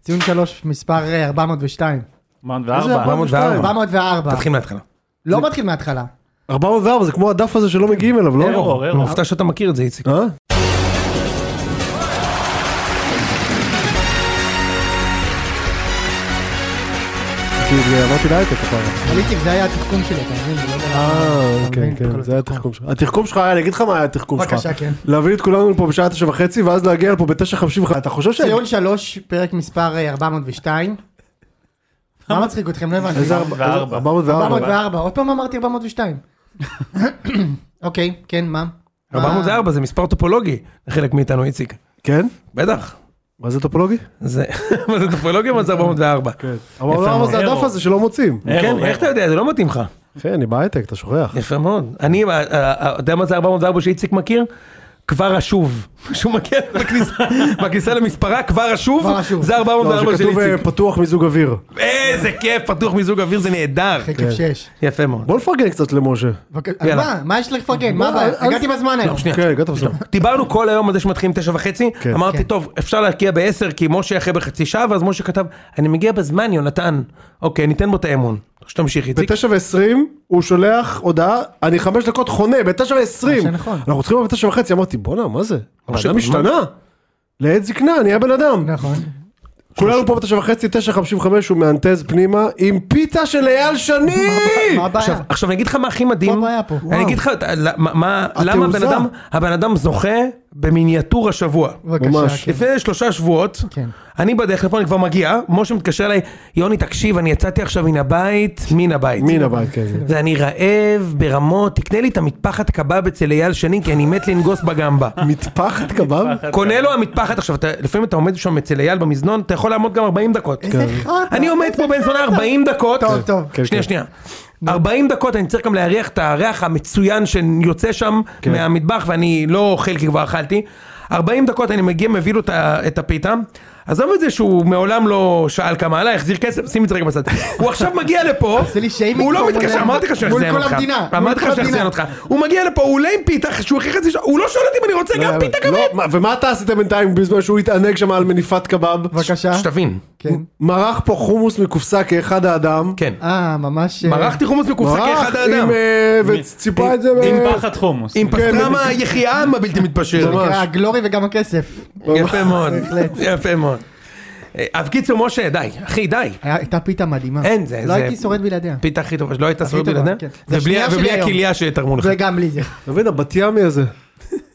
ציון שלוש, מספר אה, 402. מן איזה וארבע. 402? 404. תתחיל מההתחלה. לא מתחיל מההתחלה. 404 זה כמו הדף הזה שלא מגיעים אליו, לא? ארור, אוקיי. ארור. מופתע שאתה מכיר את זה, איציק. אה? כאילו, אמרתי להייטק הפעם. אבל איציק, זה היה התחכום שלי, אתה מבין? זה לא דבר- אה, אתה כן, מבין? כן, זה היה התחכום שלך. התחכום שלך היה, אני אגיד לך מה היה התחכום שלך. בבקשה, כן. להביא את כולנו לפה בשעה תשע וחצי, ואז להגיע לפה בתשע חמישים וחצי. אתה חושב ש... ציון שלוש, פרק מספר אה, 402. מה מצחיק אתכם? לא הבנתי. איזה ארבע? וארבע. 404. 404, עוד פעם אמרתי 402. אוקיי, כן, מה? אה. 404 זה מספר טופולוגי לחלק מאיתנו, איציק. כן? בטח. מה זה טופולוגי? זה מה זה טופולוגיה, מה זה 404. כן. 404 זה מאוד. הדף הזה שלא מוצאים. כן, ארור, איך אתה יודע? זה לא מתאים לך. אחי, כן, אני בהייטק, אתה שוכח. יפה מאוד. אני, אה, אה, אתה יודע מה זה 404 שאיציק מכיר? כבר השוב. כשהוא מגיע בכניסה- בכניסה למספרה, כבר השוב, כבר השוב. זה אה, לא, 404 של שכתוב אה, איציק. פתוח מיזוג אויר. איזה כיף, פתוח מיזוג אוויר, זה נהדר. חקב 6. יפה מאוד. בוא נפרגן קצת למשה. יאללה. מה? מה יש לך לפרגן? מה הבעיה? הגעתי בזמן היום. שנייה. כן, הגעת בסוף. דיברנו כל היום על זה שמתחילים תשע וחצי, כן. אמרתי כן. טוב אפשר להקיע בעשר כי משה אחרי בחצי שעה ואז משה כתב אני מגיע בזמן יונתן, אוקיי ניתן בו את האמון, שתמשיך איציק, בתשע ועשרים הוא שולח הודעה, אני חמש דקות חונה, בתשע ועשרים. מה שנכון. אנחנו צריכים לבוא בתשע וחצי, אמרתי בואנה מה זה? הבן אדם אדם השתנה. לעת זקנה, נהיה בן אדם. נכון. כולנו פה בתשע וחצי, תשע חמישים וחמש, הוא מהנטז פנימה עם פיתה של אייל שני! מה הבעיה? עכשיו עכשיו אני אגיד לך מה הכי מדהים, מה הבעיה פה? אני אגיד לך אתה- למה- מה- למה הבן התעוזה. אדם, הבן אדם זוכה במיניאטור השבוע, בבקשה. ממש. כן. לפני שלושה שבועות, כן. אני בדרך לפה אני כבר מגיע, משה מתקשר אליי, יוני תקשיב אני יצאתי עכשיו מן הבית, מן הבית, מן הבית כזה. ואני רעב ברמות, תקנה לי את המטפחת קבב אצל אייל שני כי אני מת לנגוס בגמבה. מטפחת קבב? קונה לו המטפחת עכשיו, אתה- לפעמים אתה עומד שם אצל אייל במזנון, אתה יכול לעמוד גם 40 דקות. איזה חרטא. אני עומד פה בן זונה 40 דקות. טוב, טוב. כן, שנייה, כן. שנייה. 40 דקות אני צריך גם להריח את הריח המצוין שיוצא שם כן. מהמטבח ואני לא אוכל כי כבר אכלתי. 40 דקות אני מגיע, מביא לו את ה- את הפיתה. עזוב את זה שהוא מעולם לא שאל כמה עלה, החזיר כסף, שים את זה רגע בצד. הוא עכשיו מגיע לפה, עושה לי שיימינג הוא פה לא מול מתקשר, ה- אמרתי לך שהוא מול יחזיין כל אותך. המדינה, מול אמרתי לך כל שהוא יחזיין המדינה. אותך. הוא מגיע לפה, הוא עולה עם פיתה, שהוא הכי חצי שעה, הוא לא שואל אותי אם אני רוצה גם פיתה לא, קבב. מה- ומה אתה עשית בינתיים בזמן שהוא התענג שם על מניפת קבב? בבקשה. שתבין, כן. מרח פה חומוס מקופסה כאחד האדם. כן. אה, ממש... אה, מרחתי חומוס מקופסה מרח כאחד האדם. עם, אה, וציפה את זה אה, ב... עם פחד חומוס. כן, עם פסטרמה יחיעם הבלתי מתפשר. זה נקרא הגלורי וגם הכסף. יפה מאוד, בהחלט. יפה מאוד. אה, אז קיצור משה די, אחי די. היה- הייתה פיתה מדהימה. אין, זה- לא זה- הייתי שורד בלעדיה. פיתה הכי טובה שלא הייתה סביב טובה, בלעדיה. כן. זה ובלי- השנייה ובלי שלי היום. הכליה שתרמו לך. זה גם לי זה. אתה מבין, הבת ימי הזה.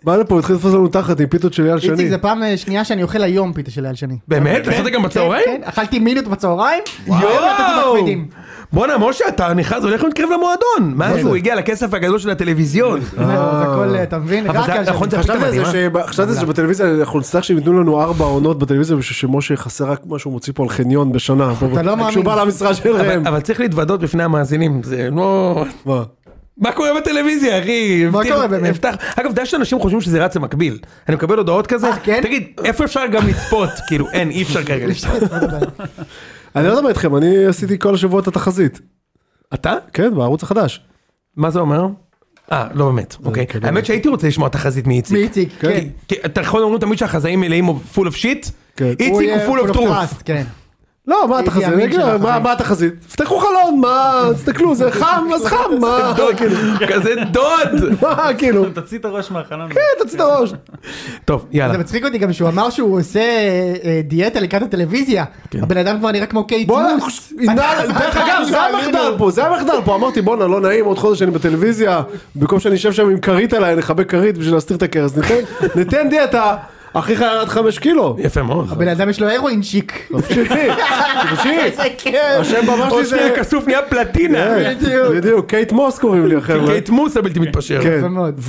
בא לפה, התחיל לתפוס לנו תחת עם פיתות של יד שני. איציק, זה פעם אה, שנייה שאני אוכל היום פיתה של אייל שני. באמת? עשית גם בצהריים? אה. כן, כן, אכלתי מינות בצהריים. לא, היום נתתי יואו! בכבדים. בואנה משה אתה נכנס הולך ומתקרב למועדון. מה זה הוא הגיע לכסף הגדול של הטלוויזיון. זהו, זה הכל, אה, אתה מבין? אבל רק זה- אייל שני. נכון, זה חשבתי על זה מדהימה. שב- חשבתי על זה שבטלוויזיה אנחנו נצטרך שהם ייתנו לנו ארבע עונות בטלוויזיה בשביל שמשה חסר רק מה שהוא מוציא פה על חניון בשנה. לא מאמין. כשהוא בא למשרד של אבל- כן. ראם. אבל צריך להתוודות בפני המאזינים זה לא. מה? מה קורה בטלוויזיה אחי? מה הבטיח- קורה באמת? הבטח- אגב, אתה יודע שאנשים חושבים שזה רץ במקביל. אני מקבל הודעות כזה, אה, כן? תגיד, איפה אפשר גם לצפות? כאילו, אין, אי אפשר כרגע לצפות. אני לא יודע מה איתכם, אני עשיתי כל השבוע את התחזית. אתה? כן, בערוץ החדש. מה זה אומר? אה, לא באמת, אוקיי. כאילו- האמת שהייתי רוצה לשמוע תחזית מאיציק. מאיציק, כן. כי אתה יכול לומר תמיד שהחזאים מלאים of full of shit? כן. איציק הוא יהיה full of truth. trust, כן. לא, מה אידי התחזית? אמין אני אגיד, של מה- התחזית. מה התחזית? תפתחו חלון, מה? תסתכלו, זה חם, אז חם, מה? כאילו, כזה דוד. מה, כאילו? תוציא את הראש מהחלון. כן, תוציא את הראש. טוב, זה יאללה. מצחיק אותי גם שהוא אמר שהוא עושה אה, אה, דיאטה לקראת הטלוויזיה. כן. הבן אדם כבר נראה כמו קייט בואנה, מוס. עידן, דרך אגב, זה המחדל פה, זה המחדל פה. אמרתי, בואנה, לא נעים, עוד חודש אני בטלוויזיה, במקום שאני אשב שם עם כרית עליי, נכבה כרית בשביל להסתיר את הכרס. ניתן- ניתן דיאטה, אחיך ירד חמש קילו. יפה מאוד. הבן אדם יש לו הרואין שיק. תמשיכי, תמשיכי. איזה כיף. השם במה או שלי זה... שנייה כסוף נהיה פלטינה. כן, בדיוק, קייט מוס קוראים לי החבר'ה. קייט מוס הבלתי מתפשר. כן, יפה מאוד.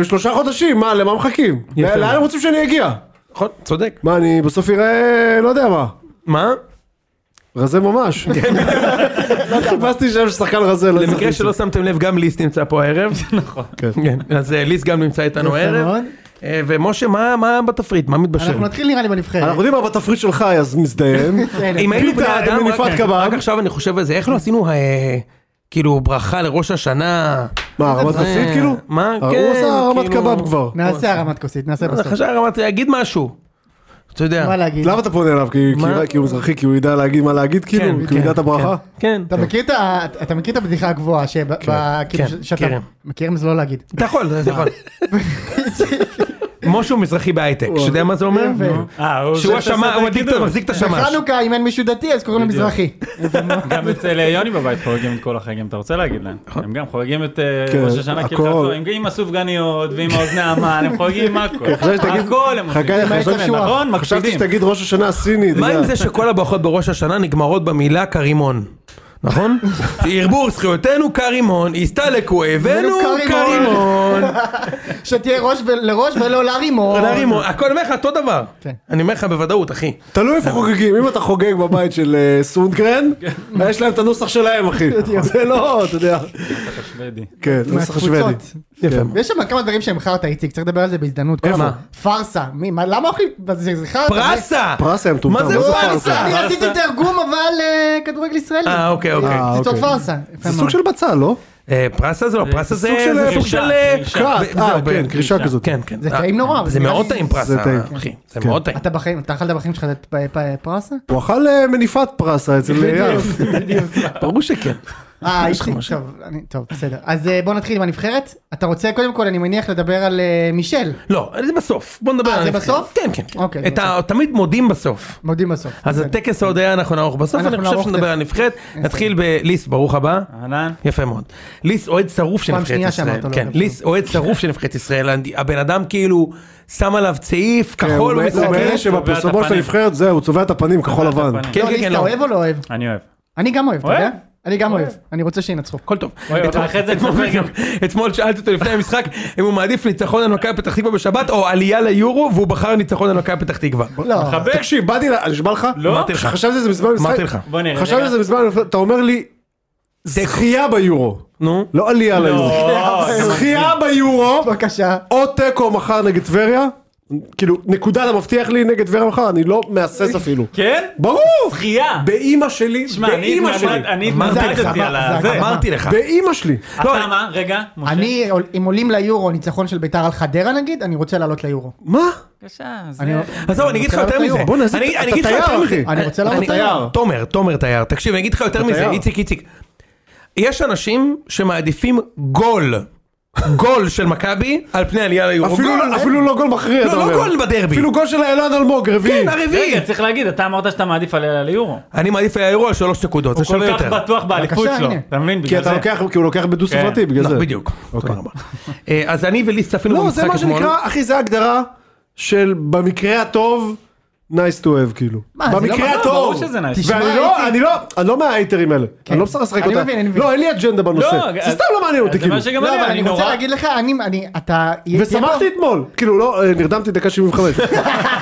ושלושה חודשים, מה, למה מחכים? יפה. לאן הם רוצים שאני אגיע? נכון, צודק. מה, אני בסוף אראה, לא יודע מה, מה? רזה ממש. לא חיפשתי שם שחקן רזה, לא למקרה הצלחתי. שלא שמתם לב, גם ליס נמצא פה הערב. נכון. כן, אז אה, ליס גם נמצא איתנו הערב. מאוד. אה, ומשה, מה מה בתפריט? מה מתבשל? אנחנו נתחיל נראה לי בנבחרת. אנחנו יודעים מה בתפריט שלך, אז מזדיין. כן. אם היינו פיתה בני אדם, עם רק- מניפת קבב. רק עכשיו אני חושב על זה, איך לא עשינו אה, כאילו ברכה לראש השנה? מה, הרמת זה- כוסית כאילו? מה, הוא אה, כן, עושה הרמת כאילו- אה, קבב כבר. לא, נעשה הרמת כוסית, נעשה בסוף. חשב, אמרתי, להגיד משהו. אתה יודע. מה להגיד? למה אתה פונה אליו? כי- כי- מה? כי הוא מזרחי, כי הוא ידע להגיד מה להגיד, כאילו? כי הוא ידע את הברכה? כן. אתה מכיר את ה- אתה מכיר את הבדיחה הגבוהה שב- ב- כאילו כן, ש- שאתה כן. מכיר אם זה לא להגיד. אתה יכול, אתה יכול. משה הוא מזרחי בהייטק, שאתה יודע מה זה אומר? יפה. נו. אה, הוא שהוא זה כאילו- שעשה השמע, את הוא הדליק את- הקידוד. מחזיק את השמש. בחנוכה אם אין מישהו דתי אז קוראים לו בדיוק. מזרחי. גם אצל אה, יוני בבית חוגגים את כל החגים, אתה רוצה להגיד להם. הם גם חוגגים את אה, נכון. כן, ראש השנה הכל. כאילו, הם עם הסופגניות ועם האוזני המן, הם חוגגים הכל. כן, חשבתי שתגיד- הכל הם עושים. חכה, מה חשבתי- יצא שואה? נכון, חשבתי מקפידים. שתגיד ראש השנה הסיני. אתה מה יודע. עם זה שכל הברכות בראש השנה נגמרות במילה כרימון? נכון? ערבור זכויותינו כרימון, הסתלקו הבאנו הבאנו כרימון. כרימון. שתהיה ראש ו- לראש ולא לרימון. כרימון. הכל אומר לך אותו דבר. כן. אני אומר לך בוודאות, אחי. תלוי איפה חוגגים, אם אתה חוגג בבית של אה, סונגרן, יש להם את הנוסח שלהם אחי, זה לא, אתה יודע, שוודי. כן, נוסח כן. שוודי. מהתפוצות. יש שם כמה דברים שהם חרטא איציק צריך לדבר על זה בהזדמנות. כל איפה? הזמן. פארסה. מי- מה- למה אוכלים? זה זה חרטא. פרסה! פרסה הם מה מטומטם, זה מה זה פרסה? פרסה? אני עשיתי תרגום אבל אה, כדורגל ישראלי. אה, אוקיי, אוקיי. אה, זה אוקיי. צור פארסה. יפה זה סוג מאוד. של בצל, לא? אה, פרסה זה לא, פרסה זה סוג של- זה סוג קרישה, של... אה, קרישה. קרא, קרט, אה, זהו, כן, ב- קרישה כזאת. כן, כן. זה אה, טעים נורא, אבל זה זה מאוד נראה לי- טעים זה פרסה, טעים. אחי. זה כן. מאוד טעים. אתה בחיים, אתה אכלת בחיים שלך את פ- פ- פרסה? הוא אכל אה, מניפת פרסה אצל אייל. ברור שכן. אה, יש לך טוב, אני- טוב, בסדר. אז אה, בוא נתחיל עם הנבחרת. אתה רוצה קודם כל, אני מניח, לדבר על אה, מישל. לא, זה בסוף. בוא נדבר אה, על זה הנבחרת. בסוף? כן, כן. אוקיי, את ה- תמיד מודים בסוף. מודים בסוף. לא, אז בסדר. הטקס ההודעה אנחנו נערוך בסוף, כן. אנחנו אני חושב נערוך שנדבר תכף. על הנבחרת. נתחיל בליס, ברוך הבא. אהלן. יפה מאוד. ליס אוהד שרוף של פעם נבחרת שנייה ישראל. שאמרת לו, כן, דווקא. ליס אוהד שרוף של נבחרת ישראל. הבן אדם כאילו שם עליו צעיף כן, כחול הוא ומשחק. מאלה צובע שבפרסומות את של הפנים. הנבחרת, זהו, צובע את הפנים כחול צובע את לבן. הפנים. כן, לא, כן, ליס, כן, אתה לא. אוהב או לא אוהב? אני אוהב. אני גם אוהב, אתה אוהב. יודע? אני גם אוהב. אני רוצה שינצחו. הכל טוב. כן, אוי, אבל אתמול- אחרי זה אתמול- תספר גם. אתמול שאלתי אותו לפני המשחק אם הוא מעדיף ניצחון על מכבי פתח תקווה בשבת או עלייה ליורו והוא בחר ניצחון על מכבי פתח תקווה. לא. מחבק. תקשיב, באתי, ל- אני נשבע לך, לא? אמרתי לך. חשבתי שזה מזמן משחק, אמרתי לך. בוא נראה. חשבתי רגע. שזה מזמן, אתה אומר לי, זכייה ביורו, נו. לא עלייה ליורו, לא, זכייה ביורו, בבקשה. או תיקו מחר נגד טבריה, כאילו, נקודה אתה מבטיח לי נגד טבריה מחר, אני לא מהסס אפילו. כן? ברור! זכייה. באימא שלי, שמע, אני באימא שלי, התמודד- אני אמרתי לך, התמודדתי על זה- הזה. אמרתי לך. באימא שלי. אתה מה? רגע. משה. אני, אם עולים ליורו ניצחון של ביתר על חדרה נגיד, אני רוצה לעלות ליורו. מה? בבקשה, זה- אני- אה, לא- עזוב, אני אגיד לך רוצה יותר לעלות מזה. ליורו. בוא'נה, זה- אני- אתה אני אגיד לך תייר, יותר מזה. אחי. אני רוצה לעלות אני- תייר. תומר, תומר תייר. תקשיב, אני אגיד לך יותר מזה, תייר. איציק, איציק. יש אנשים שמעדיפים גול, גול של מכבי על פני עלייה ליורו. אפילו- גול. אפילו לא גול מכריע, לא, אתה לא אומר. גול בדרבי. אפילו גול של אילן אלמוג, רביעי. כן, הרביעי. רגע, צריך להגיד, אתה אמרת שאתה מעדיף עליה ליורו. אני מעדיף עלייה ליורו על שלוש נקודות, זה הוא כל שווה יותר. כך בטוח באליפות בבקשה, שלו. הנה. אתה מבין? כי בגלל אתה זה. לוקח, כי הוא לוקח בדו כן. ספרתי, בגלל זה. אוקיי. לא, בדיוק. תודה רבה. אה, אז אני וליס צפינו לא, זה במשחק מה אתמול. שנקרא, אחי, זה ההגדרה של במקרה הטוב, nice to have, כאילו. מה, זה לא במקרה ברור, הטוב. ברור שזה nice have. to ואני תשמע, לא, איציק. אני לא, אני לא מההייטרים האלה. אני לא מנסה לשחק אני אותה. מבין, אני מבין. לא, אין לי אג'נדה בנושא. לא, זה סתם לא מעניין אותי, זה כאילו. מה שגם לא, אבל אני, אני אני רוצה נורא... להגיד לך, אני, אני, אתה... ושמחתי אתמול. כאילו, לא, אה, נרדמתי דקה 75.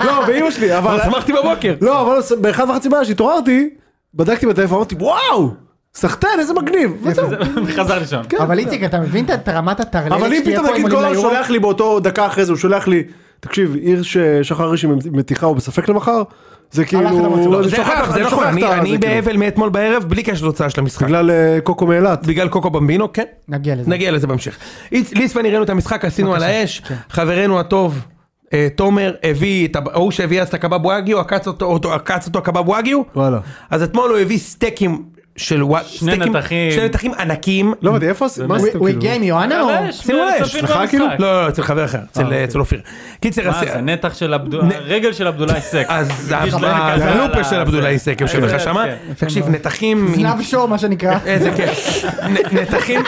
לא, באמא שלי, אבל... אבל שמחתי בבוקר. לא, אבל באחד וחצי בעיה שהתעוררתי, בדקתי בטלפון, אמרתי, וואו, סחטיין, איזה מגניב. וזהו. חזר כן, לישון. אבל איציק, אתה מבין את רמת הטרללת אבל אם שתהיה פתאום פה נגיד אם עולים גולר ליורו? שולח לי באותו דקה אחרי זה, הוא שולח לי, תקשיב, עיר ששחר ראשי מתיחה הוא בספק למחר, זה כאילו, הלך למוצא. אני זה שוכח- נכון, אני זה נכון, שוכח אני- את ה- אני זה כאילו. באבל מאתמול בערב בלי קשר לתוצאה של המשחק. בגלל אה, קוקו מאילת. בגלל קוקו במבינו, כן. נגיע לזה. נגיע לזה בהמשך. איץ- ליס ואני ראינו את המשחק, עשינו על האש, כן. חברנו הטוב. אה, תומר הביא את ההוא שהביא אז את הקבב וואגיו, עקץ אותו- אותו, עקץ אותו הקבב וואגיו, וואלה. אז אתמול הוא הביא סטייקים של וואגיו, שני נתחים. שני נתחים ענקים, לא הבנתי, איפה עשית? מה הוא- עשית? הוא כאילו? הגיע עם יואנה או... עלה אש, שימו מעל אש, הספיר סליחה, במשחק. אה, אוקיי. כאילו? לא לא, לא, אצל חבר אחר, אצל אצל אופיר, קיצר, מה אז- אה, זה, נתח של עבדולאי, הרגל של עבדולאי סק. אז יש להם ה- כזה על הלופה ה- של עבדולאי סק יושב לך כן, שמה, כן. תקשיב נתחים, עם- זנב שור מה שנקרא. איזה כיף, נ- נתחים,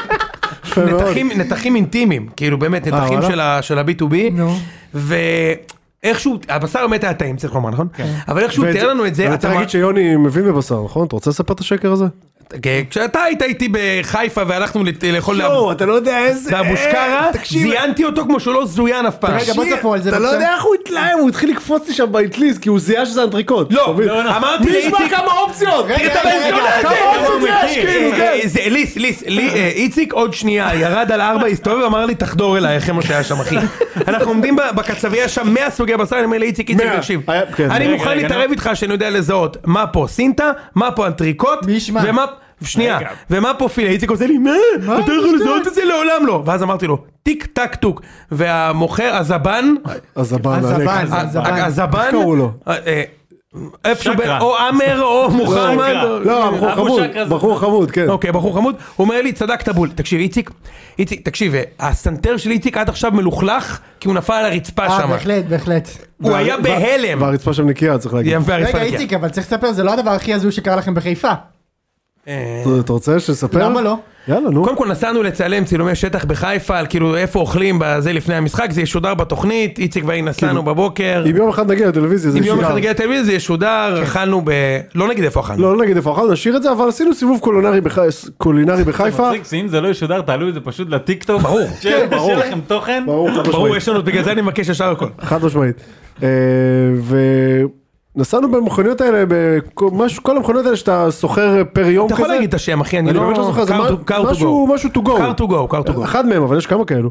נתחים, נתחים אינטימיים, כאילו באמת נתחים אה, וואלה? של ה- של ה-B2B, נו. ואיכשהו, הבשר באמת היה טעים צריך לומר נכון, אבל איכשהו כן. ואת תיאר לנו את זה, ואתה אתה להגיד שיוני מבין בבשר, נכון? אתה רוצה לספר את השקר הזה? מ- כן, כשאתה היית איתי בחיפה והלכנו לת- לאכול לאב- אתה לא יודע איזה... לאבושקרה, זיינתי אותו כמו שהוא לא זוין אף פעם, רגע, בוא תספר על זה אתה לא בבקשה. יודע איך הוא התלהם, הוא התחיל לקפוץ לי שם באטליז, כי הוא זיהה שזה אנטריקוט. אתה לא, מבין? אמרתי מי ישמע לאיציק, כמה אופציות? רגע, תראה את הבן רגע, זונה רגע, הזה, כמה כמה אופציות אופציות יש, יש, כאילו, כן. אה, זה ליס, ליס, לי- אה, איציק עוד שנייה ירד על ארבע, הסתובב ואמר לי תחדור אליי אחרי מה שהיה שם אחי. אנחנו עומדים ב- בקצבייה שם 100 סוגי בשר, אני אומר לאיציק, איציק מאה. תקשיב, היה- כן. אני רגע, מוכן רגע, להתערב נו. איתך שאני יודע לזהות מה פה סינטה, מה פה אנטריקוט, מי ישמע? ומה... שנייה, רגע. ומה פרופיל? איציק עושה לי, מה? אתה לא יכול לזהות את זה לעולם לא. ואז אמרתי לו, טיק טק טוק. והמוכר, הזבן, הזבן, הזבן. עלק. הזבן. הזבן, אה, איך קראו לו? אה, אה, איפשהו, ב- שקרן. או עמר או מוחמד. שקרן. לא, בחור אבו חמוד, שקרה זה- בחור חמוד, כן. אוקיי, בחור חמוד, הוא אומר לי, צדקת בול. תקשיב, איציק, איציק, תקשיב, אה, הסנטר של איציק עד עכשיו מלוכלך, כי הוא נפל על הרצפה אה, שם. בהחלט, בהחלט. הוא וה- היה וה- בהלם. והרצפה שם נקייה, צריך להגיד. והרצפה רגע, נקייה. איציק, אבל צריך לספר, זה לא הדבר הכי הזוי שקרה לכם בחיפה. אה, אתה- אתה רוצה שנספר? למה לא? יאללה, נו. קודם כל נסענו לצלם צילומי שטח בחיפה, על כאילו איפה אוכלים בזה לפני המשחק, זה ישודר בתוכנית, איציק ואני נסענו בבוקר, כאילו, אם יום אחד נגיע לטלוויזיה, זה אם יום ישודר. אחד נגיע לטלוויזיה זה ישודר, אכלנו ב... לא נגיד איפה אכלנו. לא, לא נגיד איפה אכלנו, נשאיר את זה, אבל עשינו סיבוב קולינרי בח- קולינרי בחיפה. מצחיק שאם זה לא ישודר תעלו את זה פשוט לטיקטוק. ברור. שיהיה ברור. שיהיה לכם תוכן. ברור, חד ברור, משמעית. יש לנו, לא, בגלל זה אני מבקש ישר הכל. חד משמעית. אה, ונסענו במכוניות האלה, בכל- משהו- כל המכוניות האלה שאתה סוחר פר יום אתה כזה. יכול להגיד את השם, אחי, אני אני לא... באמת לא זוכר, זה Car מה- to- Car to משהו- go. משהו to go. Car to go, car to go. אחד מהם, אבל יש כמה כאלו.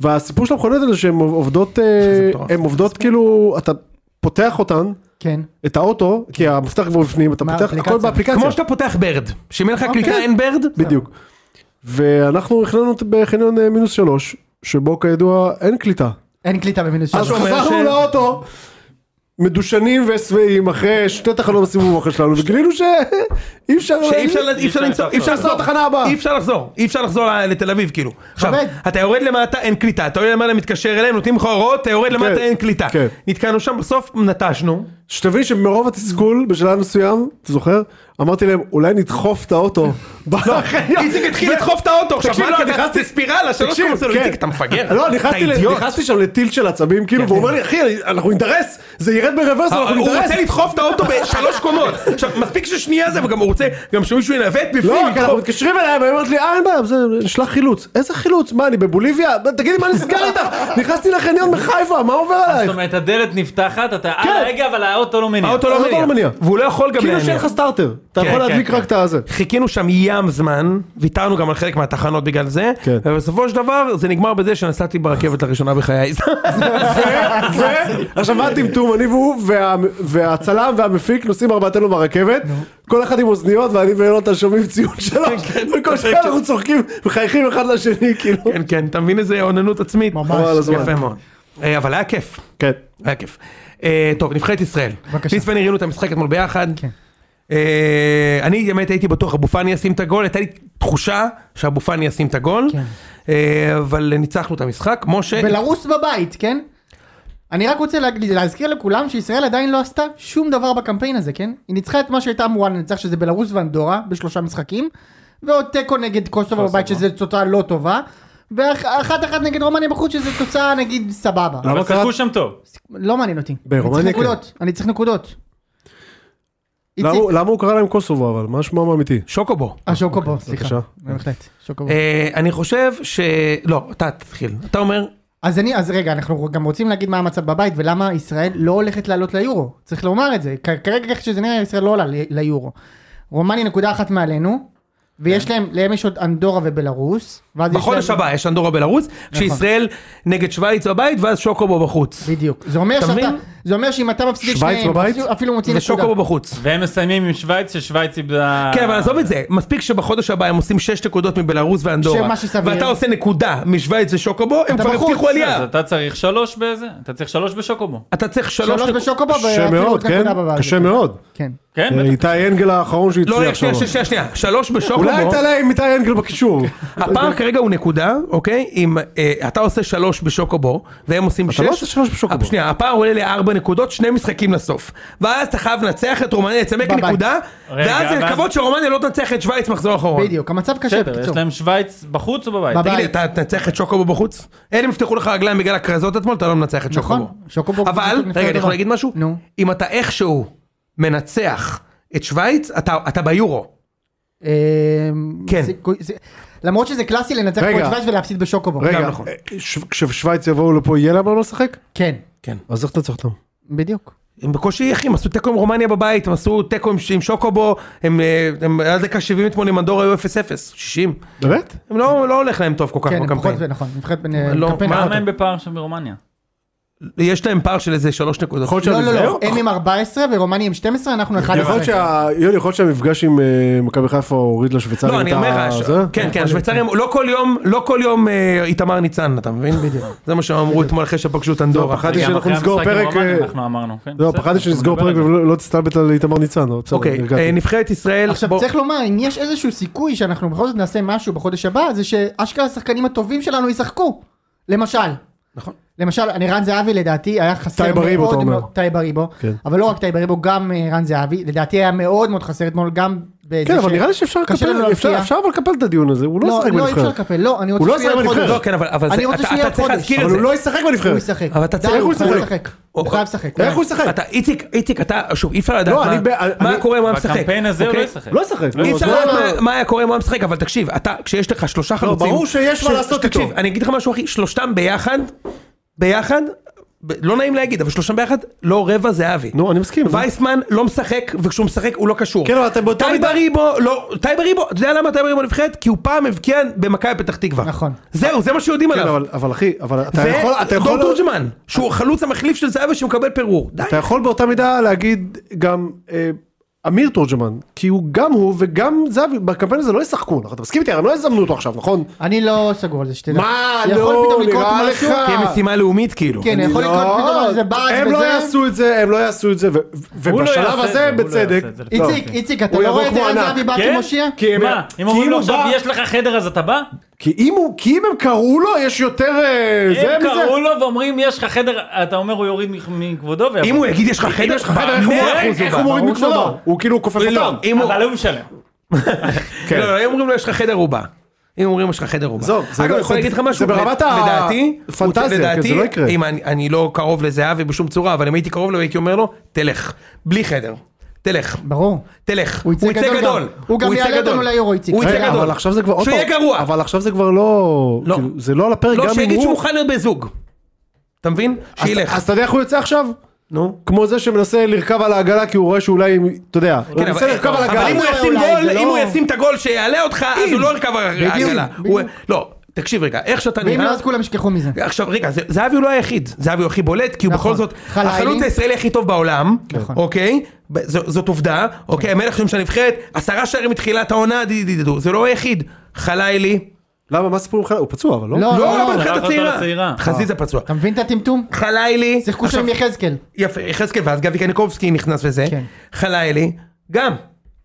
והסיפור של המכוניות האלה שהן עובדות, אה, מטורף. הן עובדות כאילו, אתה פותח אותן, כן. את האוטו, כי המפתח כבר בפנים, אתה מה, פותח הכל אפליקציה? באפליקציה. כמו שאתה פותח ברד, שאם אין לך אוקיי. קליטה אין ברד, בדיוק. ואנחנו החלנו בחניון אה, מינוס שלוש, שבו כידוע אין קליטה. אין קליטה במינוס אז שלוש. אומר חזרנו ש- לאוטו, מדושנים ושבעים, אחרי שתי תחנות בסיבוב האחר שלנו, וגילינו שאי אפשר... שאי אפשר ל- אי אפשר אפשר למצוא, אי לחזור. אפשר לחזור, לחזור לתחנה הבאה. אי אפשר לחזור, אי אפשר לחזור ל- לתל אביב כאילו. עכשיו, כבד. אתה יורד למטה אין קליטה, אתה יורד למעלה מתקשר אליהם, נותנים לך הוראות, אתה יורד למטה אין קליטה. כן. נתקענו שם, בסוף נטשנו, שתבין שמרוב התסכול בשלב מסוים, אתה זוכר? אמרתי להם, אולי נדחוף את האוטו. בחניון." לא, איציק התחיל לדחוף את האוטו עכשיו, תקשיב, מה לא, לא, נכנסתי- נכנסתי ספירלה, שלוש תקשיב, קומות, כן. איציק אתה מפגר, לא, אתה נכנסתי ל- אידיוט, כן, נכנסתי שם לטיל של עצבים, כאילו, והוא אומר לי, אחי, אני- אנחנו נידרס, זה ירד ברוורס, אנחנו אה, הוא נידרס. רוצה לדחוף את האוטו בשלוש קומות, עכשיו מספיק ששנייה זה, וגם הוא רוצה, גם שמישהו ינווט לא, בפנים, כי אנחנו לדחוף. מתקשרים אליי, והיא אומרת לי, אה, אין בעיה, זה נשלח חילוץ. איזה חילוץ? מה, אני בבוליביה? תגידי, מה נסגר איתך? נכנסתי לחניון מחיפה, מה עובר זאת עלייך? אומרת הדלת נפתחת אתה אה רגע אבל האוטו לא מניע. האוטו האוטו לא לא מניע, מניע. והוא לא יכול גם כאילו שאין להניע, לך סטארטר. אתה כן, יכול כן, להדליק כן. רק את הזה. חיכינו שם ים זמן, ויתרנו גם על חלק מהתחנות בגלל זה, כן. ובסופו של דבר זה נגמר בזה שנסעתי ברכבת לראשונה בחיי. ו- עכשיו מה הטמטום? אני והוא וה- והצלם והמפיק נוסעים ארבעתנו ברכבת, כל אחד עם אוזניות ואני ויונתן שומעים ציון כן, שלוש, וכל שנייה אנחנו צוחקים מחייכים אחד לשני, כאילו. כן, כן, אתה מבין איזה אוננות עצמית? ממש. חבל על הזמן. יפה מאוד. אה, אבל היה כיף. כן. היה כיף. אה, טוב, נבחרת ישראל. בבקשה. ליס ואני ראינו את המשחק אתמול ביחד. כן. אה, אני באמת הייתי בטוח אבו פאני ישים את הגול, הייתה לי תחושה שאבו פאני ישים את הגול. כן. אה, אבל ניצחנו את המשחק, משה... בלרוס בבית, כן? אני רק רוצה להגיד- להזכיר לכולם שישראל עדיין לא עשתה שום דבר בקמפיין הזה, כן? היא ניצחה את מה שהייתה אמורה לנצח, שזה בלרוס ואנדורה, בשלושה משחקים, ועוד תיקו נגד קוסובו בבית, שזו תוצאה לא טובה, ואחת אחת נגד רומניה בחוץ, שזו תוצאה נגיד סבבה. אבל למה קראת- שיחקו שם טוב. לא מעניין אותי. ברומניה אני צריך כן. לא, נקודות, אני צריך נקודות. למה איציק- הוא- למה הוא קרא להם קוסובו אבל? מה שמם האמיתי? שוקובו. אה, שוקובו, סליחה. בבקשה. בהחלט, שוקובו. אה, אני חושב ש... לא, אתה תתחיל. אתה אומר, אז אני, אז רגע, אנחנו גם רוצים להגיד מה המצב בבית ולמה ישראל לא הולכת לעלות ליורו. צריך לומר את זה. כ- כרגע איך שזה נראה, ישראל לא עולה ל- ליורו. רומניה נקודה אחת מעלינו, ויש להם, להם יש עוד אנדורה ובלארוס. ואז יש כן. נכון. בחודש להם- הבא נכון, יש אנדורה בלרוס, כשישראל נגד שווייץ בבית, ואז שוקובו בחוץ. בדיוק. זה אומר אתה שאתה, מבין? זה אומר שאם אתה מפסיד את שווייץ שניהם, בבית? אפילו- אפילו מוציא נקודה. ושוקובו בחוץ. והם מסיימים עם שווייץ ששווייץ איבדה. כן, אבל עזוב את זה, מספיק שבחודש הבא הם עושים 6 נקודות מבלארוס ואנדורה, שמה שסביר. ואתה עושה נקודה משוויץ ושוקובו, הם אתה כבר בחוץ. הבטיחו אז עלייה. אתה צריך שלוש בזה אתה צריך שלוש בשוקובו. אתה צריך שלוש שלוש נקודות. בשוקובו, קשה ואפילו מאוד, עוד כן? נקודה בבית. קשה מאוד. כן. כן. אה, איתי אנגל האחרון לא, שהצליח רגע, שם. שנייה, שנייה, שנייה, שלוש אולי בשוקובו. הייתה להם איתי אנגל בקישור. הפער כרגע הוא נקודה, אוקיי? אם אה, אתה עושה שלוש בשוקובו, והם עושים שש. אה, אתה לא עושה שלוש בשוקובו. שנייה, הפער עולה לארבע נקודות, שני משחקים לסוף. ואז אתה חייב לנצח את רומניה, לצמק בבית. נקודה, רגע, ואז אבל- לקוות שרומניה לא תנצח את שווייץ מחזור אחרון. בדיוק, המצב קשה בסדר, יש בקיצור. להם שווייץ בחוץ או בבית? בבית. תגיד לי, אתה תנצח את שוקובו בחוץ? אלה יפתחו לך רגליים בגלל הכרזות אתמול, אתה לא מנצח את נכון, שוקובו. שוקובו אבל, קבוצת נבחרת רגע, אני אירופה. יכול להגיד משהו? נו. אם אתה איכשהו מנצח את שווייץ, אתה אתה ביורו. אמ, כן. זה- זה- למרות שזה קלאסי לנצח רגע. פה את שווייץ ולהפסיד בשוקובו. רגע, נכון. אה, ש- כששוויץ יבואו לפה יהיה להם על מה לשחק? כן, אז איך תנצח אותם? בדיוק. הם בקושי, אחי, הם עשו תיקו עם רומניה בבית, הם עשו תיקו עם- עם שוקובו, הם אה, הם עד דקה 70 אתמול עם אנדור היו 0-0, 60. באמת? הם לא לא הולך להם טוב כל כך כן, הם פחות, בקמפיין. נכון, נבחרת בין... לא, קמפיין מה- אחת. למה הם בפער שם ברומניה? יש להם פער של איזה שלוש נקודות. יכול להיות לא, שאני- לא, לא, זהו. הם עם 14 ורומניה עם 12, אנחנו יכול 11. להיות שה- יוני, יכול להיות שהמפגש עם אה, מכבי חיפה הוריד לשוויצרים לא, אני אומר לך, ה- ש- זה? כן, כן, השוויצרים, לא כל יום, לא כל יום אה, איתמר ניצן, אתה מבין? בדיוק. זה מה שהם אמרו אתמול אחרי שפגשו את אנדורה. לא, פחדתי וגם שאנחנו אחרי נסגור המשחק עם פרק, רומניה, אה, אנחנו אמרנו, כן. לא, בסדר, פרק אנחנו שנסגור נדבר פרק על זה. ולא לא תסתלבט על איתמר ניצן, אבל בסדר, אוקיי, הרגעתי. אה, נבחרת ישראל, עכשיו בוא- צריך לומר, אם יש איזשהו סיכוי שאנחנו בכל זאת נעשה משהו בחודש הבא, זה שאשכרה השחקנים הטובים שלנו ישחקו. למשל. נכון. למשל, אני רן זהבי לדעתי היה חסר טייב אריבו, אתה מאוד, אומר. מאוד- טייב אריבו, כן. אבל לא רק טייב אריבו, גם אה, רן זאבי, לדעתי היה מאוד מאוד חסר אתמול, גם בזה כן, אבל ש- נראה לי שאפשר קשה לקפל, לא לנו להבקיע. אפשר- אפשר אבל לקפל את הדיון הזה, הוא לא לא, ישחק לא אי אפשר בנבחרת. לקפל, לא, אני הוא לא רוצה ישחק עוד חודש. בנבחרת. לא, כן, אבל- אבל אני זה- רוצה אתה- שיהיה אתה עוד צריך חודש. להזכיר את אבל זה. הוא לא ישחק הוא בנבחרת. ישחק. אבל אתה די, צריך- איך הוא חייב ישחק? לשחק. או- הוא חייב לשחק. איך הוא די. ישחק? אתה, איציק, איציק, אתה, שוב, אי אפשר לדעת לא, מה- אני ב- מה אני- קורה אם הוא היה משחק. בקמפיין הזה הוא לא אוקיי? ישחק. לא ישחק. אי נו, אפשר אז לדעת מה- מה- מה היה קורה אם הוא היה משחק, אבל תקשיב, אתה, כשיש לך שלושה חלוצים... ברור שיש מה ש- לעשות תקשיב, איתו. אני אגיד לך משהו, אחי, שלושתם ביחד, ביחד, ב- לא נעים להגיד, אבל שלושתם ביחד, לא רבע זהבי. נו, אני מסכים. וייסמן לא משחק, וכשהוא משחק הוא לא קשור. כן, אבל אתה באותה טייב מידה- אריבו, לא, טייב אריבו, אתה יודע למה טייב אריבו נבחרת? כי הוא פעם הבקיע במכבי פתח תקווה. נכון. זהו, זה מה שיודעים כן, עליו. אבל- אבל אחי, אבל אתה יכול... אתה ודור יכול- לא- תורג'מן, שהוא החלוץ המחליף של זהבי שמקבל פירור. די. אתה יכול באותה מידה להגיד גם אה, אמיר תורג'מן, כי הוא גם הוא וגם זהבי, בקמפיין הזה לא ישחקו, נכון? אתה מסכים איתי? הרי לא יזמנו אותו עכשיו, נכון? אני לא סגור על זה, שתדע. מה, יכול לא, פתאום לקרות נראה משהו, לך. כן, כמשימה לאומית כאילו. כן, אני יכול לקרות לא- פתאום איזה באז' הם לא וזה. יעשו את זה, הם לא יעשו את זה, ו- ו- הוא לא ובשלב יעשה את הזה, זה, הוא לא בצדק. יעשה את זה. לא, איציק, כן. איציק, אתה הוא לא יבוא רואה את כמו ערן ענק. זהבי בא כן? כמושיע? כי הם- מה, כי אם אומרים אם לו הוא כאילו בא- עכשיו יש לך חדר אז אתה בא? כי אם הוא, כי אם הם קראו לו, יש יותר אה, זה הם מזה. קראו לו ואומרים יש לך חדר, אתה אומר הוא יוריד מכ- מכבודו ויבוא. אם הוא יגיד יש לך חדר, יש לך חדר, איך הוא במאה מוריד- אחוז איך בא. הוא מוריד ברור שהוא מכבודו? בא. הוא כאילו קופץ אותם. אם הוא- אבל הוא משלם. כן. לא, לא, אם אומרים לו יש לך חדר הוא בא. אם אומרים יש לך חדר הוא בא. עזוב, זה אגב, לא- אני יכול זה- להגיד לך משהו, זה ברמת לד- ה- לדעתי, פנטזיה, הוא- כן, לדעתי, זה לא יקרה. אם אני- אני לא קרוב לזהבי בשום צורה, אבל אם הייתי קרוב לו הייתי אומר לו, תלך, בלי חדר, תלך. ברור. תלך, הוא יצא גדול גם. הוא גם יצא יעלה אותנו גדול. ליורו, איציק. הוא יצא רגע, גדול. אבל עכשיו זה כבר עוד שהוא פעם. יהיה גרוע. אבל עכשיו זה כבר לא... לא. כאילו, זה לא על הפרק, גם אם לא, הוא... שיגיד שהוא מוכן להיות בזוג. אתה מבין? אז- שילך. אז אתה יודע איך הוא יוצא עכשיו? נו. כמו זה שמנסה לרכב על העגלה כי הוא רואה שאולי, אתה יודע, הוא כן, מנסה אבל לרכב על אבל אם הוא העגלה. אולי, ישים אולי, גול, זה אם הוא לא- ישים את הגול שיעלה אותך, אז הוא לא ירכב על בדיוק, העגלה. הוא- בדיוק. לא, תקשיב רגע, איך שאתה ואם לא, נראה... אז כולם ישכחו מזה. עכשיו רגע, זה- זהבי הוא לא היחיד, זהבי הוא הכי בולט, כי הוא נכון. בכל זאת חליילי. החלוץ הישראלי הכי טוב בעולם, נכון. אוקיי? ב- זו- זאת עובדה, אוקיי? המלך שם של הנבחרת, עשרה שערים מתחילת העונה, די- די- די- די- זה לא היחיד. חלילי, למה, מה הסיפור עם חלק? הוא פצוע, אבל לא? לא, לא, לא, שלח בנבחרת אותו הצעירה. לצעירה. חזיזה פצוע. אתה מבין את הטמטום? חלילי, שיחקו שם עכשיו- אה, עם יחזקאל. יפה, יחזקאל, ואז גבי קניקובסקי נכנס וזה. כן. חלילי, גם.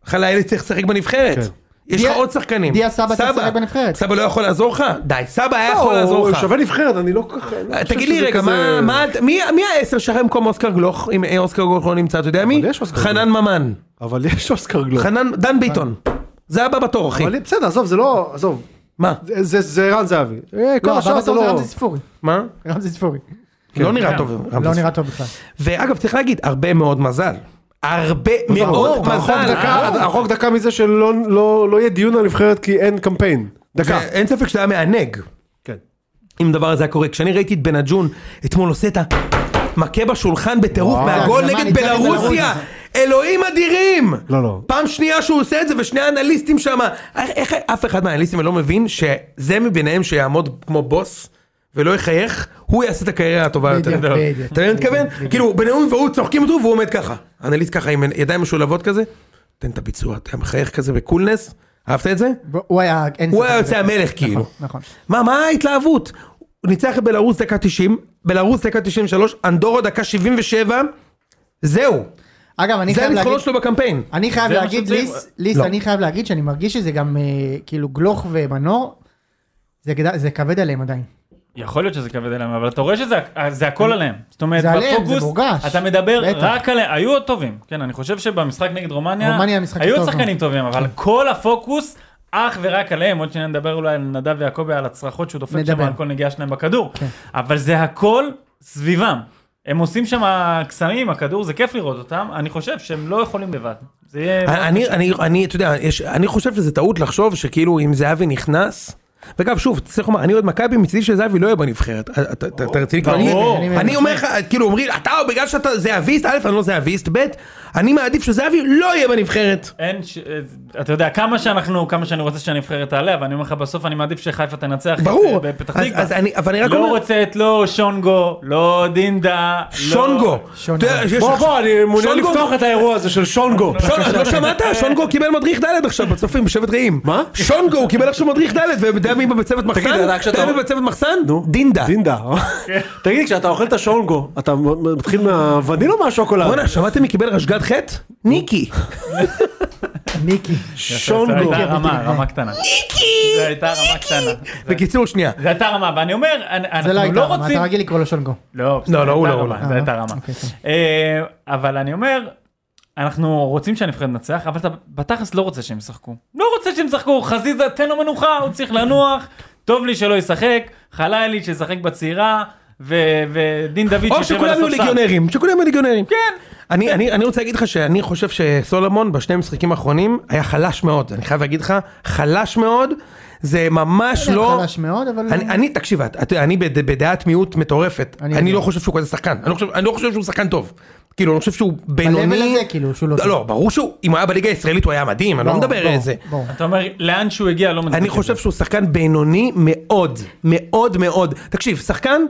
חלילי צריך לשחק בנבחרת. כן. יש לך דיה- עוד שחקנים. דיה סבא צריך לשחק בנבחרת. סבא לא יכול לעזור לך? די, סבא היה לא, יכול לעזור הוא לך. אה, שווה נבחרת, אני לא כל כך... אני לא חושב תגיד לי שזה רגע, כזה- מה- מה- מי מי העשר שהיה במקום אוסקר גלוך, אם אה, אוסקר גלוך לא נמצא, אתה יודע מי? יש אוסקר חנן ממן. אבל יש אוסקר גלוב. חנן, דן ביטון. זה הבא בתור, אחי. אבל בסדר, עזוב, זה לא... עזוב. מה? זה- זה זה ערן זהבי. אה, כל לא, הבא השאר זה בתור זה לא... רמזי ספורי. מה? רמזי ספורי. לא נראה טוב. לא רמזי. נראה טוב בכלל. ואגב, צריך להגיד, הרבה מאוד מזל. הרבה מאוד אתה רחוק מזל. דקה- אתה רחוק דקה מזה שלא לא- לא יהיה דיון על נבחרת כי אין קמפיין. דקה. אין ספק שזה היה מענג. כן. אם דבר הזה היה קורה. כשאני ראיתי את בנג'ון אתמול עושה את המכה בשולחן בטירוף וואו. מהגול הגזמה נגד ניצחת את בלרוסיה. אלוהים אדירים! לא, לא. פעם שנייה שהוא עושה את זה ושני האנליסטים שם. איך איך אף אחד מהאנליסטים לא מבין שזה מביניהם שיעמוד כמו בוס ולא יחייך, הוא יעשה את הקריירה הטובה יותר. בדיוק, אתה בדיוק. מבין מה אני מתכוון? כאילו בנאום והוא צוחקים אותו והוא עומד ככה. אנליסט ככה עם ידיים משולבות כזה, נותן את הביצוע, אתה מחייך כזה בקולנס. אהבת את זה? ב- הוא היה... אין הוא ספק. היה יוצא המלך כאילו. נכון. מה, מה ההתלהבות? הוא ניצח את בלרוס דקה 90, בלרוס דקה 93, אנדורו דקה 77, זהו. אגב, אני זה חייב להגיד... הניצחונות שלו בקמפיין. אני חייב זה מה להגיד, שצריך. ליס, ליס, לא. אני חייב להגיד שאני מרגיש שזה גם אה, כאילו גלוך ומנור, זה גד- זה כבד עליהם עדיין. יכול להיות שזה כבד עליהם, אבל אתה רואה שזה זה הכל עליהם. זאת אומרת, זה עליהם, זה בפוקוס, מורגש. אתה מדבר בטח. רק עליהם, היו עוד טובים. כן, אני חושב שבמשחק נגד רומניה, רומניה המשחק היו הטוב, עוד שחקנים טובים, אבל כן. כל הפוקוס אך ורק עליהם. עוד שניה נדבר אולי על נדב ויעקבי, על הצרחות שהוא דופק שם נדבר. כן. על כל נגיעה שלהם בכדור. אבל זה הכל סביבם. הם עושים שם קסמים, הכדור, זה כיף לראות אותם, אני חושב שהם לא יכולים לבד. זה יהיה... אני, אני, אני, אתה יודע, יש, אני חושב שזה טעות לחשוב שכאילו אם זהבי נכנס, ואגב, שוב, צריך לומר, אני אוהד מכבי מצידי שזהבי לא יהיה בנבחרת. אתה- אתה אתה רציני? כאילו, אני- ברור. אני אומר לך, כאילו אומרים, אתה בגלל שאתה זהביסט, א', אני לא זהביסט, ב', אני מעדיף שזהבי לא יהיה בנבחרת. אין, ש- אה, אתה יודע, כמה שאנחנו, כמה שאני רוצה שהנבחרת תעלה, אבל אני אומר לך, בסוף אני מעדיף שחיפה תנצח את- אה, ברור. בפתח אז- תקווה. אז אני- אבל אני רק לא אומר- רוצה את לא שונגו, לא דינדה, לא- שונגו. שונגו. אתה יודע, שיש- בוא בוא, אני מעוניין שונגו- לפתוח את האירוע הזה של שונגו. שון- לא שמעת? שונגו קיבל מדריך ד' עכשיו בצופים בשבט רעים. מה? שונגו הוא קיבל עכשיו מדריך ד' ואתה יודע מי בצוות מחסן? רק אתה כשאתה- יודע מי בצוות מחסן? נו. דינדה. דינדה. תגיד, כשאתה אוכל את השונגו, אתה מתחיל מהווניל או מהשוקולד? בואנה, שמעתם מי קיבל רשגת חטא? ניקי. מיקי. זו שונגו. הייתה רמה, רמה קטנה. זו הייתה רמה קטנה. בקיצור, שנייה. זו הייתה רמה, ואני אומר, אנ- זה לא אנחנו הייתה לא רמה, רוצים... אתה רגיל לקרוא לו שונגו. לא, לא, בסדר, הוא הייתה לא, הוא רמה, לא. זה הייתה רמה. אוקיי, טוב. אה, אבל אני אומר, אנחנו רוצים שהנבחרת תנצח, אבל אתה בתכלס לא רוצה שהם ישחקו. לא רוצה שהם ישחקו, חזיזה תן לו מנוחה, הוא צריך לנוח, טוב לי שלא ישחק, חלילי שישחק בצעירה, ו- ודין דוד או שישב שכולם על יהיו הספסל. ליגיונרים, שכולם יהיו ליגיונרים. כן. אני, אני, אני רוצה להגיד לך שאני חושב שסולומון בשני המשחקים האחרונים היה חלש מאוד, אני חייב להגיד לך, חלש מאוד, זה ממש לא... חלש מאוד, אבל... אני, אני תקשיב, את- את- אני בד- בדעת מיעוט מטורפת, אני אני, יודע. לא חושב שהוא כזה שחקן, אני לא חושב, אני לא חושב שהוא שחקן טוב, כאילו אני חושב שהוא ב-level בינוני, הזה, כאילו, שהוא לא... לא, לא, ברור שהוא, אם הוא היה בליגה הישראלית הוא היה מדהים, אני לא ברור, מדבר ברור, על זה, ברור. אתה אומר, לאן שהוא הגיע לא מצדיק אני חושב שהוא שחקן בינוני מאוד, מאוד מאוד. תקשיב, שחקן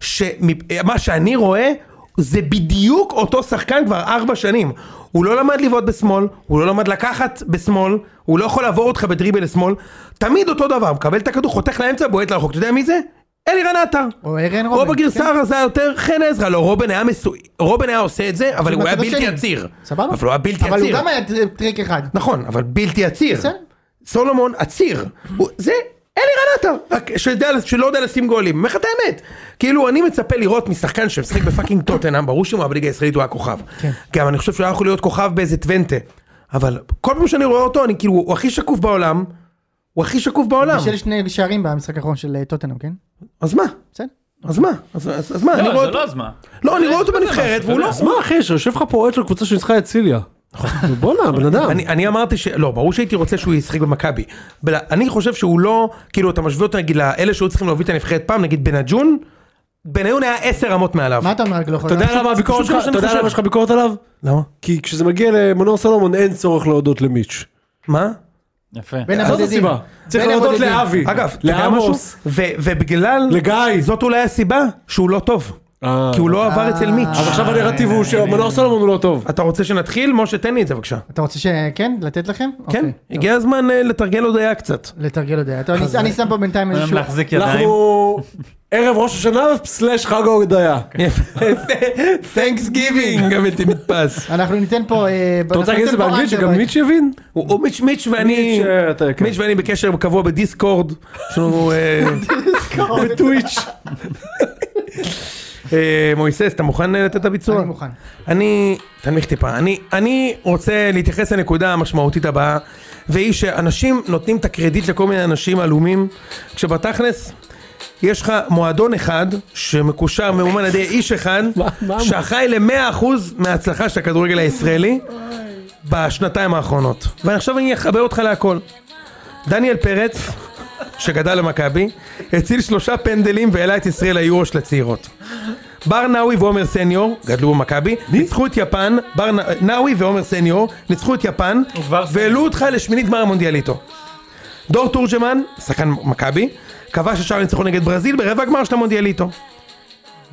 שמה שאני רואה זה בדיוק אותו שחקן כבר ארבע שנים. הוא לא למד לבעוט בשמאל, הוא לא למד לקחת בשמאל, הוא לא יכול לעבור אותך בדריבל לשמאל. תמיד אותו דבר, מקבל את הכדור, חותך לאמצע, בועט לרחוק. אתה יודע מי זה? אלירן עטר. או ארן כן. רובן. או בגרסה הרזה יותר חן עזרא, לא, רובן היה מסו... רובן היה עושה את זה, אבל כן. הוא היה מהצד בלתי השני. עציר. סבבה. אבל הוא היה בלתי עציר. אבל הוא גם היה טר- טריק אחד. נכון, אבל בלתי עציר. בסדר. סולומון עציר. הוא- זה אלירן עטר, רק שיודע- שלא יודע לשים גולים. אומר לך את האמת. כאילו, אני מצפה לראות משחקן שמשחק בפאקינג טוטנאם, ברור שהוא היה בליגה הישראלית, הוא היה כוכב. כן. גם אני חושב שהוא היה יכול להיות כוכב באיזה טוונטה. אבל כל פעם שאני רואה אותו, אני כאילו, הוא הכי שקוף בעולם. הוא הכי שקוף בעולם. בשל שני שערים במשחק האחרון של אה, טוטנאם, כן? אז מה? בסדר? אז מה? אז- אז אז מה? אני לא, רואה זה אותו- לא הזמן. לא, אני רואה אותו בנבחרת, והוא לא... אז מה אחי, שיושב לך פה אוהד של קבוצה שניצחה את סיליה. בואנה, בן אדם. אני, אני אמרתי ש... לא, ברור שהייתי רוצה שהוא ישחק במכבי. בל... אני חושב שהוא לא... כאילו, אתה משווה אותו נגיד לאלה שהיו צריכים להוביל את הנבחרת פעם, נגיד בנג'ון, בניון היה עשר רמות מעליו. מה אתה אומר רק לא יכול... אתה יודע למה הביקורת פשוט זה מה שלך, שאני אתה יודע חושב. למה יש לך ביקורת עליו? למה? כי כשזה מגיע למנור סלומון אין צורך להודות למיץ'. מה? יפה. בין זאת הבודדים. הסיבה. צריך בין להודות הבודדים. לאבי. אגב, אתה יודע משהו? לעמוס. ו... ובגלל... לגיא. זאת אולי הסיבה שהוא לא טוב. אה. כי הוא לא עבר אצל מיץ'. אז עכשיו הנרטיב הוא שמנור סלומון הוא לא טוב. אתה רוצה שנתחיל? משה, תן לי את זה בבקשה. אתה רוצה שכן? לתת לכם? כן? אוקיי, טוב. הגיע הזמן אה, לתרגל עוד היה קצת. לתרגל עוד היה. טוב, אה, אני- אני שם פה בינתיים אומרים איזשהו... להחזיק ידיים. אנחנו ערב ראש השנה סלאש חג ההודיה. כן. אוקיי. תנקס גיבינג, הבלתי נתפס. אנחנו ניתן פה... אה, אתה אנחנו רוצה להגיד את זה ניתן פה באנגלית שגם אנדרדוג. מיץ' יבין? הוא הוא מיץ' מיץ' ואני... מיץ', אה, אתה- כן. אוקיי. מיץ' ואני בקשר קבוע בדיסקורד. יש לנו... אה, בטוויץ'. אה, מויסס, אתה מוכן אה, לתת את הביצוע? אני מוכן. אני, תנמיך טיפה, אני, אני רוצה להתייחס לנקודה המשמעותית הבאה, והיא שאנשים נותנים את הקרדיט לכל מיני אנשים עלומים, כשבתכלס יש לך מועדון אחד שמקושר, מאומן על ידי איש אחד, שאחראי ל-100% מההצלחה של הכדורגל הישראלי בשנתיים האחרונות. ועכשיו אני אחבר אותך להכל. דניאל פרץ, שגדל במכבי, הציל שלושה פנדלים והעלה את ישראל ליורו של הצעירות. בר נאווי ועומר סניור, גדלו במכבי, ניצחו את יפן, בר נ- נאווי ועומר סניור, ניצחו את יפן, הוא כבר סניור. והעלו אותך לשמינית גמר המונדיאליטו. דור תורג'מן, שחקן מכבי, כבש את שער הניצחון נגד ברזיל ברבע הגמר של המונדיאליטו.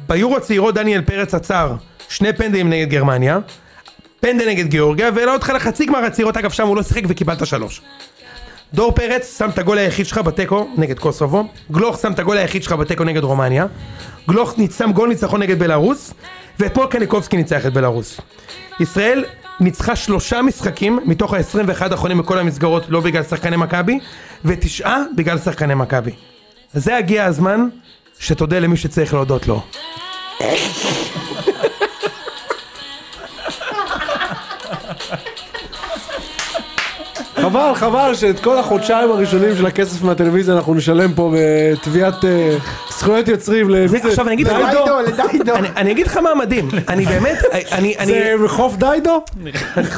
ביורו הצעירות דניאל פרץ עצר שני פנדלים נגד גרמניה, פנדל נגד גיאורגיה, והעלה אותך לחצי גמר הצעירות, אגב שם הוא לא שיחק וקיבלת שלוש. דור פרץ שם את הגול היחיד שלך בתיקו נגד קוסובו, גלוך שם את הגול היחיד שלך בתיקו נגד רומניה, גלוך ניצ- שם גול ניצחון נגד בלארוס, ואתמול קניקובסקי ניצח את בלארוס. ישראל ניצחה שלושה משחקים מתוך ה-21 האחרונים בכל המסגרות לא בגלל שחקני מכבי, ותשעה בגלל שחקני מכבי. זה הגיע הזמן שתודה למי שצריך להודות לו. חבל, חבל שאת כל החודשיים הראשונים של הכסף מהטלוויזיה אנחנו נשלם פה בתביעת אה, זכויות יוצרים. למי זה? לא עכשיו אני אגיד לך- דיידו? לדיידו, לדיידו. אני- אני אגיד לך מה מדהים, אני באמת, אני, אני, זה בחוף דיידו? איזה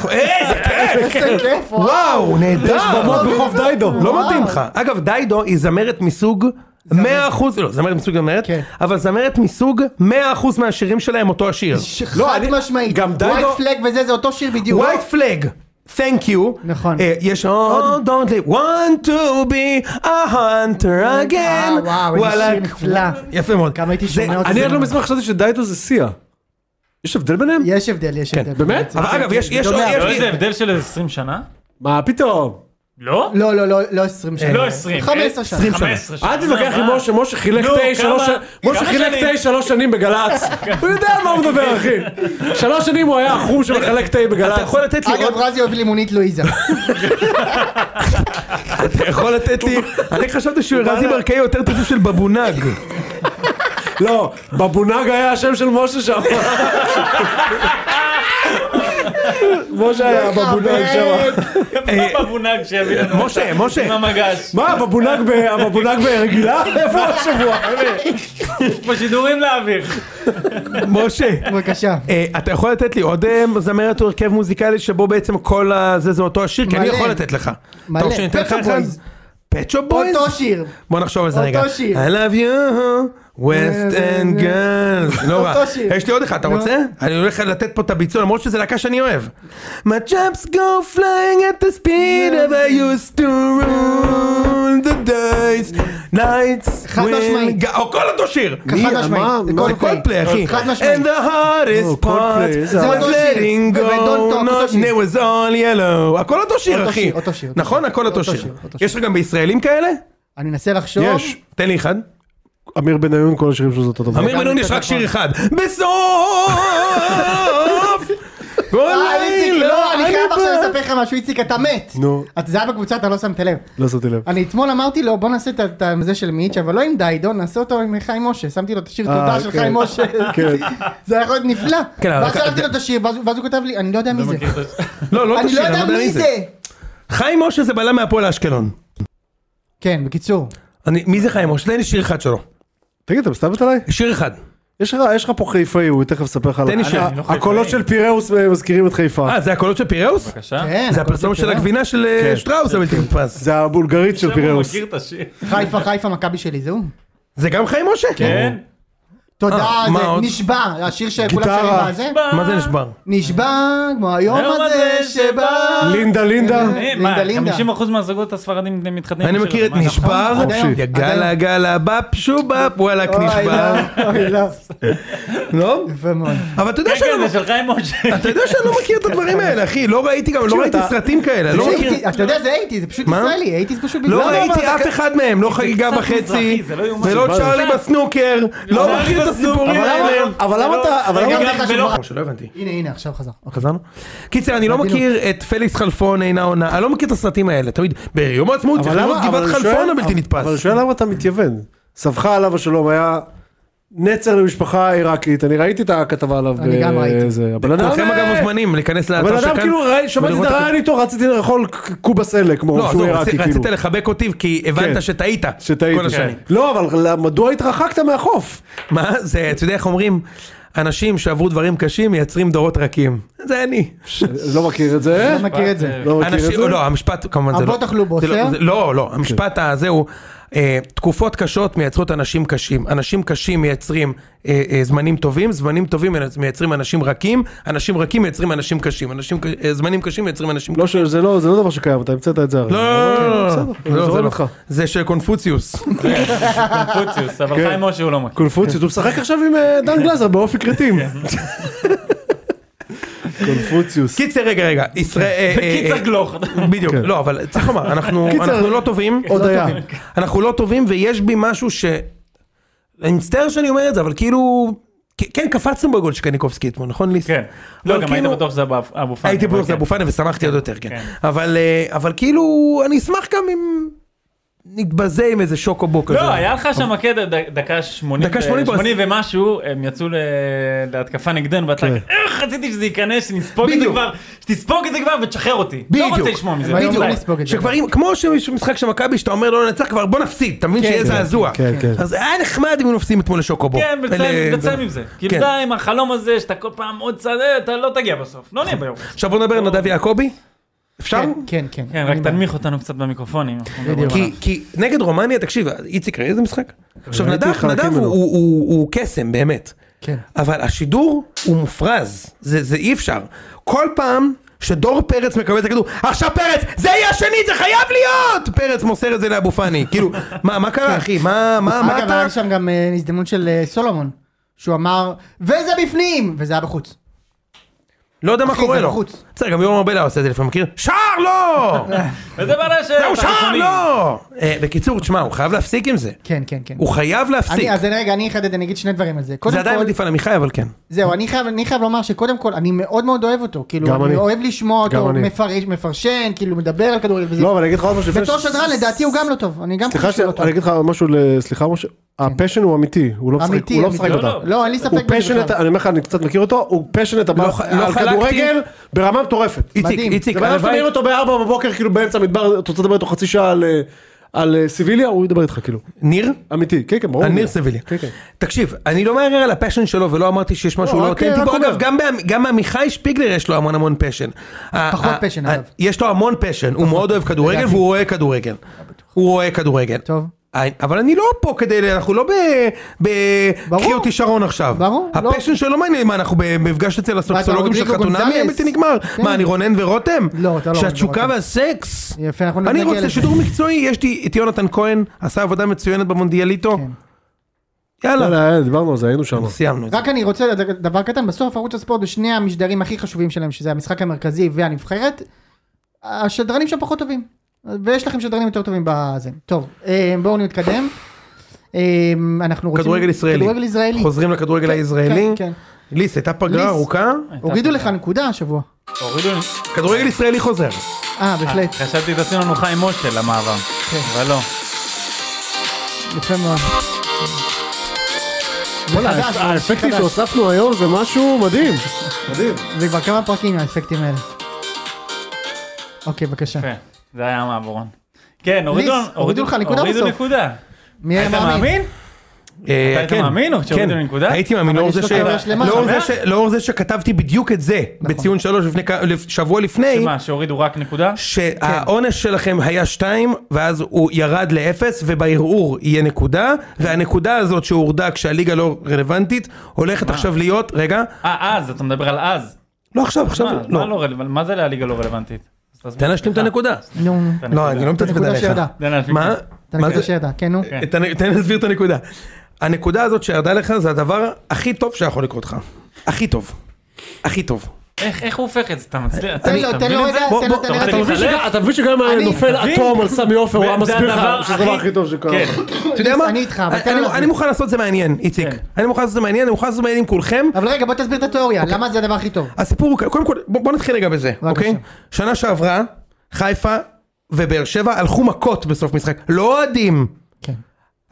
כיף, איזה כיף, וואו, נהדר, יש במות בחוף דיידו. לא מתאים לך. אגב, דיידו היא זמרת מסוג 100%, לא, זמרת מסוג זמרת, כן. אבל זמרת מסוג 100% מהשירים שלהם אותו השיר. לא, חד משמעית. לא, גם דיידו- ווייט פלג וזה, זה אותו שיר בדיוק. ווייט פלאג. Thank you. נכון. אה, יש עוד, don't leave, want to be a hunter אה, again. וואו, איזה שיר וואלק. נפלא. יפה מאוד. כמה הייתי זה- שומע אותו. אני עד לא מזמן חשבתי שדיידו זה סיה. יש הבדל ביניהם? יש הבדל, יש הבדל. באמת? זה- אבל כן, אגב, כן, יש- זה יש- דומה. יש- לא איזה הבדל של איזה 20 שנה? מה פתאום? לא? לא, לא, לא, לא 20 שנה. לא 20. 15 שנה. 15 שנה. אל תתווכח עם מה? משה, משה חילק נו, תה שלוש כמה- ש- משה כמה חילק שנים? תה שלוש שנים בגל"צ. הוא יודע על מה הוא מדבר, אחי. שלוש שנים הוא היה החום שמחלק תה אתה בגל"צ. יכול לתת לי עוד... אגב, רזי אוהב לימונית לואיזה. אתה יכול לתת לי... אני חשבתי שהוא רזי ברקאי יותר טוב של בבונג. לא, בבונג היה השם של משה שם. משה היה בבונג שם. מה בבונג שיביא לנו? אה, משה, אותה? משה. עם המגש. מה, הבבונג ב- הבבונג ברגילה? איפה השבוע? יש פה שידורים להעביר. משה. בבקשה. אה, אתה יכול לתת לי עוד אה, זמרת או הרכב מוזיקלי שבו בעצם כל ה... זה זה אותו השיר? כי אני מלא. יכול לתת לך. מלא. אתה רוצה שאני אתן לך Pet Shop אחד? Boys. פצ'ו בויז? אותו שיר. בוא נחשוב על זה אותו רגע. שיר. I love you, West and Girls. לא רע. אותו שיר. יש לי עוד אחד, אתה נו. רוצה? אני הולך לתת פה את הביצוע למרות שזה להקה שאני אוהב. My jumps go flying at the speed of I used to run the days. Nights. חד will משמעית. go- או כל אותו שיר. חד משמעית. כל Coldplay. קולפליי אחי. חד משמעית. And the לא, hardest או, Coldplay, part איזה was אותו שיר. letting ו- ו- Don't go Talk, אותו not שיר. it was all yellow. הכל אותו שיר אותו אחי. שיר, אותו שיר, אותו נכון שיר. הכל אותו אותו שיר. שיר, אותו שיר. יש לך גם בישראלים כאלה? אני מנסה לחשוב. יש. תן לי אחד. אמיר בניון כל השירים שלו זה אותו דבר. אמיר בן-און יש רק שיר נכון. אחד. בסוף! כל אה, איציק, לא, אני חייב עכשיו בא- לספר לך משהו, איציק, אתה מת. נו. את- זה היה בקבוצה, אתה לא שמת לב. לא שמתי לב. אני אתמול אמרתי לו, בוא נעשה את ה- את ה- זה של מיץ', אבל לא עם דיידו, נעשה אותו עם חיים משה. שמתי לו את השיר תודה של כן. חיים משה. כן. זה היה יכול להיות נפלא. כן, אבל ואז אתה- שלחתי לו את השיר, ואז ואז הוא כותב לי, אני לא יודע מי זה. לא, לא את אני לא השיר, יודע מי זה. חיים משה זה בלם מהפועל אשקלון. כן, בקיצור. אני- מי זה חיים משה? תן לי שיר אחד שלו. תגיד, אתה מסתלבט עליי? שיר אחד. יש לך יש לך פה חיפאי, הוא תכף יספר לך. תן לי עליו. שיר. אני לא חיפאי. הקולות של פיראוס אה, מזכירים את חיפה. אה, זה הקולות של פיראוס? בבקשה. כן. זה הכל הפרסומת של בסדר. הגבינה של אה, כן. שטראוס הבלתי נתפס. זה הבולגרית של עכשיו הוא פיראוס. מכיר את השיר. כן. חיפה, חיפה, מכבי שלי, זהו. זה גם חיים משה? כן. תודה, אה, מה עוד? זה נשבע, השיר שכולם גיטרה. שרים בזה. מה זה נשבר? נשבע כמו היום היום הזה הזה שבא. שבא. לינדה לינדה. אה, לינדה, מה, לינדה. 50% מהזוגות הספרדים מתחתנים. אני עם מכיר שיר, את מה, נכון? נשבר, עד היום, יא עד גלה היום. גלה בפ שובפ וואלק אוי, נשבר, לא, אוי, לא. לא? יפה מאוד. אבל אתה יודע כן, שאני לא כן, זה של חיים משה. אתה יודע שאני לא מכיר את הדברים האלה, אחי, לא ראיתי גם, לא ראיתי אתה- סרטים כאלה, לא זה מכיר, 80s, אתה יודע, זה 80's, זה פשוט מה? ישראלי, 80's פשוט לא בגלל- ראיתי אבל- אף אחד מהם, לא חגיגה קצת וחצי, מזרחי, זה לא יאומן. ולא מה זה? צ'ארלי בסנוקר, לא צ'ארלי מכיר את בסנוקר. אבל הסיפורים למה- האלה. אבל למה אתה... אבל רגע, למה- גם לך ולא- שוב. שלא הבנתי. הנה, הנה, עכשיו חזר. לא, חזרנו? קיצר, אני לא מכיר את פליס חלפון אינה עונה, אני לא מכיר את הסרטים האלה, תמיד, ביום העצמאות צריך אבל לראות למה- אבל גבעת הוא חלפון שואל- הבלתי אבל הוא נתפס. שואל למה אתה מתייוון. סבך עליו השלום היה נצר למשפחה עיראקית, אני ראיתי את הכתבה עליו. אני גם ב- ראיתי. זה, הבן אדם... כולכם אגב אה, מוזמנים להיכנס הבן לאתר אדם שכאן. לא, כאילו, ראי- שמעתי את ולראות הרעיון איתו, רציתי לאכול ק- קובס אלה, כמו לא, שהוא עזוב, עיראקי, רצית- רצית כאילו. לחבק אותי כי הבנת כן. שטעית. שטעית. כל השנים. לא, אבל מדוע התרחקת מהחוף? מה זה, אתה יודע איך אומרים, אנשים שעברו דברים קשים מייצרים דורות רכים. זה אני. לא מכיר את זה. אתה מכיר את זה. לא מכיר את אנשים, זה. לא, המשפט כמובן זה לא. אבות אכלו בוסר? זה לא- זה- לא, לא, המשפט הזה הוא, אה, תקופות קשות מייצרות אנשים קשים. אנשים קשים מייצרים אה, אה, זמנים טובים, זמנים טובים מייצרים אנשים רכים, אנשים רכים מייצרים אנשים קשים, אנשים ק- אה, זמנים קשים מייצרים אנשים לא, ש- זה לא זה לא דבר שקיים, אתה המצאת את זה הרי. לא, לא, לא, לא, בסדר, לא, אני לא, זה זורם לא. איתך. זה של קונפוציוס. אה, קונפוציוס, אבל כן. חיים משה הוא לא מכיר. קונפוציוס, הוא משחק עכשיו עם אה, דן גלזר באופי כרתים. כן. קונפוציוס. קיצר, רגע, רגע, ישראל... אה, אה, אה, קיצר גלוך. בדיוק, לא, אבל צריך לומר, אנחנו קיצר, אנחנו לא טובים, עוד לא היה. טובים. אנחנו לא טובים ויש בי משהו ש... אני מצטער שאני אומר את זה, אבל כאילו... כ- כן, קפצנו בגול של קניקובסקי אתמול, נכון ליס? כן. אבל לא, גם היית כאילו- בטוח שזה אבו- אבו פאני. הייתי אבל בטוח שזה כן. אבו פאני ושמחתי עוד יותר, כן. כן. אבל אה, אבל כאילו, אני אשמח גם אם... נתבזה עם איזה שוקובו כזה. לא, היה לך שם קטע ד- דקה 80 דקה 80 80 ומשהו, הם יצאו ל- להתקפה נגדנו, ואתה, כן. איך רציתי שזה ייכנס, שנספוג את זה בדיוק. כבר, שתספוג את זה כבר ותשחרר אותי. לא רוצה בדיוק. לשמוע מזה. הם היום בדיוק. לא נספוג את זה. שכבר אם, כמו שיש משחק של מכבי שאתה אומר לא ננצח כבר בוא נפסיד, אתה מבין כן, שיהיה כן, זעזוע. כן, כן. אז היה נחמד אם היו נופסים אתמול לשוקובו. כן, ול- ותסיים עם זה. כאילו כן. די עם החלום הזה שאתה כל פעם עוד צד, אה, אתה לא תגיע בסוף. לא נהיה ביום. עכשיו בוא נדבר על נדב יעקבי. אפשר? כן, כן, כן. כן, רק אני- תנמיך אותנו קצת במיקרופונים. אנחנו מדברים בדיוק. עליו. כי, כי נגד רומניה, תקשיב, איציק ראי איזה משחק? עכשיו ראיתי נדב, חלקים נדב הוא, ממנו. הוא, הוא, הוא קסם באמת, כן. אבל השידור הוא מופרז, זה, זה אי אפשר. כל פעם שדור פרץ מקבל את הכדור, עכשיו פרץ, זה יהיה השני, זה חייב להיות! פרץ מוסר את זה לאבו פאני, כאילו, מה, מה קרה אחי? מה, מה, אה, מה אגב, אתה... היה שם גם אה, הזדמנות של אה, סולומון, שהוא אמר, וזה בפנים! וזה היה בחוץ. לא יודע מה אחי, קורה זה לו. בחוץ. בסדר, גם יורם ארבלה עושה את זה לפעמים, מכיר? שער לא! וזה ברשת. זהו, שער הראשונים. לא! אה, בקיצור, תשמע, הוא חייב להפסיק עם זה. כן, כן, כן. הוא חייב להפסיק. אני, אז רגע, אני אחדד, אני אגיד שני דברים על זה. קודם זה עדיין כל- עדיף על עמיחי, אבל כן. זהו, אני חייב, אני חייב לומר שקודם כל, אני מאוד מאוד אוהב אותו. כאילו, אני, גם אני. אוהב לשמוע גם אותו, אני. מפרש, מפרשן, כאילו, מדבר על כדורגל וזה. לא, אבל אני אגיד לך עוד משהו. לפני בתור ש- שדרן, לדעתי הוא גם לא טוב. אני גם סליחה, חושב שהוא לא שנייה, טוב. אני אגיד לך משהו, ל- סליחה משה, הפשן הוא אמיתי, הוא לא משחק- אמיתי, הוא לא אמיתי. משחק לא, לא. אותה. לא, אין לי ספק הוא בזה פשנט, בכלל. אני אומר לך, אני קצת מכיר אותו, הוא פשנט לא על ח- לא על חלקתי. כדורגל ברמה מטורפת. איציק, איציק, זה בן אדם שאתה הלוואי- מעיר אותו בארבע בבוקר, כאילו באמצע המדבר, אתה רוצה לדבר איתו חצי שעה על, אה, על אה, סיביליה, הוא ידבר איתך כאילו. ניר? אמיתי, כן כן, ברור. על ניר סביליה. כן כן. תקשיב, אני לא מערער על הפשן שלו ולא אמרתי שיש משהו לא, לא רק- אותנטי. אה, רק בו. אומר. אגב, גם בעמ- גם עמיחי שפיגלר יש לו המון המון פשן. פחות ה- ה- פשן, ה- אגב. יש לו המון פשן, הוא מאוד אוהב כדורגל לדעתי. והוא רואה כדורגל. הוא רואה כדורגל. אה, טוב. אה, אבל אני לא פה כדי, אנחנו לא ברור. בקריאות כישרון עכשיו. ברור, לא. הפשן שלו לא מעניין מה, אנחנו במפגש אצל הסוקסולוגים של רודריגו חתונה גונזלס. בלתי נגמר. כן. מה, אני רונן ורותם? לא, אתה לא רונן שהתשוקה ורותם. והסקס. יפה, אנחנו אני נגיע רוצה לזה. שידור מקצועי, יש לי את יונתן כהן, עשה עבודה מצוינת כן. במונדיאליטו. יאללה. יאללה, יאללה, לא, דיברנו על זה, היינו שם. סיימנו את זה. רק אני רוצה לד- דבר קטן, בסוף ערוץ הספורט בשני המשדרים הכי חשובים שלהם, שזה המשחק המרכזי והנבחרת, השדרנים שם פחות טובים. ויש לכם שדרנים יותר טובים בזה. טוב, אה, בואו נתקדם. אה, אנחנו רוצים... כדורגל ישראלי. כדורגל ישראלי. חוזרים לכדורגל כן, הישראלי. כן, ליס, הייתה פגרה ליס. ארוכה. כן. הורידו לך נקודה השבוע. הורידו לי. כדורגל ישראלי חוזר. אה, בהחלט. חשבתי את עשינו לנו חיים משה למעבר. אבל לא. יפה מאוד. זה חדש, האפקטים חדש. שהוספנו היום זה משהו מדהים. מדהים. זה כבר כמה פרקים האפקטים האלה. אוקיי, בבקשה. יפה. זה היה המעברון. כן, הורידו ליס, הורידו לך נקודה הורידו בסוף. נקודה. מי היה היית מאמין? מאמין? אה, אתה היית כן. מאמין או שהורידו כן. לנקודה? הייתי מאמין, אבל לאור יש זה לו ש- טבלה שלמה. נכון. לאור שמח? זה ש- לאור זה שכתבתי בדיוק את זה בציון שלוש לפני כ- לפ- שבוע לפני. שמה, שהורידו רק נקודה? שהעונש שלכם היה 2 ואז הוא ירד לאפס ובערעור יהיה נקודה והנקודה הזאת שהורדה כשהליגה לא רלוונטית הולכת עכשיו להיות רגע אה, אז, אתה מדבר על אז. לא עכשיו עכשיו מה, מה לא לא רלוונטי? מה זה להליגה לא רלוונטית? אז תן תסביר. אה, להשלים את הנקודה נו, נו. לא אני לא מתצפת נקודה עליך שירדה. תן להשלים. מה אתה מה נקודה זה שירדה, כן נו. את הנ- תן להסביר את הנקודה הנקודה הזאת שירדה לך זה הדבר הכי טוב שיכול לקרות לך הכי טוב הכי טוב איך איך הוא הופך את זה? אתה מצליח? תן לו, תן לו רגע, בוא, תן לו, בוא, תן לו אתה רגע. רוצה תן לו. להתעלם? אתה מבין שגם אני- נופל תבין. אטום על סמי עופר, הוא היה זה מסביר הדבר לך שזה הדבר הכי טוב שקרה. כן. אתה יודע מה אה, אני איתך, אבל תן לו אני- להסביר. אני מוכן לעשות את זה מעניין איציק כן. אני מוכן לעשות את זה מעניין אני מוכן לעשות את זה מעניין עם כולכם אבל רגע, בוא תסביר את התיאוריה, אוקיי. למה זה הדבר הכי טוב. הסיפור הוא כ- קודם כל בוא, בוא נתחיל רגע בזה בבקשה. אוקיי שנה שעברה חיפה ובאר שבע הלכו מכות בסוף משחק לא אוהדים כן.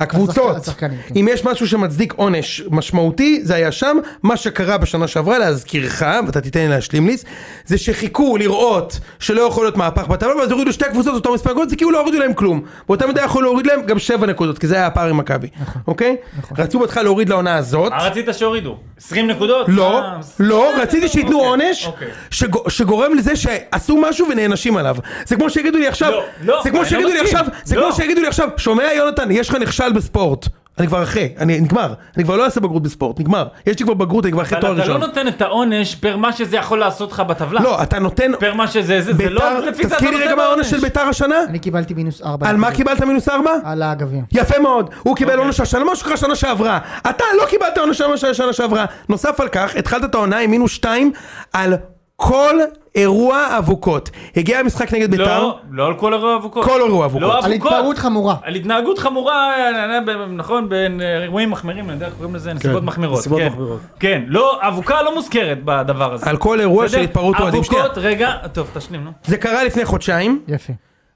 הקבוצות השחקנים, כן. אם יש משהו שמצדיק עונש משמעותי זה היה שם מה שקרה בשנה שעברה להזכירך ואתה תיתן לי להשלים ליס זה שחיכו לראות שלא יכול להיות מהפך בטבלה ואז הורידו שתי קבוצות אותו מספר נקודות זה כאילו לא הורידו להם כלום באותה מידה יכולו להוריד להם גם שבע נקודות כי זה היה הפער עם מכבי נכון. אוקיי רצו בהתחלה להוריד לעונה הזאת מה רצית שהורידו? 20 נקודות? לא, אה, לא, רציתי שייתנו אוקיי, עונש אוקיי. שג- שגורם לזה שעשו משהו ונענשים עליו. זה כמו שיגידו לי עכשיו, לא, לא, זה כמו אני לא שיגידו לי מסכים. עכשיו, זה לא. כמו שיגידו לי עכשיו, שומע יונתן, יש לך נכשל בספורט. אני כבר אחרי, אני נגמר, אני כבר לא אעשה בגרות בספורט, נגמר. יש לי כבר בגרות, אני כבר אחרי אבל תואר אתה לא ראשון. נותן את העונש פר מה שזה יכול לעשות לך בטבלה. לא, אתה נותן, פר מה שזה, זה זה לא, ביתר, לפי זה אתה תזכיר לי נותן רגע מה העונש של ביתר השנה? אני קיבלתי מינוס ארבע. על מה קיבלת מינוס ארבע? על הגביע. יפה מאוד, הוא קיבל עונש השנה, מה שקרה שנה שעברה. אתה לא קיבלת עונש השנה של השנה שעברה. נוסף על כך, התחלת את העונה עם מינוס שתיים על כל אירוע אבוקות. הגיע המשחק נגד ביתר, לא, לא על כל אירוע אבוקות. כל אירוע אבוקות. לא על אבוקות. התפרעות חמורה. על התנהגות חמורה, אה, אה, אה, נכון, בין אה, אירועים מחמירים, אני יודע איך קוראים לזה, נסיבות מחמירות. נסיבות כן. מחמירות. כן, לא, אבוקה לא מוזכרת בדבר הזה. על כל אירוע בסדר? של התפרעות אוהדים. שנייה, אבוקות, רגע, טוב, תשלים, נו. זה קרה לפני חודשיים, יפה.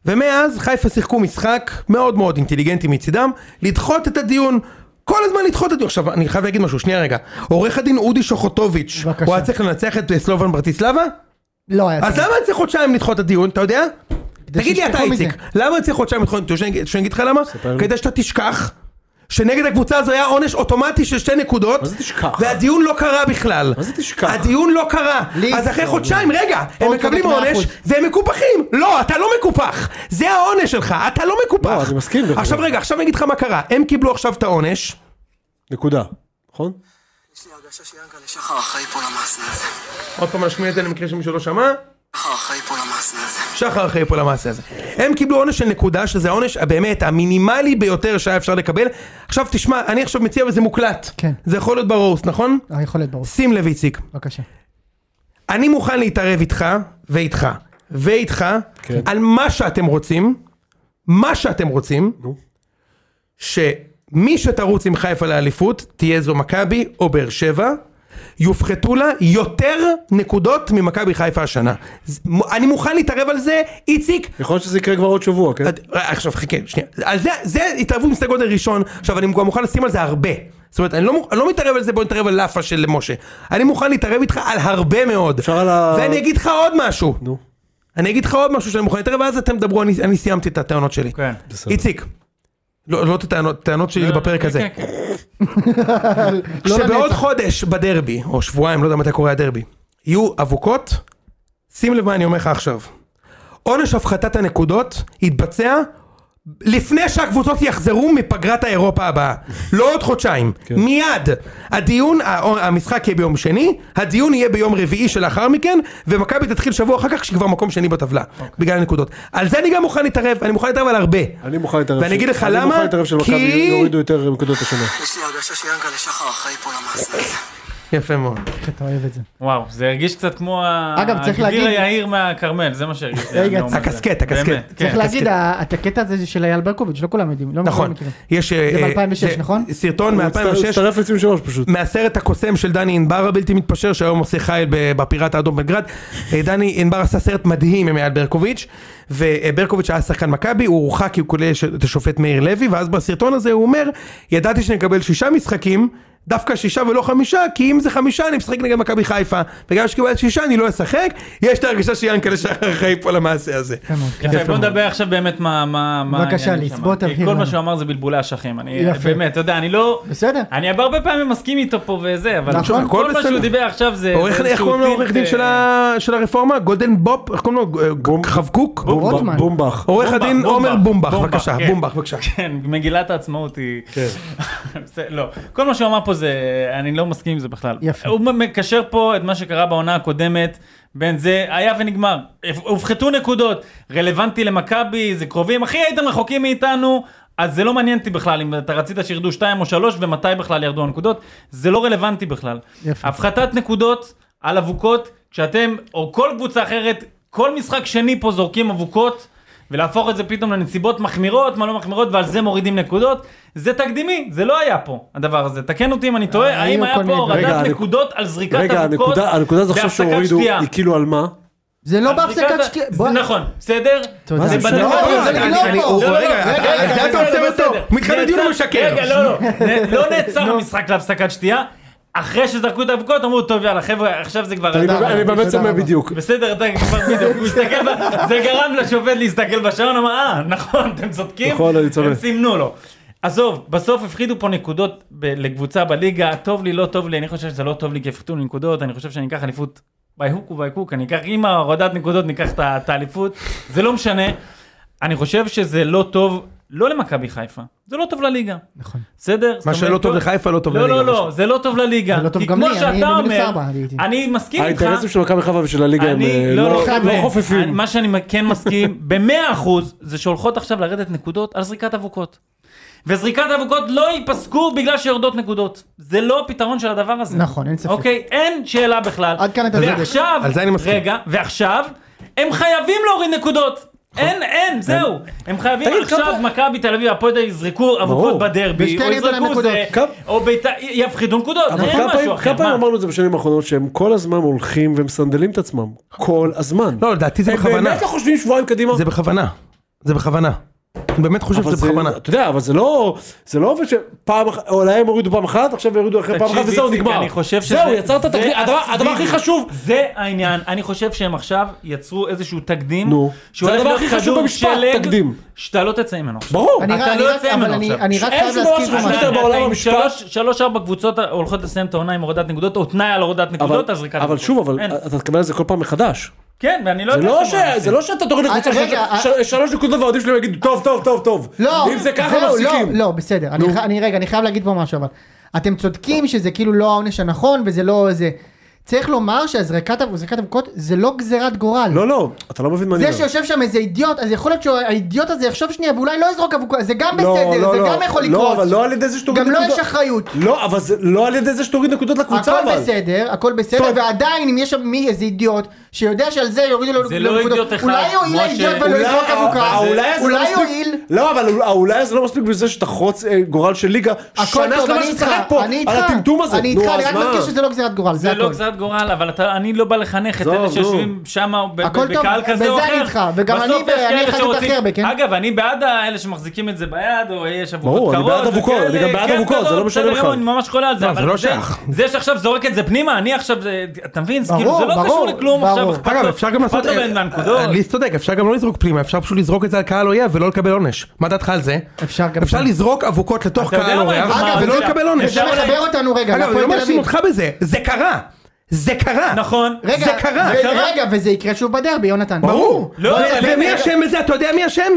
ומאז חיפה שיחקו משחק מאוד מאוד אינטליגנטי מצידם, לדחות את הדיון. כל הזמן לדחות את הדיון. עכשיו, אני חייב להגיד משהו, שנייה רגע. עורך הדין אודי שוחוטוביץ', בבקשה. הוא היה צריך לנצח את אה, סלובן ברטיסלבה? לא היה אז למה אני צריך חודשיים לדחות את הדיון, אתה יודע? תגיד לי אתה שישכחו איציק, למה אני צריך חודשיים לדחות את הדיון? שאני- שאני אגיד לך למה? כדי שאתה תשכח. שנגד הקבוצה הזו היה עונש אוטומטי של שתי נקודות, זה תשכח? והדיון לא קרה בכלל. מה זה תשכח? הדיון לא קרה. לי- אז אחרי חודשיים, רגע, הם צודק מקבלים מאה עונש, אחוז. והם מקופחים. לא, אתה לא מקופח. זה העונש שלך, אתה לא מקופח. לא, אני מסכים, דרך עכשיו אגב. רגע, עכשיו אני אגיד לך מה קרה. הם קיבלו עכשיו את העונש. נקודה. נכון? יש לי הרגשה שיענקל'ה שחר אחראי פה למעשה הזה. עוד פעם נשמיע את זה למקרה שמישהו לא שמע. שחר אחראי פה למעשה הזה. שחר אחרי פה למעשה הזה. הם קיבלו עונש של נקודה, שזה העונש הבאמת המינימלי ביותר שהיה אפשר לקבל. עכשיו תשמע, אני עכשיו מציע וזה מוקלט. כן. זה יכול להיות ברוסט, נכון? אה, יכול להיות ברור. שים לב איציק, בבקשה. אני מוכן להתערב איתך, ואיתך, ואיתך, כן. על מה שאתם רוצים, מה שאתם רוצים, נו. שמי שתרוץ עם חיפה לאליפות, תהיה זו מכבי או באר שבע, יופחתו לה יותר נקודות ממכבי חיפה השנה. ז- מ- אני מוכן להתערב על זה, איציק, יכול להיות שזה יקרה כבר עוד שבוע, כן? עד- עכשיו חכה, שנייה. על זה, זה התערבות מסתכל גודל ראשון, עכשיו אני גם מוכן לשים על זה הרבה. זאת אומרת, אני לא, מוכ- אני לא מתערב על זה, בוא נתערב על לאפה של משה. אני מוכן להתערב איתך על הרבה מאוד. אפשר על ה- ואני אגיד לך עוד משהו. נו. אני אגיד לך עוד משהו שאני מוכן להתערב, ואז אתם דברו, אני, אני סיימתי את הטענות שלי. כן. איציק. לא, לא את הטענות, הטענות שלי זה בפרק הזה. כן, כן. לא שבעוד לנצח. חודש בדרבי, או שבועיים, לא יודע מתי קורה הדרבי, יהיו אבוקות, שים לב מה אני אומר לך עכשיו. עונש הפחתת הנקודות יתבצע לפני שהקבוצות יחזרו מפגרת האירופה הבאה. לא עוד חודשיים. כן. מיד. הדיון, ה- המשחק יהיה ביום שני, הדיון יהיה ביום רביעי שלאחר מכן, ומכבי תתחיל שבוע אחר כך כשהיא כבר מקום שני בטבלה. אוקיי. בגלל הנקודות. על זה אני גם מוכן להתערב, אני מוכן להתערב על הרבה. אני מוכן להתערב. ואני ש- אגיד לך אני למה, מוכן להתערב של מכבי כי- יורידו יותר נקודות השנה. יש לי הרגשה שיענקל'ה שחר אחראי פה למעשה הזה. יפה מאוד. איך אתה אוהב את זה. וואו, זה הרגיש קצת כמו ה- אגב, צריך הגביר להגיד- היהיר מהכרמל, זה מה שהרגיש. לי רגע, הנאום הזה. הקסקט, הקסקט. באמת, כן. צריך להגיד, ה- את הקטע הזה זה של אייל ברקוביץ', לא כולם יודעים. לא נכון. כולם מכירים. יש... אה, זה אה, ב-2006, נכון? סרטון הוא הצטרף- מ-2006. הצטרף ל-23 פשוט. מהסרט הקוסם של דני ענבר הבלתי מתפשר שהיום עושה חייל ב- בפיראט האדום בגרד. אה, דני ענבר עשה סרט מדהים עם אייל ברקוביץ' וברקוביץ' היה שחקן מכבי הוא הורחק כי הוא כולל ש- את השופט מאיר לוי ואז בסרטון הזה הוא אומר ידעתי שנקבל שישה משחקים דווקא שישה ולא חמישה כי אם זה חמישה אני משחק נגד מכבי חיפה וגם שקיבלתי שישה אני לא אשחק יש לי הרגשה שיענקל'ה שחר אחראי פה למעשה הזה. יפה מאוד. יפה, בוא נדבר עכשיו באמת מה... מה- מה בבקשה, העניינים ליס, שם. בוא כי תבהיר כל לנו. מה שהוא אמר זה בלבולי אשכים. אני יפה. באמת, אתה יודע, אני לא... בסדר. אני הרבה פעמים מסכים איתו פה וזה, אבל נכון. כל הכל מה בסדר. שהוא דיבר עכשיו זה... עורך- זה איך איזשהו קוראים לו טילט, עורך דין אה, של ה- של הרפורמה? גודל בופ? איך קוראים לו? בום- חבקוק? רוטמן. בומבך. עורך בומבך, הדין בומבך, עומר בומבך, בומבך, בבקשה, כן. בומבך, בבקשה. כן, מגילת העצמאות היא... כן. זה- לא, כל מה שהוא אמר פה זה, אני לא מסכים עם זה בכלל. יפה. הוא מקשר פה את מה שקרה בעונה הקודמת, בין זה היה ונגמר. הופחתו נקודות, רלוונטי למכבי, זה קרובים, הכי הייתם רחוקים מאיתנו. אז זה לא מעניין אותי בכלל אם אתה רצית שירדו 2 או 3 ומתי בכלל ירדו הנקודות, זה לא רלוונטי בכלל. יפה. הפחתת נקודות על אבוקות, כשאתם, או כל קבוצה אחרת, כל משחק שני פה זורקים אבוקות, ולהפוך את זה פתאום לנסיבות מחמירות, מה לא מחמירות, ועל זה מורידים נקודות, זה תקדימי, זה לא היה פה, הדבר הזה. תקן אותי אם אני טועה, אה, האם היו היה כל פה מיני דברים. הורדת רגע, נקודות על זריקת אבוקות, רגע, הנקודה הנקודה זה עכשיו בהפסקת שהורידו, שתייה? היא כאילו על מה? זה לא על זריקת בהפסקת ה- שקיעה. זה נכון, בסדר? תודה. זה לא, בדקה- אבל זה אני- לא אני- פה. לא, לא, רגע, רגע, אתה- רגע, אתה בסדר, עוצר אותו. בסדר. הוא מתחיל בדיון, נעצר- הוא משקר. רגע, לא, לא. נ- לא נעצר המשחק להפסקת שתייה. אחרי שזרקו את האבוקות אמרו טוב יאללה חבר'ה עכשיו זה כבר אני אתה- באמת- אני רבה, באמת תודה צמא רבה. בדיוק. בסדר, אתה כבר בדיוק, הוא הסתכל, ב- זה גרם לשופט להסתכל בשעון, אמר, אה, נכון, אתם צודקים, נכון, אני צודק. הם סימנו לו. עזוב, בסוף הפחידו פה נקודות ב- לקבוצה בליגה, טוב לי, לא טוב לי, אני חושב שזה לא טוב לי כי הפחיתו לי נקודות, אני חושב שאני אקח אליפות ביי הוק וביי קוק, אני אקח, עם ההורדת נקודות ניקח את ה- את האליפות, זה לא משנה. אני חושב שזה לא טוב, לא למכבי חיפה, זה לא טוב לליגה. נכון. בסדר? זאת מה שלא אומרת, טוב כל- לחיפה לא טוב לא, לליגה. לא, לא, זה לא טוב לליגה. זה לא טוב כי גם כמו לי, אני שאתה במינוס אומר, ארבע, אני הייתי. אני מסכים איתך. האינטרסים של מכבי חיפה ושל הליגה הם אה, אני לא, לא לא, חייב, לא חבר'ה, חופפים. מה שאני כן מסכים במאה אחוז זה שהולכות עכשיו לרדת נקודות על זריקת אבוקות. וזריקת אבוקות לא ייפסקו בגלל שיורדות נקודות. זה לא הפתרון של הדבר הזה. נכון, אין ספק. אוקיי, אין שאלה בכלל. עד כאן אתה צודק. ועכשיו, על זה אני מסכים. רגע, ועכשיו, הם חייבים להוריד נקודות. נכון. אין, אין, זהו. הם חייבים תגיד, עכשיו, כמה- מכבי תל אביב, הפועל תל אביב יזרקו אבוקות בדרבי, ושתי או ליגות להם יזרקו נקודות. זה, כמה- או בית"ר, יפחידו נקודות, אבל אין כמה משהו פעמים- אחר. כמה פעמים מה? אמרנו את זה בשנים האחרונות שהם כל הזמן הולכים ומסנדלים את עצמם. כל הזמן. לא, לדעתי זה הם בכוונה. באמת לא חושבים שבועיים קדימה? זה בכוונה. זה בכוונה. אני באמת חושב אבל שזה זה- בכוונה. אתה יודע, אבל זה לא, זה לא עובד שפעם אחת, או להם הורידו פעם אחת, עכשיו יורידו אחרי פעם תקשיב, אחת, וזהו, איציק, נגמר. אני חושב שזה... זהו, יצרת זה תקדים, הדבר- הסביב. הדבר הכי חשוב. זה העניין. אני חושב שהם עכשיו יצרו איזשהו תקדים. נו. שהוא זה הולך הדבר להיות הכי חשוב כדור במשפט, שלג, תקדים. שאתה לא תצא ממנו עכשיו. ברור. אני אתה רק- לא אני רק- יוצא אבל ממנו אני- עכשיו. אני רק אין חייב שום דבר להזכיר שהוא משהו. אתה- יותר אתה בעולם עם המשפט. שלוש- שלוש ארבע קבוצות הולכות לסיים את העונה עם הורדת נקודות, או תנאי על הורדת לא נקודות, אז ריקה. אבל שוב, אבל אתה מתכוון לזה כל פעם מחדש. כן, ואני לא זה יודע... לא כמה ש- אנשים. זה לא שאתה תוריד לקבוצה רגע, שלוש- אה- של- שלוש נקודות והאוהדים שלו יגידו, טוב, טוב, טוב, טוב. לא, אם זה ככה, זהו, לא, מפסיקים. לא, בסדר. אני, ח- אני רגע, אני חייב להגיד פה משהו אבל. אתם צודקים שזה כאילו לא העונש הנכון וזה לא זה. צריך לומר שהזריקת הזריקת אבוקות זה לא גזירת גורל. לא, לא, אתה לא מבין מה אני זה אומר. שיושב שם איזה אידיוט, אז יכול להיות שהאידיוט הזה יחשוב שנייה ואולי לא יזרוק אבוקות, זה גם לא, בסדר, לא, זה לא. גם יכול לא, לקרות. אבל לא על ידי זה שתוריד גם לו נקודות. יש אחריות. לא, אבל זה לא על ידי זה שתוריד נקודות לקבוצה, הכל אבל. בסדר, הכל בסדר, זאת אומרת- ועדיין אם יש שם מי איזה אידיוט שיודע שעל זה יורידו לו זה לא נקודות, אידיוט אחד, אולי יועיל משה. האידיוט ולא אולי- יזרוק אבוקה, האולי הזה לא אולי מספיק- יועיל. לא, אבל האולי הזה לא מספיק בזה שתחרוץ אה, גורל של ליגה. שנה טוב, שלמה אני איתך, שצחק פה, אני איתך, על הטמטום הזה. אני נו, איתך, אז אני רק מה? מזכיר שזה לא גזירת גורל, זה זה לא הכל. גזרת גורל, אבל אתה- אני לא בא לחנך את עזוב, אלה נו. שיושבים שם ב- ב- הכל טוב, בקהל כזה או אחר. בזה אני איתך, וגם בסוף אני יש ב- אני כאלה אחד יותר שרוצים- הרבה, כן? אגב, אני בעד האלה שמחזיקים את זה ביד, או יש ברור, אבוקות אני קרות. בעד אבוקות, וכאלה, אני גם בעד כן, אבוקות, זה בסדר, לא משנה בסדר בכלל. גמור, אני ממש חולה על זה, לא, אבל זה לא זה- שייך. זה שעכשיו זורק את זה פנימה, אני עכשיו, זה- אתה מבין? זה כאילו, זה ברור, לא קשור ברור, לכלום ברור. עכשיו. אכפת אגב לו- אפשר גם אכפת לעשות, אה, לו בין מהנקודות. ליס צודק אפשר גם לא לזרוק פנימה אפשר פשוט לזרוק את זה על קהל אויב ולא לקבל עונש מה דעתך על זה? אפשר גם אפשר שם. לזרוק אבוקות לתוך אתה יודע קהל מה, אורח אגב, ולא אפשר- לקבל עונש. זה אפשר מחבר אולי- אותנו רגע, אגב אני להפועל לא תל מאשים אביב. אותך בזה זה קרה זה קרה נכון. רגע, זה קרה. ו- זה קרה. רגע, וזה יקרה שוב בדרבי, יונתן. ברור. לא, ו- אבל- ומי אשם בזה אתה יודע מי אשם?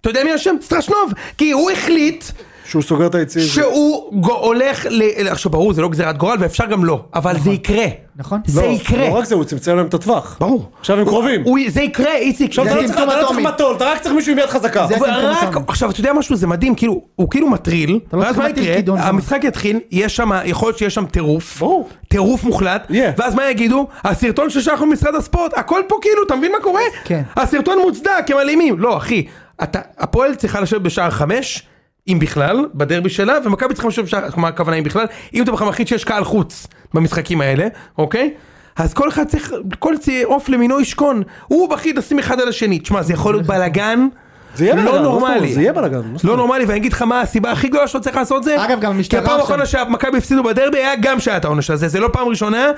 אתה יודע מי אשם? סטרשנוב כי הוא החליט שהוא סוגר את היציעים. שהוא גו- הולך ל... עכשיו ברור זה לא גזירת גורל ואפשר גם לא אבל זה יקרה. נכון. זה לא, יקרה. לא רק זה, הוא צמצם להם את הטווח. ברור. עכשיו הם הוא- קרובים. הוא- זה יקרה איציק. עכשיו זה אתה לא יקרה. צריך אתה לא צריך אטומי. מטול, אתה רק צריך מישהו עם יד חזקה. זה- אתם ורק, כולכם. עכשיו אתה יודע משהו זה מדהים כאילו הוא כאילו מטריל לא ואז צריך מה להטיל יקרה כידון שם. המשחק יתחיל יש שם יכול להיות שיש שם טירוף ברור. טירוף מוחלט יהיה. ואז מה יגידו הסרטון ששלחנו ממשרד הספורט הכל פה כאילו אתה מבין מה קורה כן. הסרטון מוצדק הם אלימים לא אחי אתה הפועל צריכה לשבת בשער חמש אם בכלל בדרבי שלה ומכבי צריכה לשבת בשער מה הכוונה אם בכלל אם אתה בכלל מחליט שיש קהל חוץ במשחקים האלה אוקיי. אז כל אחד צריך, כל צי- עוף למינו ישכון, הוא בכי תשים אחד על השני, תשמע זה יכול להיות בלאגן, זה יהיה בלאגן, לא מה זאת נורמלי. אומרת? זה יהיה בלאגן, מה זאת לא אומרת? נורמלי, ואני אגיד לך מה הסיבה הכי גדולה שלא צריך לעשות זה. אגב, גם המשטרה כי הפעם עכשיו. האחרונה שמכבי הפסידו בדרבי היה גם שהיה את העונש הזה, זה לא פעם ראשונה.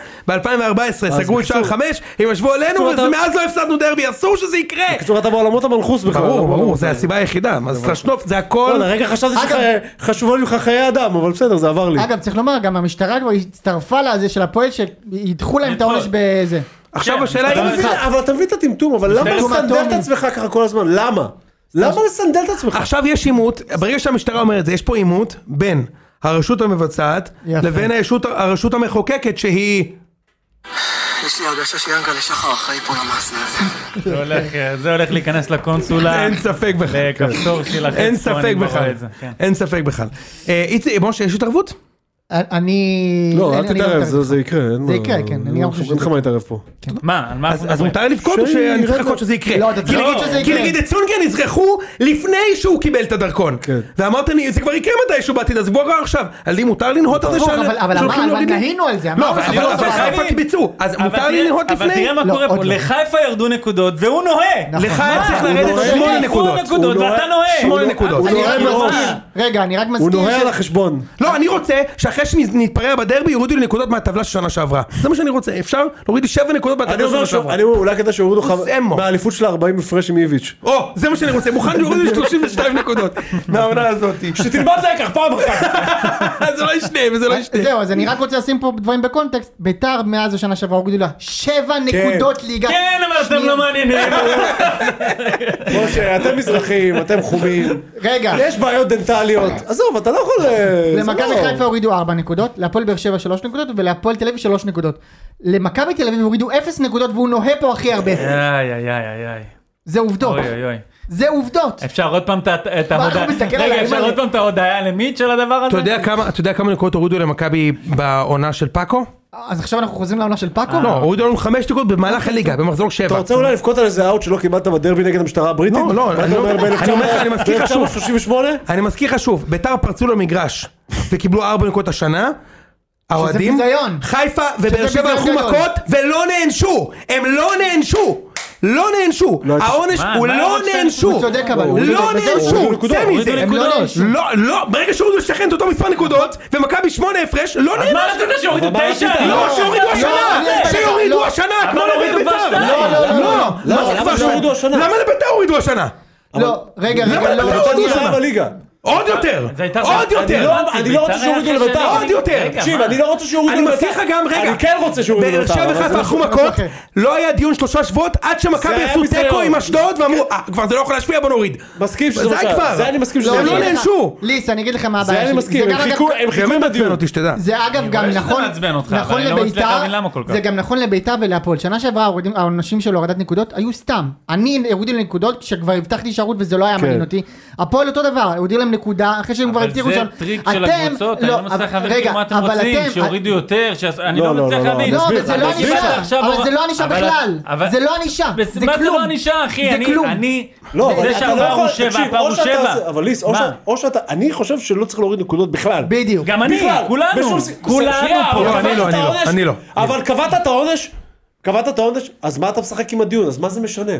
ב-2014 סגרו את שער חמש, הם ישבו עלינו, בקיצור, אתה- ומאז לא הפסדנו דרבי, אסור שזה יקרה. בקיצור, לא, אתה בעולמות המלכוס בכלל. ברור, אתה- ברור, זה הסיבה היחידה. אז סטרשנוף זה הכל. וואלה, רגע חשבתי אגב- שחשובים לך חיי אדם, אבל בסדר, זה עבר לי. אגב, צריך לומר, גם המשטרה כבר הצטרפה לזה של הפועל שידחו להם את העונש לדחות. בזה. עכשיו כן, השאלה אתה היא... מבין- אבל אתה מבין את הטמטום, אבל למה טמטום לסנדל את אטומי. עצמך ככה כל הזמן? למה? למה לסנדל את עצמך? עכשיו יש עימות, ברגע שהמשטרה אומרת זה, יש פה עימות בין הרשות המבצעת יפה. לבין הישות- הרשות המחוקקת שהיא... יש לי הרגשה שיענקלה שחר אחראי פה למעשה הזה. זה הולך, אה, זה הולך להיכנס לקונסולה. אין ספק בכלל. לכפתור של החץ. אין פה, אני ספק כבר רואה בכלל, את זה, כן. אין ספק בכלל. אה, איציק, משה, יש התערבות? אני... לא, אין- אל אני תתערב, מתערב זה- איתך. זה יקרה. אין זה מה- יקרה, כן, אני גם חושב אין לך שזה- מה להתערב פה. מה, על מה אז אז אנחנו מדברים? מותר לבכות או שאני צריך לחכות שזה יקרה? לא, אתה צריך כי להגיד נגיד- שזה כי יקרה. נגיד את סונגרן נזרחו לפני שהוא קיבל את הדרכון. כן. ואמרת לי, זה כבר יקרה מתישהו בעתיד, אז בוא כבר עכשיו. אז לי מותר לנהות את זה ברור, שאני- אבל- אבל שהולכים אמר- להוריד אבל לי? נהינו על זה, לא, אמרנו אבל שזה אבל- לא אבל סבבה. חיפה קיבצו, אז אבל מותר לי תראה- לנהות אבל לפני. תראה מה לא, קורה עוד פה, לא. לחיפה ירדו נקודות והוא נוהג. נכון. לך מה? היה צריך הוא לרדת נוהג. שמונה הוא נקודות. נקודות, הוא ואתה נוהג. נוהג. שמונה הוא- נקודות. הוא אני נוהג רק מראש. מזכיר- רגע, אני רק הוא מזכיר נוהג על ש... החשבון. לא, אני רוצה שאחרי שנתפרע בדרבי יורידו לי נקודות מהטבלה של שנה שעברה. זה מה שאני רוצה, אפשר? להוריד לי שבע נקודות אני מהטבלה של אומר שנה שהוא, שעברה. אני אומר, אולי כדאי שיורידו לך סמו. מהאליפות של ה-40 הפרש עם איביץ'. או, זה מה שאני רוצה, מוכן להוריד לי 32 נקודות מהעונה הזאת. שתלמד לקח פעם אחת. אז זה לא ישנה, וזה לא ישנה. זהו, אז אני רק רוצה לשים פה דברים בקונטקסט. ביתר מאז השנה שעברה הורידו לה שבע נקודות ליגה. כן, אבל אתם שנייה. לא מעניינים. משה, אתם מזרחים, אתם חומים. רגע, יש בעיות דנטליות. עזוב, אתה לא יכול... אה, זה למכבי לא- חיפה הורידו 4 נקודות, להפועל באר שבע 3 נקודות ולהפועל תל אביב 3 נקודות. למכבי תל אביב הורידו 0 נקודות והוא נוהה פה הכי הרבה. איי, איי, איי, איי, איי. זה עובדות. אה, אוי, אוי, אוי. זה עובדות. אפשר עוד פעם את ה- את מה, ההודעה. אנחנו מסתכל רגע, עליי, אפשר אימא'לה. עוד פעם את ההודעה הלמית של הדבר הזה? אתה יודע כמה, אתה יודע כמה נקודות הורידו למכבי בעונה של פאקו? אז עכשיו אנחנו חוזרים לעונה של פאקו? לא, הורידו לנו חמש נקודות במהלך הליגה, במחזור אתה שבע. רוצה אולי לבכות על איזה אאוט שלא קיבלת בדרבי נגד המשטרה הבריטית? לא, לא, אני מה אתה לא- אומר ב- אני אומר לך, אני מזכיר לך שוב. 1938? אני מזכיר לך שוב, ביתר פרצו למגרש וקיבלו ארבע נקודות השנה. האוהדים, ביזיון. חיפה ובאר שבע ביזיון הלכו גדול. מכות ולא נענשו, הם לא נענשו. לא נענשו. לא הייתי- העונש מה, הוא מה לא העונש שלהם? נענשו. הוא צודק אבל, הוא לא צודק, בזה הוא נענשו. צודק. צא הורידו מזה. הם לא נקודות. נענשו. לא, לא, ברגע שהורידו לשכן את אותו מספר נקודות, ומכבי שמונה הפרש, לא אז מה נענשו. רצית שיורידו אבל מה תשע? רצית? לא, לא, שיורידו השנה! אני אסביר לך, שיורידו לא. השנה! אבל כמו הורידו לביתר! כבר שתיים. לא, לא, לא, לא! לא. מה זה למה כבר שהורידו שתיים? השנה? למה לביתר הורידו השנה? לא, רגע, למה רגע, אתה לא. לא ביתר עוד זרה שנה. בליגה. עוד יותר! זה הייתה- עוד אני יותר! לא, אני לא רוצה ביתר שיורידו אחרי לביתר. שנה. עוד יותר. רגע, תקשיב, מה? אני לא רוצה שיורידו אני לביתר. מבטיח לך גם, רגע. אני כן רוצה שיורידו באר לביתר. שבע אבל חיפה זה- לא הלכו זה- מכות, אוקיי. לא היה דיון שלושה שבועות עד שמכבי זה היה עשו ביזיון. תיקו עם אשדוד ואמרו, אה, כבר זה לא יכול להשפיע, בוא נוריד. מסכים שזה די מה שהיה. כבר. זה אני מסכים שזה לא, מה הם לא שהיה. נענשו. ליס, אני אגיד לך מה זה הבעיה אני שלי. מסכים, גם, הם אגב, חיכו- הם זה חיכו באמת מעצבן בדיון. אותי שתדע. זה אגב גם רואה שזה נכון, מעצבן אותך, אבל נכון אני לא מצליח לביתר, להבין למה כל כך. זה גם נכון לביתר ולהפועל. שנה שעברה ההורדים- העונשים של הורדת נקודות היו סתם. אני הורידו לי נקודות כשכבר הבטחתי שערות וזה לא היה מעניין אותי. הפועל אותו דבר, הורידו להם נקודה אחרי שהם כבר אבל הבטיחו זה שם. טריק של אתם- הקבוצות, אני לא מצליח אבל- להבין כאילו מה אתם אבל רוצים, אתם- שיורידו יותר, שעש- אני לא, לא לא, מצליח לא, לא, להבין. לא, לא, מסביר אבל זה לך, לא מסביר ענישה, לך. אבל זה לא ענישה אבל- בכלל. אבל- זה לא ענישה, בס- זה מה זה כלום. לא ענישה אחי? זה אני, כלום. אני, לא, אבל זה אתה לא שהפער יכול- הוא שבע, תקשיב, הפער או הוא שאתה שבע. עושה- אבל ליס, או מה? שאתה- או שאתה, אני חושב שלא צריך להוריד נקודות בכלל. בדיוק. גם אני, בכלל, כולנו, בשום ס- כולנו שנייה, פה. אבל אני קבעת לא, את אני לא, העונש. אני לא. אבל קבעת את העונש, קבעת את העונש, אז מה אתה משחק עם הדיון? אז מה זה משנה?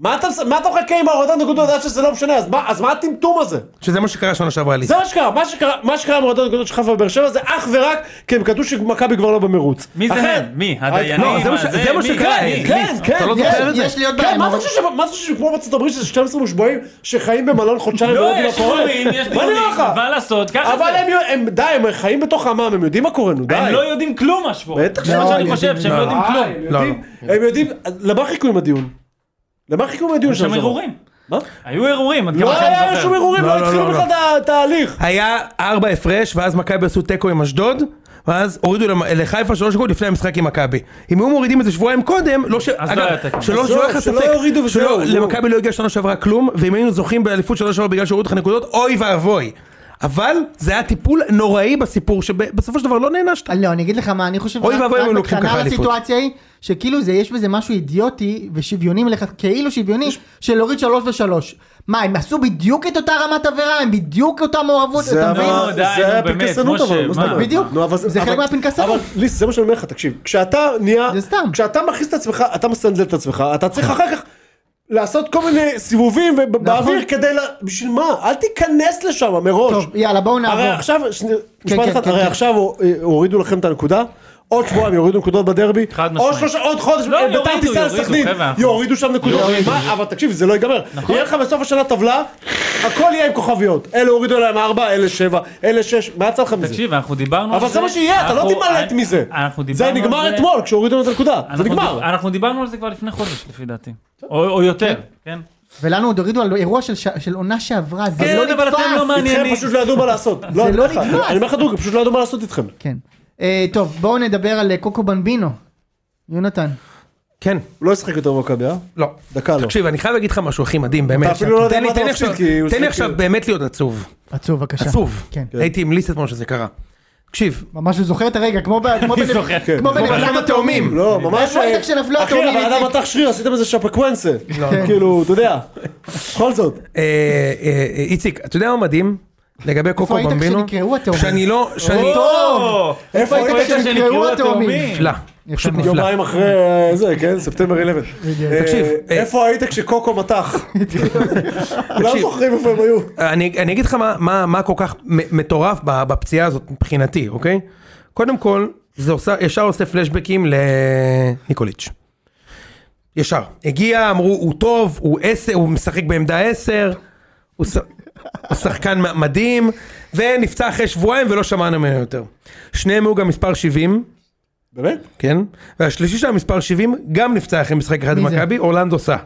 מה אתה מש- מה אתה מחכה עם ההורדת נקודות עד שזה לא משנה? אז מה- אז מה הטמטום הזה? שזה מה שקרה שנה שעברה לי. זה מה שקרה, מה שקרה- מה שקרה עם ההורדת נקודות של חיפה ובאר שבע זה אך ורק כי הם קלטו שמכבי כבר לא במרוץ. מי זה אחרת- אה, הם? מי? לא, הדיינים? זה מה ש- זה מה מי? שקרה, אני. אה, כן, ליס, כן, אתה לא כן. זוכר את זה? יש לי עוד בעיה כן, עם מה אתה ההור- חושב ש- מה אתה חושב שכמו בארצות הברית שזה 12 מושבעים שחיים במלון חודשיים ולא לא, יודעים יש מה קורה? דיונים, יש מה דיונים, נראה לך? מה לעשות, ככה אבל זה. הם, הם, די, הם חיים בתוך עמם, הם יודעים מה קורה, נו, די. הם לא יודעים כלום מה שקורה. בטח זה מה לא, שאני יודעים. חושב, שהם לא לא, יודעים אה, כלום. הם יודעים, לא, הם יודעים, למה חיכו עם הדיון? למה חיכו עם הדיון יש שם שעבר? ערעורים. לא- מה? היו ערעורים, עד לא כמה שאני היה שום זוכר. ערעורים, לא לא, לא, התחילו לא, בכלל את ה- את ההליך. היה ארבע הפרש, ואז מכבי עשו תיקו עם אשדוד, ואז הורידו למ- לחיפה שלוש נקודות לפני המשחק עם מכבי. אם היו מורידים את זה שבועיים קודם, לא ש... אז לא היה תיקו. שלא אז שלא לא, היה לך שלא ספק. יורידו וזהו, שלא- נו. למכבי לא הגיע שנה שעברה כלום, ואם היינו זוכים באליפות שנה שעברה בגלל שהורידו לך נקודות, אוי ואבוי. אבל זה היה טיפול נוראי בסיפור, שבסופו של דבר לא נענשת. לא, אני אגיד לך מה, אני חושב... אוי רק- ואבוי אם רק הם לוקחים בקטנה ככה אליפות. לסיטואציה היא, שכאילו זה, יש בזה משהו אידיוטי ושוויוני מלכת, כאילו שוויוני, של להוריד שלוש ושלוש. מה, הם עשו בדיוק את אותה רמת עבירה? הם בדיוק אותה מעורבות? אתה מבין? אבל- די, נו, היה באמת, פנקסנות משה, אבל, מה זאת מה? אומרת? בדיוק. נו, אבל זה אבל- חלק מהפנקסנות. אבל ליס, זה מה שאני אומר לך, תקשיב, כשאתה נהיה, זה סתם. כשאתה מכניס את עצמך, אתה מסנדל את עצמך, אתה צריך אחר כך לעשות כל מיני סיבובים וב- נכון. באוויר כדי, ל- בשביל מה? אל תיכנס לשם מראש. טוב, יאללה, בואו הרי נעבור. עכשיו, שני- משפט כן, אחד, כן, הרי כן. עכשיו אה, הורידו לכם את הנקודה. עוד שבועיים יורידו נקודות בדרבי, חד עוד משמעית. שלושה- עוד חודש, לא, אה, ביתר יורידו, תיסע יורידו, לסכנין, חבר'ה, אנחנו- נכון. יורידו שם נקודות, מה- אבל תקשיב זה לא ייגמר, יהיה לך בסוף השנה טבלה, הכל יהיה עם כוכביות, אלה הורידו להם ארבע, אלה שבע, אלה שש, מה יצא לך מזה? תקשיב, אנחנו דיברנו על אבל זה מה שיהיה, אתה לא אנחנו- אה, תימלט מזה, אנחנו זה דיברנו על נגמר זה. אתמול כשהורידו לנו את הנקודה, זה אנחנו נגמר, דיב- אה, אנחנו דיברנו על זה כבר לפני חודש, לפי דעתי. או או יותר, כן? ולנו עוד הורידו על אירוע של ש- של עונה שעברה, זה כן, לא אבל אתם נתפס. לא מעניינים. איתכם מעניינים. פשוט לא ידעו מה לעשות, זה אני לא אומר לך, נתפס. אני אומר לך דוגרי, פשוט לא ידעו מה לעשות איתכם, כן. אה, טוב, בואו נדבר על אה, קוקו במבינו. יונתן. כן, הוא לא ישחק יותר במכבי, אה? לא. דקה לא, תקשיב, אני חייב להגיד לך משהו הכי מדהים, באמת. אתה אפילו לא יודע תן לי- מה אתה תן לי מפסיד, עכשיו- כי הוא תן לי שיחק- כאילו. עכשיו באמת להיות עצוב. עצוב, בבקשה. עצוב. כן. הייתי עם ליס אתמול שזה קרה. תקשיב, ממש הוא זוכר את הרגע, כמו ב- כמו בנ- זוכר. כמו בנפילת התאומים. לא ממש, איפה היית כשנפלו אחי התאומים, הבן אדם איציק? מתח שריר עשיתם איזה שפקוונסה, לא. כאילו אתה יודע, בכל זאת, אה, אה, אה, איציק, אתה יודע מה מדהים? לגבי קוקו היית במבינו? כשנקראו התאומים? שאני לא, כן? שאני... לא. טוב! איפה היית כשנקראו התאומים? נפלא, יפה פשוט מאוד. נפלא. יומיים אחרי אה, זה, כן, ספטמבר 11, אה, תקשיב, אה, איפה היית כשקוקו מתח, כולם תקשיב. זוכרים איפה הם היו, אני, אני אגיד לך מה, מה, מה כל כך מ- מטורף ב- בפציעה הזאת מבחינתי, אוקיי? קודם כל, זה עושה, ישר עושה פלשבקים לניקוליץ'. ישר. הגיע, אמרו, הוא טוב, הוא עשר, הוא משחק בעמדה עשר, הוא, ש... הוא שחקן מ- מדהים, ונפצע אחרי שבועיים ולא שמענו ממנו יותר. שניהם היו גם מספר 70, באמת? כן? והשלישי שלה מספר 70 גם נפצע אחרי משחק אחד מי זה? במכבי, אורלנדו סא.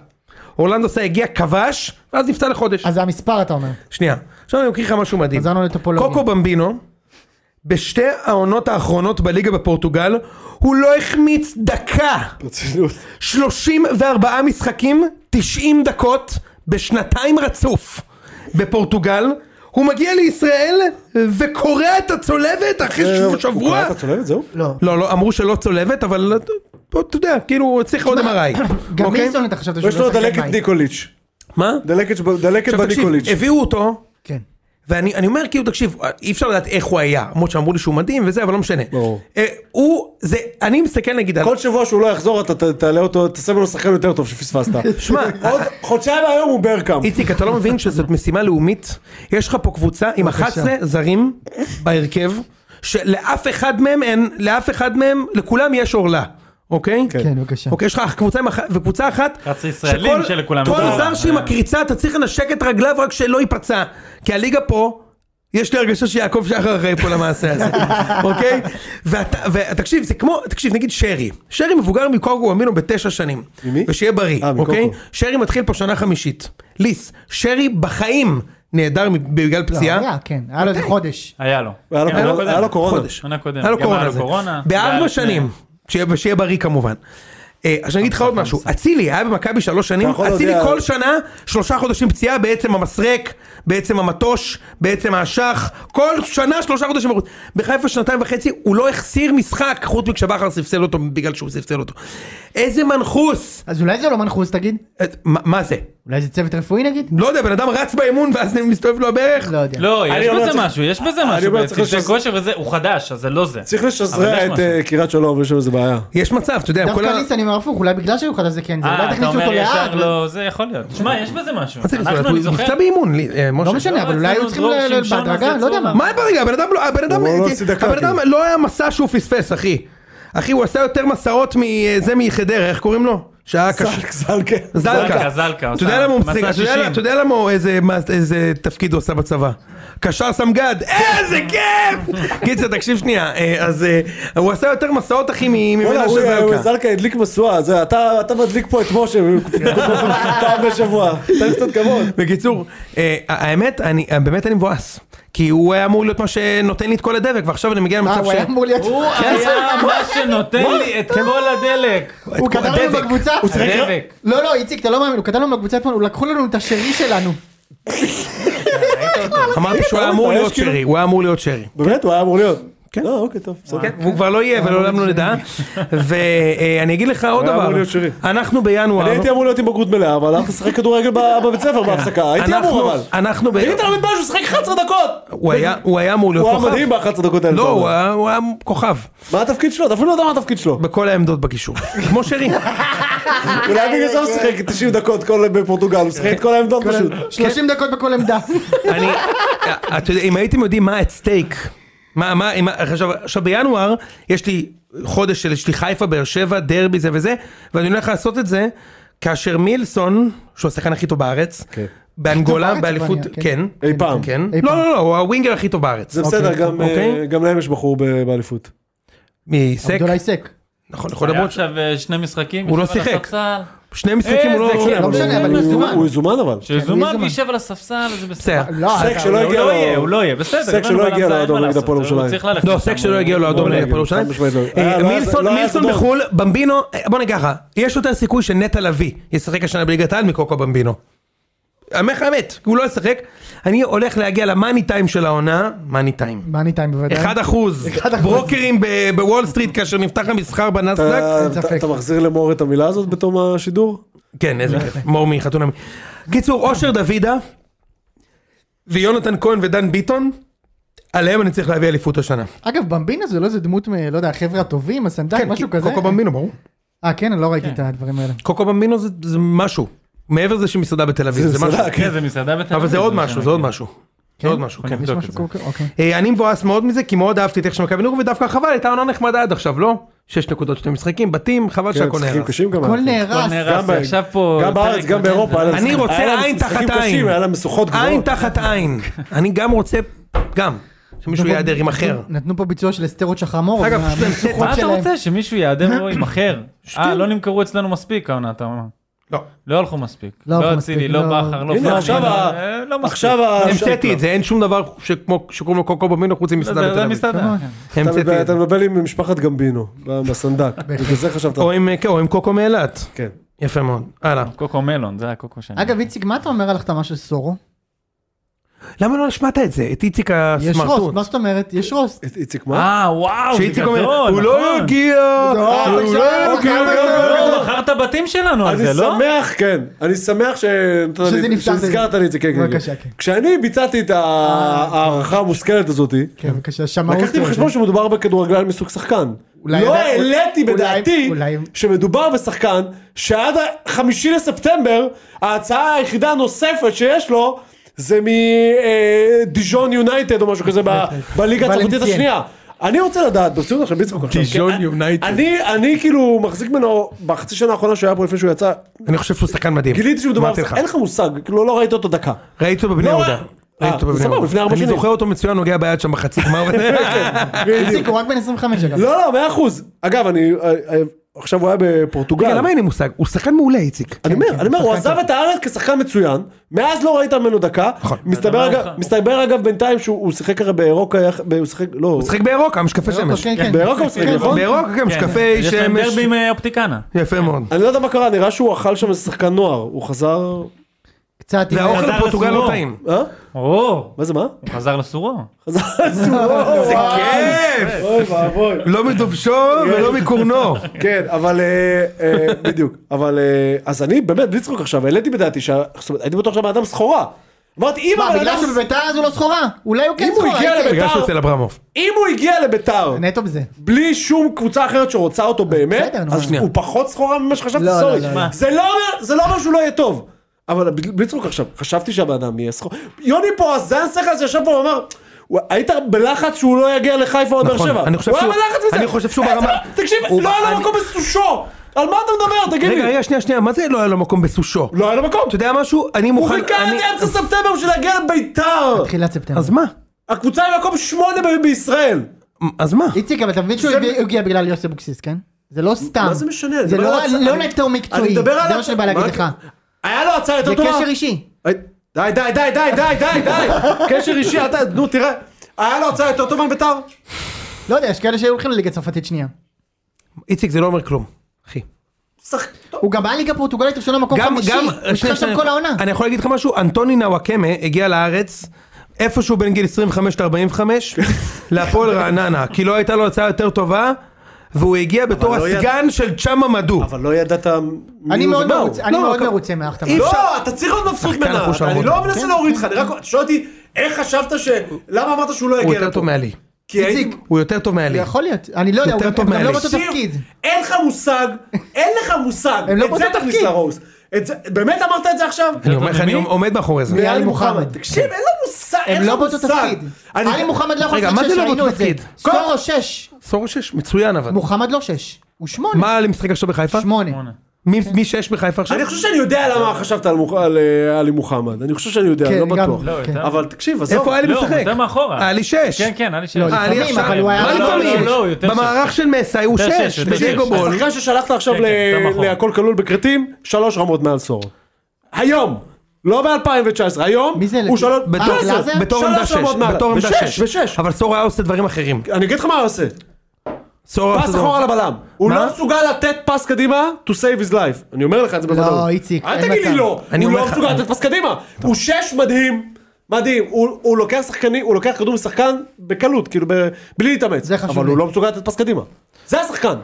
אורלנדו סא הגיע, כבש, ואז נפצע לחודש. אז זה המספר אתה אומר. שנייה, עכשיו אני אקריא לך משהו מדהים. חזרנו לטופולוגיה. קוקו במבינו, בשתי העונות האחרונות בליגה בפורטוגל, הוא לא החמיץ דקה. ברצינות. 34 משחקים, 90 דקות, בשנתיים רצוף בפורטוגל. הוא מגיע לישראל וקורע את הצולבת אחרי שבוע. אה, הוא קרא את הצולבת, זהו? לא. לא, לא, אמרו שלא צולבת, אבל אתה אתה יודע, כאילו, הוא צריך לא עוד MRI. גם אוקיי? מילסון אתה חשבת שהוא יש לו לא שחקן דלקת בית. ניקוליץ'. מה? דלקת דלקת עכשיו תקשיב, אה, בניקוליץ'. הביאו אותו, כן. ואני אני אומר כאילו, תקשיב, אי אפשר לדעת איך הוא היה, למרות שאמרו לי שהוא מדהים וזה, אבל לא משנה. ברור. אה, הוא, זה, אני מסתכל נגיד על... כל שבוע שהוא לא יחזור אתה ת- תעלה אותו, תעשה ממנו שחקן יותר טוב שפספסת. שמע, עוד חודשיים היום הוא ברקאם. איציק, אתה לא מבין שזאת משימה לאומית? יש לך פה קבוצה עם 11 זרים בהרכב, שלאף אחד מהם אין, לאף אחד מהם, לכולם יש עורלה, אוקיי? כן, בבקשה. אוקיי, יש לך קבוצה עם אח- וקבוצה אחת, 11 ישראלים שכל- שלכולם יש כל עורלה. זר שהיא מקריצה, אתה צריך לנשק את רגליו רק שלא ייפצע, כי הליגה פה... יש לי הרגשה שיעקב שחר אחראי פה למעשה הזה, אוקיי? ואתה- ותקשיב, זה כמו, תקשיב, נגיד שרי. שרי מבוגר מקוקו אמינו בתשע שנים. ממי? ושיהיה בריא, אה, מקוקו. אוקיי? שרי מתחיל פה שנה חמישית. ליס, שרי בחיים נעדר מ- בגלל לא, פציעה. היה, כן, היה לו אוקיי. איזה חודש. היה לו. היה לו כן, קורונה- הקודם. היה לו קורונה. חודש. שנה קודמת. היה לו גם היה קורונה. לו זה. קורונה. והיה בארבע לו שנים. שני- שיהיה- ושיהיה בריא כמובן. אה, עכשיו אני אגיד לך עוד משהו, אצילי היה במכבי שלוש שנים, אתה יכול אצילי להודיע- כל שנה שלושה חודשים פציעה בעצם המסרק, בעצם המטוש, בעצם האשך, כל שנה שלושה חודשים, בחוץ. בחיפה שנתיים וחצי הוא לא החסיר משחק חוץ מכשבכר ספסל אותו בגלל שהוא ספסל אותו. איזה מנחוס, אז אולי זה לא מנחוס תגיד? אה, מה- מה זה? אולי זה צוות רפואי נגיד? לא יודע, בן אדם רץ באימון ואז מסתובב לו הברך? לא יודע. לא, אני יש אומר, בזה צריך- משהו, יש בזה אני משהו אומר, בעצם, צריך זה לשז- כושר וזה, הוא חדש, אז זה לא זה. צריך אבל לשזרע יש את משהו. אה, קריית שלום, יש שם איזה בעיה. יש מצב, אתה יודע, כל דווקא ה... ליס אני אומר הפוך, אולי בגלל שהוא חדש זה כן, זה אה, אולי אתה תכניסו אומר אותו ישר לאט. לא, זה יכול להיות. שמע, יש בזה משהו. מה צריך לעשות? אנחנו, אני הוא זוכר, נפצע באימון, לי- אה, משה. לא משנה, אבל לא, אולי אצלנו היו צריכים דרור ל- ל- שמשון בהדרגה, עשה לא יודע צהוב. מה. מה הבעיה? הבן אדם לא, הבן אדם, הוא לא הוציא דקה, הבן אדם כאילו. לא היה מסע שהוא פספס, אחי. אחי, הוא עשה יותר מסעות מזה מחדרה, איך קוראים לו? שהיה קשה. זלק, זלקה. זלקה. זלקה, זלקה, אתה יודע עשה למה הוא מסע משחק? אתה יודע- 60. אתה יודע למה הוא איזה- מה- איזה תפקיד הוא עשה בצבא? קשר סמג"ד, איזה כיף! קיצר, תקשיב שנייה, אה, אז אה, הוא עשה יותר מסעות, אחי, מ- וואלה, ממנה הוא- של הוא- זלקה. זלקה הדליק משואה, זה, אתה אתה מדליק פה את משה פעם בשבוע, תן קצת כבוד. בקיצור, אה, האמת, אני, באמת אני מבואס. כי הוא היה אמור להיות מה שנותן לי את כל הדבק, ועכשיו אני מגיע אה, למצב הוא היה אמור להיות... כן. הוא כן, היה מה שנותן לי את כל הדלק. הוא קדם לנו הדבק. בקבוצה. הדבק. לא, לא, איציק, אתה לא מאמין, הוא קדם לנו בקבוצה אתמול, הוא לקחו לנו את השרי שלנו. כן. לא, אמרתי שהוא היה אמור מתבייש, להיות כאילו. שרי, הוא היה אמור להיות שרי. באמת, הוא היה אמור להיות. כן. לא, אוקיי, טוב, בסדר. כן, והוא כבר לא יהיה ולעולם לא נדע. ואני אגיד לך עוד היה אמור דבר, להיות שרי. אנחנו אני בינואר, הייתי אמור להיות עם בגרות מלאה, אבל הלך לשחק כדורגל ב- בבית ספר בהפסקה, הייתי כן. אנחנו- אמור אבל. אנחנו, ב- אם אתה לא מתבייש, הוא שחק 11 דקות! הוא היה- לא, הוא היה אמור להיות הוא היה כוכב, מדהים ב-11 דקות האלה. לא, אתה הוא אומר. היה- הוא היה כוכב, מה התפקיד שלו? אתה אפילו לא יודע מה התפקיד שלו. בכל העמדות בקישור, כמו שרי, אה, אולי כן. בגלל זה הוא שיחק 90 דקות כל- בפורטוגל, הוא שיחק את כל העמדות פשוט. 30 דקות בכל עמדה. אני, אה, אתה יודע, אם הייתם יודעים מה את סטייק, מה, מה, אם- עכשיו, עכשיו בינואר, יש לי חודש של, יש לי חיפה, באר שבע, דרבי, זה וזה, ואני הולך לעשות את זה, כאשר מילסון, שהוא השחקן הכי טוב בארץ, באנגולה, הכי טוב בארץ, באליפות, הוא כבר נהיה, כן, אי פעם. כן, אי לא, פעם. לא, לא, הוא הווינגר הכי טוב בארץ, זה בסדר, אוקיי, גם, אה, אוקיי. גם להם יש בחור ב- באליפות. מסק, עבדולאי סק. נכון, יכול היה למרות ש... עכשיו אה, שני משחקים. הוא לא יושב על שיחק. הספסל. שני משחקים הוא איזה לא... לא אבל משנה, הוא- אבל הוא הוא- יזומן. הוא יזומן אבל. מי שזומן זומן? וישב על הספסל, זה בסדר. כן, בסדר. לא, סק אתה- שלא הוא הגיע לא יהיה, לאדום. הוא לא יהיה, בסדר. סק הבנו, שלא אבל הגיע זה, אין לאדום מה נגד לעשות, הפועל הוא ירושלים. צריך ללכת לא, לשם, סק שלא הוא- הגיע לו הוא אדום לא נגד נגד יגיע. הפועל ירושלים. חד משמעית לא. אה, היה- לא היה- מילסון, לא היה מילסון אדום. בחו"ל, במבינו, אה, בוא נגיד ככה, יש יותר סיכוי שנטע לביא ישחק השנה בליגת העל מקוקו במבינו. אומר לך האמת, הוא לא ישחק. אני הולך להגיע למאני טיים של העונה, מאני טיים. מאני טיים בוודאי. 1 אחוז, אחד אחוז. ברוקרים ב- בוול סטריט כאשר נפתח המסחר בנסדק. אתה- אין ספק. אתה מחזיר למור את המילה הזאת בתום השידור? כן, איזה כיף, מור מחתונה. קיצור, אושר דוידה ויונתן כהן ודן ביטון, עליהם אני צריך להביא אליפות השנה. אה, אגב, במבינה זה לא איזה דמות, מ- לא יודע, חבר'ה הטובים, הסנדק, משהו כזה. כן, קוקו במבינו, ברור. אה, כן, אני לא ראיתי את הדברים האלה. קוקו במבינו זה, זה משהו. מעבר לזה שמסעדה בתל אביב, זה, משהו. מסעדה, כן. כן, זה מסעדה בתל אביב. אבל זה עוד משנה, משהו, זה עוד כן. משהו. זה עוד משהו, כן. יש נבדוק משהו את זה. קוקו, אוקיי. אה, אני מבואס מאוד מזה, כי מאוד אהבתי את איך שמכבי נור, ודווקא חבל, הייתה עונה נחמדה עד עכשיו, לא? שש נקודות, שני משחקים, בתים, חבל כן, שהכל משחקים נהרס. קשים גם. הכל היה. נהרס. נהרס. ב- עכשיו פה גם בארץ, פרק גם באירופה. היה להם אני משחקים- רוצה היה להם עין משחקים תחת קשים, עין. היה להם משוכות עין גבוהות. תחת עין. אני גם רוצה, גם, שמישהו נכון. יעדר עם אחר. נכון. נתנו פה ביצוע של אסתרות שחמור. אגב, עם פשוט הם המשוכות מה אתה שלהם. רוצה? שמישהו יעדר לו עם אחר? אה, לא נמכרו אצלנו מספיק העונה, אתה אומר. לא. לא הלכו מספיק. לא הלכו לא מספיק, אצילי, לא לא- בכר, לא הנה, עכשיו ה- אה, לא מספיק. עכשיו ה... המצאתי את זה, אין שום דבר שכמו- שקוראים לו קוקו במינו חוץ זה- ממסעדה זה בתל אביב. מסעדה. כן. אתה מדבר- המצאתי את אתה זה. מדבר עם משפחת גמבינו, ב- בסנדק. בגלל זה חשבת. או עם- כן, או עם קוקו מאילת. כן. יפה מאוד. הלאה. קוקו מלון, זה הקוקו שלי. אגב, איציק, מה אתה אומר על החתמה של סורו? למה לא השמעת את זה? את איציק יש רוסט, נכון? הסמרטוט. מה זאת אומרת? יש רוסט. איציק מה? אה, וואו, זה שאיציק אומר, גדול, הוא לא נכון. יגיע, לא, הוא עכשיו, לא אוקיי, יגיע. אוקיי, אוקיי. לא, מכר את הבתים שלנו על אני זה, לא? שמח, כן, אני שמח ש... שזה נפתח. שהזכרת לי את זה, כן, כן, בבקשה, כן. אה, כשאני ביצעתי את ההערכה המושכלת הזאתי, כן, בבקשה, שמעות. לקחתי בחשבון שמדובר בכדורגלן מסוג שחקן. אולי לא עדיין- העליתי אולי- בדעתי אולי- שמדובר בשחקן שעד החמישי לספטמבר ההצעה היחידה הנוספת שיש לו זה מדיז'ון יונייטד או משהו כזה ב- בליגה הצרפתית ולנסיאן. השנייה. אני רוצה לדעת, ברצינות עכשיו בצחוק עכשיו. דיז'ון כי אני- יונייטד. אני אני כאילו מחזיק ממנו בחצי שנה האחרונה שהוא היה פה לפני שהוא יצא, אני חושב שהוא שחקן מדהים. גיליתי שהוא מדובר, אמרתי לך. אין לך מושג, כאילו לא ראית אותו דקה. ראיתי אותו בבני לא, יהודה. אה, ראיתי אותו בבני סבבה, לפני יהודה. ארבע אני שנים. זוכר אותו מצוין, נוגע ביד שם בחצי גמר. איציק הוא רק בן 25 אגב. לא, לא, מאה אחוז. אגב, אני אה, אה, עכשיו הוא היה רגע, בפורטוגל. אוקיי, למה אין לי מושג? הוא שחקן מעולה, איציק. אני אומר, אני אומר, הוא שחקן עזב את הארץ כשחקן מצוין, מאז לא ראית ממנו דקה, מסתבר אדמה אגב- לך. מסתבר אגב בינתיים שהוא הוא שיחק הרי באירוקה, יח- ב- הוא שיחק, לא, הוא הוא שיחק בירוק, המשקפי שמש. כן, כן. באירופה הוא שיחק, כן, אוקיי, נכון? בירוק, כן, כן, משקפי יש להם שמש. דרבי עם אה, אופטיקנה. יפה מאוד. אני לא יודע מה קרה, נראה שהוא אכל שם איזה שחקן נוער, הוא חזר, קצת... עם- והאוכל חזר בפורטוגל לא לסורו. טעים. אה? או, מה זה מה? הוא חזר לסורו. חזר לסורו, אה, כיף! אוי ואבוי. לא מדובשו ולא מקורנו. כן, אבל אה, אה, בדיוק, אבל אה, אז אני באמת בלי צחוק עכשיו, העליתי בדעתי, שה- זאת אומרת, הייתי בטוח שהבן סחורה. אמרתי, אם מה, הבן בגלל אדם- שבביתר אז הוא לא סחורה? אולי הוא כן אם הוא סחורה. הגיע איציק. לביתר- בגלל שהוא אצל אברמוב. כן. אם הוא הגיע לביתר, נטו בזה. בלי שום קבוצה אחרת שרוצה אותו באמת, בסדר, נו, אז מה? הוא פחות סחורה ממה שחשבתי, לא, לא, סורי. לא, לא. זה לא אומר- זה לא אומר שהוא לא יהיה טוב. אבל ב- בלי צחוק עכשיו, חשבתי שהבן אדם יהיה סחורה. יוני פה, הזן שכל שישב פה ואמר, "הוא- היית בלחץ שהוא לא יגיע לחיפה או באר נכון, שבע. אני חושב הוא היה שהוא- בלחץ מזה. אני חושב שהוא איזה- ברמה- תקשיב, הוא- לא היה לו אני- מקום בסושו. על מה אתה מדבר? תגיד רגע, לי. רגע, שנייה, שנייה, מה זה לא היה לו מקום בסושו? לא היה לו מקום. אתה יודע משהו? אני הוא מוכן... חיכה אני- עד אמצע ספטמבר בשביל להגיע לביתר. תחילת ספטמבר. אז מה? הקבוצה היא מקום שמונה ב- בישראל. אז מה? איציק, אבל אתה מבין שהוא זה- הביא- הגיע בגלל יוסי אבוקסיס, כן? זה לא סתם. מה זה משנה? אני זה מדבר לא על הצ- לא אני- נטו מקצועי. אני מדבר על זה מה הצ- שאני בא להגיד מה- לך. היה לו הצעה יותר זה טובה. קשר אישי. היי, די די די די די די די קשר אישי אתה נו תראה היה לו הצעה יותר טובה מביתר? לא יודע, יש כאלה שהיו הולכים לליגה צרפתית שנייה. איציק, זה לא אומר כלום. אחי. שחק- טוב, הוא גם בא ליגה פורטוגלית ראשונה מקום גם, חמישי. גם, הוא שיחק שם כל העונה. אני יכול להגיד לך משהו, אנטוני נוואקמה הגיע לארץ איפשהו בין גיל 25 ל-45, להפועל רעננה, כי לא הייתה לו הצעה יותר טובה, והוא הגיע בתור לא יד- הסגן של צ'אמה מדו. אבל לא ידעת מי אני הוא מאוד ומה הוא. מרוצה- אני לא, מאוד אבל- מרוצה מהאחת אי אפשר- לא אתה צריך להיות מבסוט שחקן ממנה אחוז אני שעמוד. לא מנסה להוריד לך אני רק שואל אותי איך חשבת ש... למה אמרת שהוא לא הוא יגיע יותר לפה? טוב מעלי. כי הייתי- איציק, הוא יותר טוב מעלי. יכול להיות. אני לא יודע, הוא יותר גם טוב הם גם לא מאלי. באותו תקשיב, תפקיד. אין לך מושג אין לך מושג הם לא את זה באותו תכניס תפקיד. לרוז. את זה- באמת אמרת את זה עכשיו? אני אומר לך, אני מי? עומד מאחורי זה. מעלי מוחמד. תקשיב אין לו מושג אין הם לך לא באותו מושג. תפקיד. אני- עלי מוחמד לא יכול רגע, לשחק מה זה שש, לא ראינו באותו את זה. תפקיד? סורו שש. סורו שש, מצוין אבל. מוחמד לא שש. הוא שמונה. מה עלי משחק עכשיו בחיפה? שמונה. מי מי שש בחיפה עכשיו? אני חושב שאני יודע למה חשבת על מוח- על, אה, עלי מוחמד אני חושב שאני יודע כן, לא גם- בטוח לא, יותר- אבל תקשיב עזוב איפה עלי לא, משחק? יותר מאחורה. עלי שש. כן, כן, עלי שש. לא, אה, עלי לפעמים, עכשיו. אבל הוא היה- מה לא, לא, לפעמים? לא, הוא יותר שש. במערך של מסאי הוא יותר שש. שש, יותר בדיגו שש. בול. השחקן ששלחת עכשיו כן, כן, ל- יותר נכון. מאחורה. להכל כלול בכרתים, שלוש רמות מעל סורו. היום! לא ב-2019, היום מי זה? הוא שלוש... בתור- מה זה? גלאזר? בתור שלוש עמדה שש, רמות מעל- בתור עמדה בשש, שש, בשש. אבל סורה היה עושה דברים אחרים. אני אגיד לך מה הוא עושה, סורה עושה פס דברים- אחורה לבלם, הוא מה? לא מסוגל לתת פס קדימה to save his life, אני אומר לך את זה לא, בוודאות. איציק, אל אין תגיד לי מצב. לא, אני הוא אומר לא לך- מסוגל לתת פס קדימה, הוא שש מדהים, מדהים, הוא הוא לוקח שחקני, הוא לוקח כדור משחקן בקלות, כאילו ב- בלי להתאמץ, זה חשוב אבל לי. הוא לא מסוגל לתת פס קדימה, זה השחקן,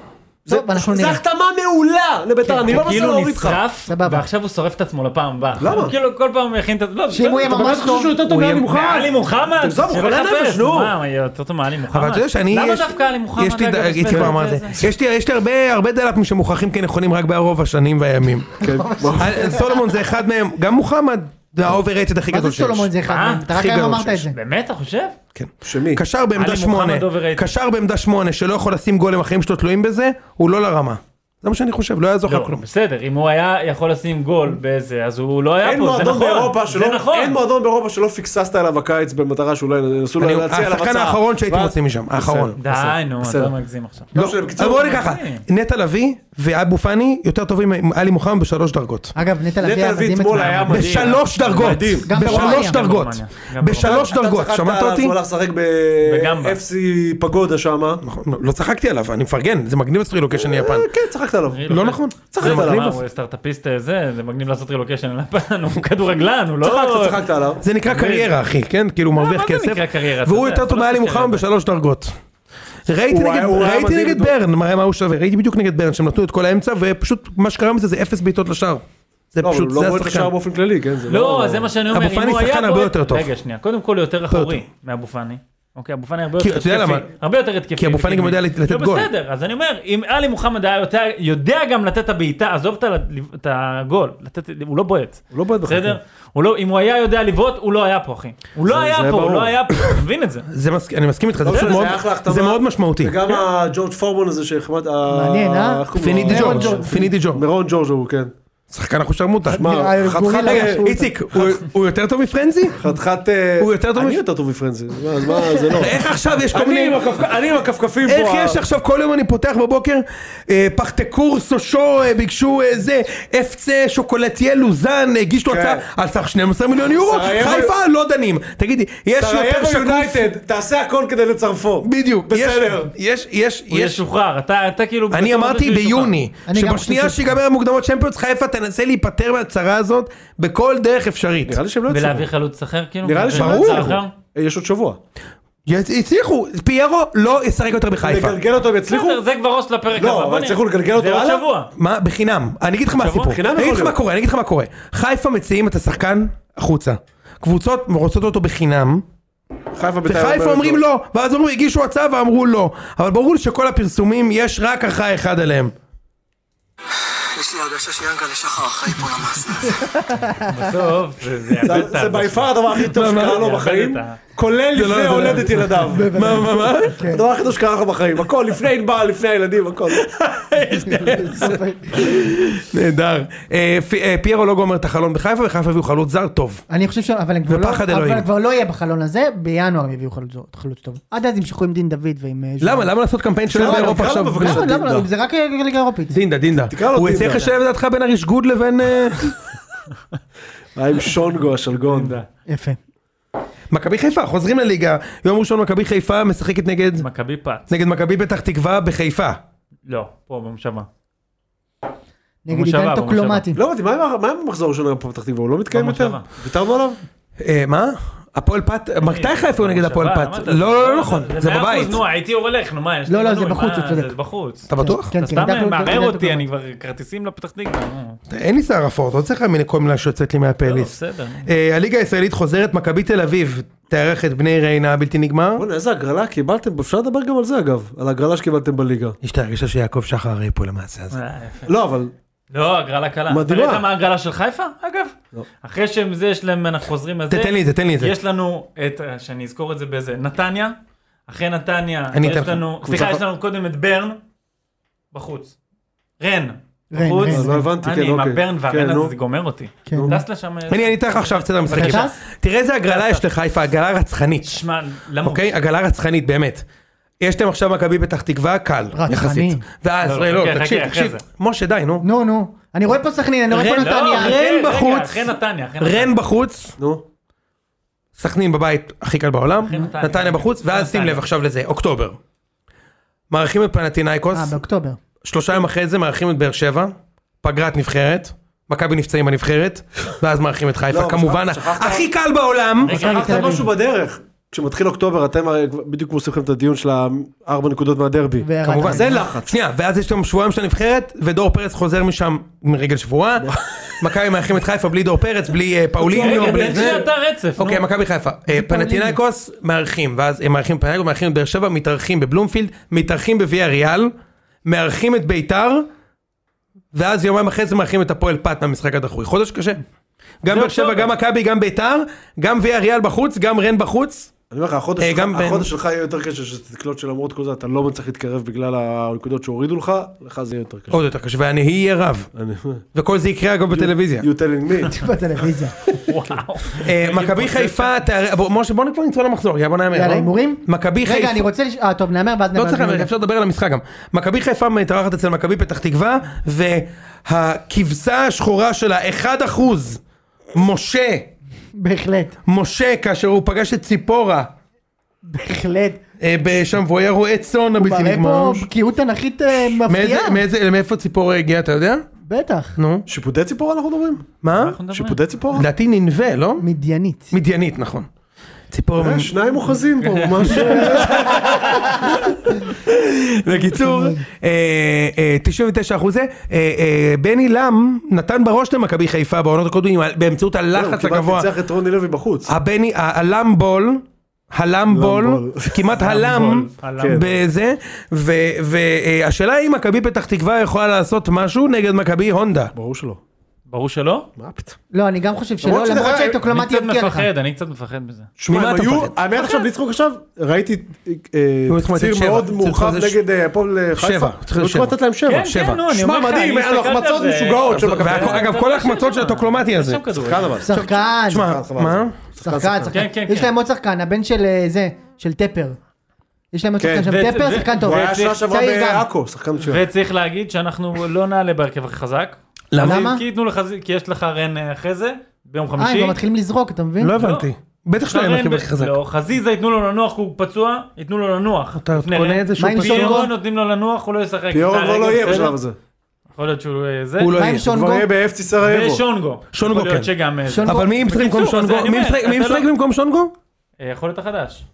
זה טוב, אנחנו זה נראה. החתמה מעולה לביתר, אני לא הוא מנסה כאילו להוריד לך. נשרף, סבבה. ועכשיו הוא שורף את עצמו לפעם הבאה. למה? הוא כאילו כל פעם הוא יכין את... לא, שאם הוא יהיה אתה ממש באמת טוב, חושב שהוא יותר הוא יהיה- מוחמד? עלי מוחמד? עזוב, הוא שלא חולה יחפש, נפש, נו. מה, יהיה יותר טוב מעלי מוחמד? אבל אתה יודע שאני... למה יש- דווקא עלי מוחמד? יש לי אגב, ד- יש איציק בזה- כבר אמר את זה. יש לי- יש לי הרבה- הרבה דלפים שמוכחים כנכונים רק ברוב השנים והימים. כן, אה, סולומון זה אחד מהם, גם מוחמד זה האוברייטד הכי מה גדול זה שיש. סולומון זה אחד אה, מהם? אתה רק הכי היום גדול אמרת את שיש. זה. באמת, אתה חושב? כן. שמי? קשר עלי בעמדה שמונה, מוחמד overrated. קשר בעמדה שמונה שלא יכול לשים גולים החיים שלו תלויים בזה, הוא לא לרמה. זה מה שאני חושב, לא יעזור לך לא, כלום. בסדר, אם הוא היה יכול לשים גול באיזה, אז הוא לא היה אין פה, זה מועדון נכון. באירופה זה שלא, נכון. אין מועדון באירופה שלא פיקססת אליו הקיץ במטרה שאולי ינסו אני- לו להציע עליו השחקן האחרון שהייתי ואז- מוציא משם, האחרון. די, נו, בסדר. אתה מגזים עכשיו. לא משנה, אז בקיצור, בואו נגיד ככה, נטע לביא ואבו פאני יותר טובים מעלי מוחמד בשלוש דרגות. אגב, נטע לביא נטע היה לביא מדהים אתמול אתמול. היה מדהים. בשלוש דרגות, מדהים. גם בשלוש ברומניה. דרגות, גם ברומניה. בשלוש דרגות, אתה שמעת צחקת עליו, אותי? הוא הלך לשחק בגמבה. ב-FC פגודה שמה. נכון, לא- לא צחקתי עליו, אני מפרגן, זה מגניב לסטרילוקיישן יפן. כן, צחקת עליו. לא נכון, צחקת זה עליו. מגניב. מה, הוא סטארטאפיסט אה, זה, זה מגניב לעשות רילוקיישן על הפן, הוא כדורגלן, הוא לא... צחקת, צחקת עליו. זה נקרא קריירה אחי, כן? כאילו אה, הוא מרוויח מה זה כסף. נקרא קריירה? אתה והוא יודע, יותר אתה טוב לא מעלי מסתכל מוחמד על זה. בשלוש דרגות. ראיתי הוא היה- נגד, הוא היה ראיתי מדהים נגד איתו. ברן, מראה מה הוא שווה, ראיתי בדיוק נגד ברן, שהם נתנו את כל האמצע, ופשוט מה שקרה מזה זה אפס בעיטות לשער. זה לא, אבל פשוט, הוא זה לא בועט השחקן. לשער באופן כללי, כן? זה לא, זה מה שאני אומר, אבו אם פאני הוא היה שחקן הרבה בועט- יותר טוב. רגע, שנייה, קודם כל הוא יותר אחורי מאבו פאני. אוקיי, אבו פאני הרבה כי יותר אתה יודע התקפי. למה? הרבה יותר התקפי. כי אבו פאני גם יודע וקדמי. לתת לא, גול. בסדר, אז אני אומר, אם עלי מוחמד היה יותר- יודע גם לתת את הבעיטה, עזוב את ה- את הגול, לתת- הוא לא בועט. הוא לא בועט בכלל. בסדר? כן. הוא לא, אם הוא היה יודע לבעוט, הוא לא היה פה, אחי. הוא לא היה זה פה, הוא ברור. לא היה פה, אתה מבין את זה. זה מס- אני מסכים לא איתך, זה לא משנה, פשוט זה מאוד- היה אחלה החתמה. זה מאוד משמעותי. וגם כן. הג'ורג' פורבון הזה שהחמד... מעניין, אה? פינידי מירון ג'ורג', ג'ורג'. פינידי ג'ורג', מירון ג'ורג' הוא, כן. שחקן אחושרמוטה. מה, נראה חתיכת- גורילה רגע, משהו. איציק, הוא- הוא יותר טוב מפרנזי? חתיכת... אה, הוא יותר טוב מפ- אני יותר טוב מפרנזי. אז מה, זה לא. איך עכשיו יש כל אני מיני... עם הקפק- אני עם הכפכפים פה. איך יש ה- עכשיו כל יום אני פותח בבוקר אה, פחתקור סושו אה, ביקשו אה, זה אפצה שוקולטייה לוזן אה, הגיש לו כן. הצעה על סך 12 מיליון יורו סרייבו- חיפה לא דנים תגידי יש יותר סרייבו שקוף אה, יונייטד, תעשה הכל כדי לצרפו. בדיוק יש- בסדר. יש יש הוא יש ישוחרר, אתה אתה כאילו... אני אמרתי ביוני אני גם שבשנייה חושב- שיגמר המוקדמות צ'מפיונס חיפה תנסה להיפטר מהצרה הזאת בכל דרך אפשרית נראה לי שהם לא ולהביא יצליחו. חלוץ אחר, כאילו? נראה לי שהם לא ברור. חלוץ יצליחו. אחר? אה, יש עוד שבוע. יצ- הצליחו פיירו לא ישחק יותר בחיפה לגלגל אותו הם יצליחו? בסדר, זה כבר ראש לפרק הבא. לא, בוא אבל נראה. יצליחו לגלגל אותו זה עוד הלאה? שבוע. מה בחינם אני אגיד לך מה שבוע? הסיפור חינם אני אגיד יכול לך מה להיות. קורה אני אגיד לך מה קורה חיפה מציעים את השחקן החוצה קבוצות רוצות אותו בחינם חיפה בית"ר הרבה וחיפה אומרים יותר. לא ואז אומרים הגישו הצעה ואמרו לא אבל ברור שכל הפרסומים יש רק אחראי אחד עליהם יש לי הרגשה שיאנקלה שחר אחראי פה למעשה הזה. בסוף, זה זה יאבד את זה- לא, זה ה- by far הדבר הכי לא, טוב מה, מה? שקרה לו יאבד בחיים, את ה- כולל לא, לפני זה לא. הולדת כן. ילדיו. מה מה מה הדבר הכי טוב שקרה לך בחיים, הכל, לפני ענבל, לפני הילדים, הכל. נהדר אה, פי- אה, פיירו לא גומר את החלון בחיפה וחיפה הביאו חלוץ זר טוב אני חושב ש... אבל הם כבר לא... ופחד אלוהים. אבל כבר לא יהיה בחלון הזה, בינואר הם יביאו חלוץ- חלוץ טוב. עד אז ימשכו עם דין דוד ועם... אה, למה למה לעשות קמפיין שלו למה? באירופה למה עכשיו לא? בבקשה? למה? למה? דינדה. זה רק אה, ליגה אירופית. דינדה דינדה תקרא לו הוא דינדה. צריך לשלב את דעתך בין הרשגוד לבין אה, מה עם שונגו השלגון? יפה. מכבי חיפה חוזרים לליגה יום ראשון מכבי חיפה משחקת נגד מכבי פת. נגד מכבי פתח תקווה בחיפה לא, פה במושבה. נגד במושבה, עידן במושבה. טוקלומטי. לא הבנתי, מה עם- מה עם המחזור הראשון היום פה בפתח תקווה? הוא לא מתקיים יותר? במושבה. ויתרנו עליו? אה, מה? הפועל פת? אה, מתי חיפה הוא נגד הפועל במושבה, פת? למה אתה- לא לא לא נכון, זה מאה בבית. אחוז, נו, הייתי הולך, נו מה, יש לי לא, לא, זה מנוי, בחוץ, מה, הוא צודק. זה בחוץ. אתה בטוח? כן, אתה כן, עידן סתם טוקלומטי. מערער אותי, טוקלומטי. אני כבר כרטיסים לפתח תקווה. נו. אין לי שער אפור, לא צריך להאמין לכל מילה שיוצאת לי לא, מהפליס. בסדר. אה, הליגה הישראלית חוזרת, מכבי תל אביב תארח את בני ריינה הבלתי נגמר. בוא'נה, איזה הגרלה קיבלתם, אפשר לדבר גם על זה אגב, על ההגרלה שקיבלתם בליגה. יש את ההרגשה שיעקב שחר אה, פה למעשה הזה. אה, יפה. לא, אבל לא, הגרלה קלה. מדהימה. אתה ראית מה הגרלה של חיפה, אגב? לא. אחרי שהם זה, יש להם, אנחנו חוזרים לזה. תתן לי את זה, תן לי את זה. יש לנו את, אה, שאני אזכור את זה באיזה, נתניה. אחרי נתניה, אני אתן יש לך. לנו, קבוצה סליחה, אחת. יש לנו קודם את ברן, בחוץ. רן, רן, בחוץ. רן. אז לא הבנתי, כן, אני עם אוקיי. הברן כן, והרן נו. הזה, זה גומר אותי. כן. טס לשם... אני אני אתן לך עכשיו סדר המשחקים. אתה טס? תראה איזה הגרלה יש לחיפה, הגרלה רצחנית. שמע, למה? אוקיי? הגרלה רצחנית באמת. יש להם עכשיו מכבי פתח תקווה, קל, רצחני. יחסית. ואז, לא, לא, לא, חכה, תקשיב, חכה, אחרי תקשיב. זה. משה די, נו. נו, נו. אני רואה פה סכנין, אני רואה פה רן, לא, נתניה. חכה, רן רגע, בחוץ. אחרי נתניה, אחרי נתניה. רן בחוץ, נו, סכנין בבית הכי קל בעולם, נתניה. נתניה בחוץ, ואז נתניה. שים לב עכשיו לזה, אוקטובר. מארחים את פנטינאיקוס, אה, באוקטובר. שלושה ימים אחרי זה מארחים את באר שבע, פגרת נבחרת, מכבי נפצעים בנבחרת, ואז מארחים את חיפה, לא, כמובן, שכח- שכחת- הכי קל בעולם, רגע, מכבי שכחת תל אביב. משהו בדרך. כשמתחיל אוקטובר אתם הרי כבר- בדיוק עושים לכם את הדיון של הארבע נקודות מהדרבי. וירד. כמובן. לא- אז אין לחץ. שנייה, ואז יש גם שבועיים של הנבחרת, ודור פרץ חוזר משם מרגל שבועה, מכבי מארחים את חיפה בלי דור פרץ, בלי אה, פאוליניו, אוקיי, רגע, בלי תן זה. שאתה רצף, נו. אוקיי, מכבי חיפה. אה, פנטינאיקוס מארחים, ואז הם מארחים פנטינאיקוס, מארחים את באר שבע, מתארחים בבלומפילד, מתארחים בוויה ריאל, מארחים את ביתר, ואז יומיים אחרי זה מארחים את הפועל פת מהמשחק הדחוי. חודש קשה. גם באר שבע, אוקטובר. גם מכבי, גם ביתר, גם ויה ריאל בחוץ, גם רן בחוץ. אני אומר לך, החודש אה, שלך- גם בן- החודש שלך יהיה יותר קשה שתקלוט שלמרות כל זה אתה לא מצליח להתקרב בגלל הנקודות שהורידו לך, לך זה יהיה יותר קשה. עוד יותר קשה, והנהי יהיה רב. אני- וכל זה יקרה אגב בטלוויזיה. You telling me. בטלוויזיה. נכון. וואו. אה, מכבי חיפה, תאר- בוא- משה בוא כבר נצא למחזור, יאללה בוא נאמר. יאללה, לא? הימורים? מכבי חיפה. רגע, אני רוצה... לש- אה, טוב, נאמר ואז לא צריך נאמר. להמר, אפשר לדבר על המשחק גם. מכבי חיפה מתארחת אצל מכבי פתח תקווה, והכבשה השחורה שלה, 1% משה, בהחלט, משה, כאשר הוא פגש את ציפורה, בהחלט. אה, בשם, והוא היה רועה צאן הבלתי מראה נגמר. פה בקיאות תנכית אה, מאיזה- מפתיעה. מאיזה- מאיפה ציפורה הגיעה, אתה יודע? בטח. נו. שיפודי ציפור אנחנו מדברים? מה? אנחנו מדברים. שיפודי ציפור? לדעתי ננבה, לא? מדיינית. מדיינית, נכון. ציפורה... אה, שניים אוחזים פה, ממש... אה, לא, בקיצור, אה, אה, 99 אחוז זה, אה, אה, בני לם נתן בראש למכבי חיפה בעונות הקודמים על- באמצעות הוא הלחץ כמעט הגבוה. אה. ניצח את רוני לוי בחוץ. הבני, ה- הלמבול, הלמבול, למבול. כמעט הלם, כן. בזה, והשאלה היא אם מכבי פתח תקווה יכולה לעשות משהו נגד מכבי הונדה. ברור שלא. ברור שלא? מה פתאום? לא, אני גם חושב שלא, למרות שזה- למרות אני שהטוקלומטי קצת יבקיע לך. מפחד, אני קצת מפחד מזה. שמע, ממה הם אתה היו, מפחד? האמת אוקיי. עכשיו ניצחו עכשיו, ראיתי אה, היו צריכים לתת תקציר שבע. מאוד צריך מורחב לתת ש- נגד אה, הפועל חיפה. שבע, צריך היו צריכים שבע. לתת להם שבע. כן, שבע. כן, נו, אני שמע, אומר לך, מדהים, אני היה לו הסתכלתי על החמצות זה. משוגעות של מכבי והכל- חיפה. אגב, כל ההחמצות של הטוקלומטי הזה. לא שם כדורגל. שחקן אבל. שחקן. שמע, חבל. מה? שחקן, שחקן. כן, כן, יש כן. להם עוד שחקן, הבן של אה, זה, של טפר. יש להם עוד כן. שחקן ו- שם, טפר, ו- שחקן טוב. הוא היה שנה שעברה צעיר גם. בעכו, שחקן מצוין. כן. וצריך להגיד שאנחנו לא נעלה בהרכב הכי חזק. למה? למה? כי ייתנו לך, כי יש לך רן אה, אחרי זה, ביום אה, חמישי. הם כבר מתחילים לזרוק, אתה מבין? לא הבנתי. בטח שלא עכשיו יהיה רן מרכיב ב- הכי חזק. לא, חזיזה ייתנו לו לנוח, הוא פצוע, ייתנו לו לנוח. אתה לפני קונה רן. את זה שהוא מה עם פשוט... סונגו? פיורו נותנים לו לנוח, הוא לא ישחק. פיורו יצא כבר לא רגל, יהיה בסדר? בשלב הזה. יכול להיות שהוא אה, זה. הוא לא מה עם יהיה. הוא כבר שונגו? יהיה באפסי סרייבו. ושונגו. שונגו, יכול להיות כן. שגם... אה, זה. שונגו. אבל מי משחק במקום בקיצור, אז שונגו? אני מי אומר, משחק- מי אתה משחק לא- במקום שונגו? אה, יכול להיות החדש.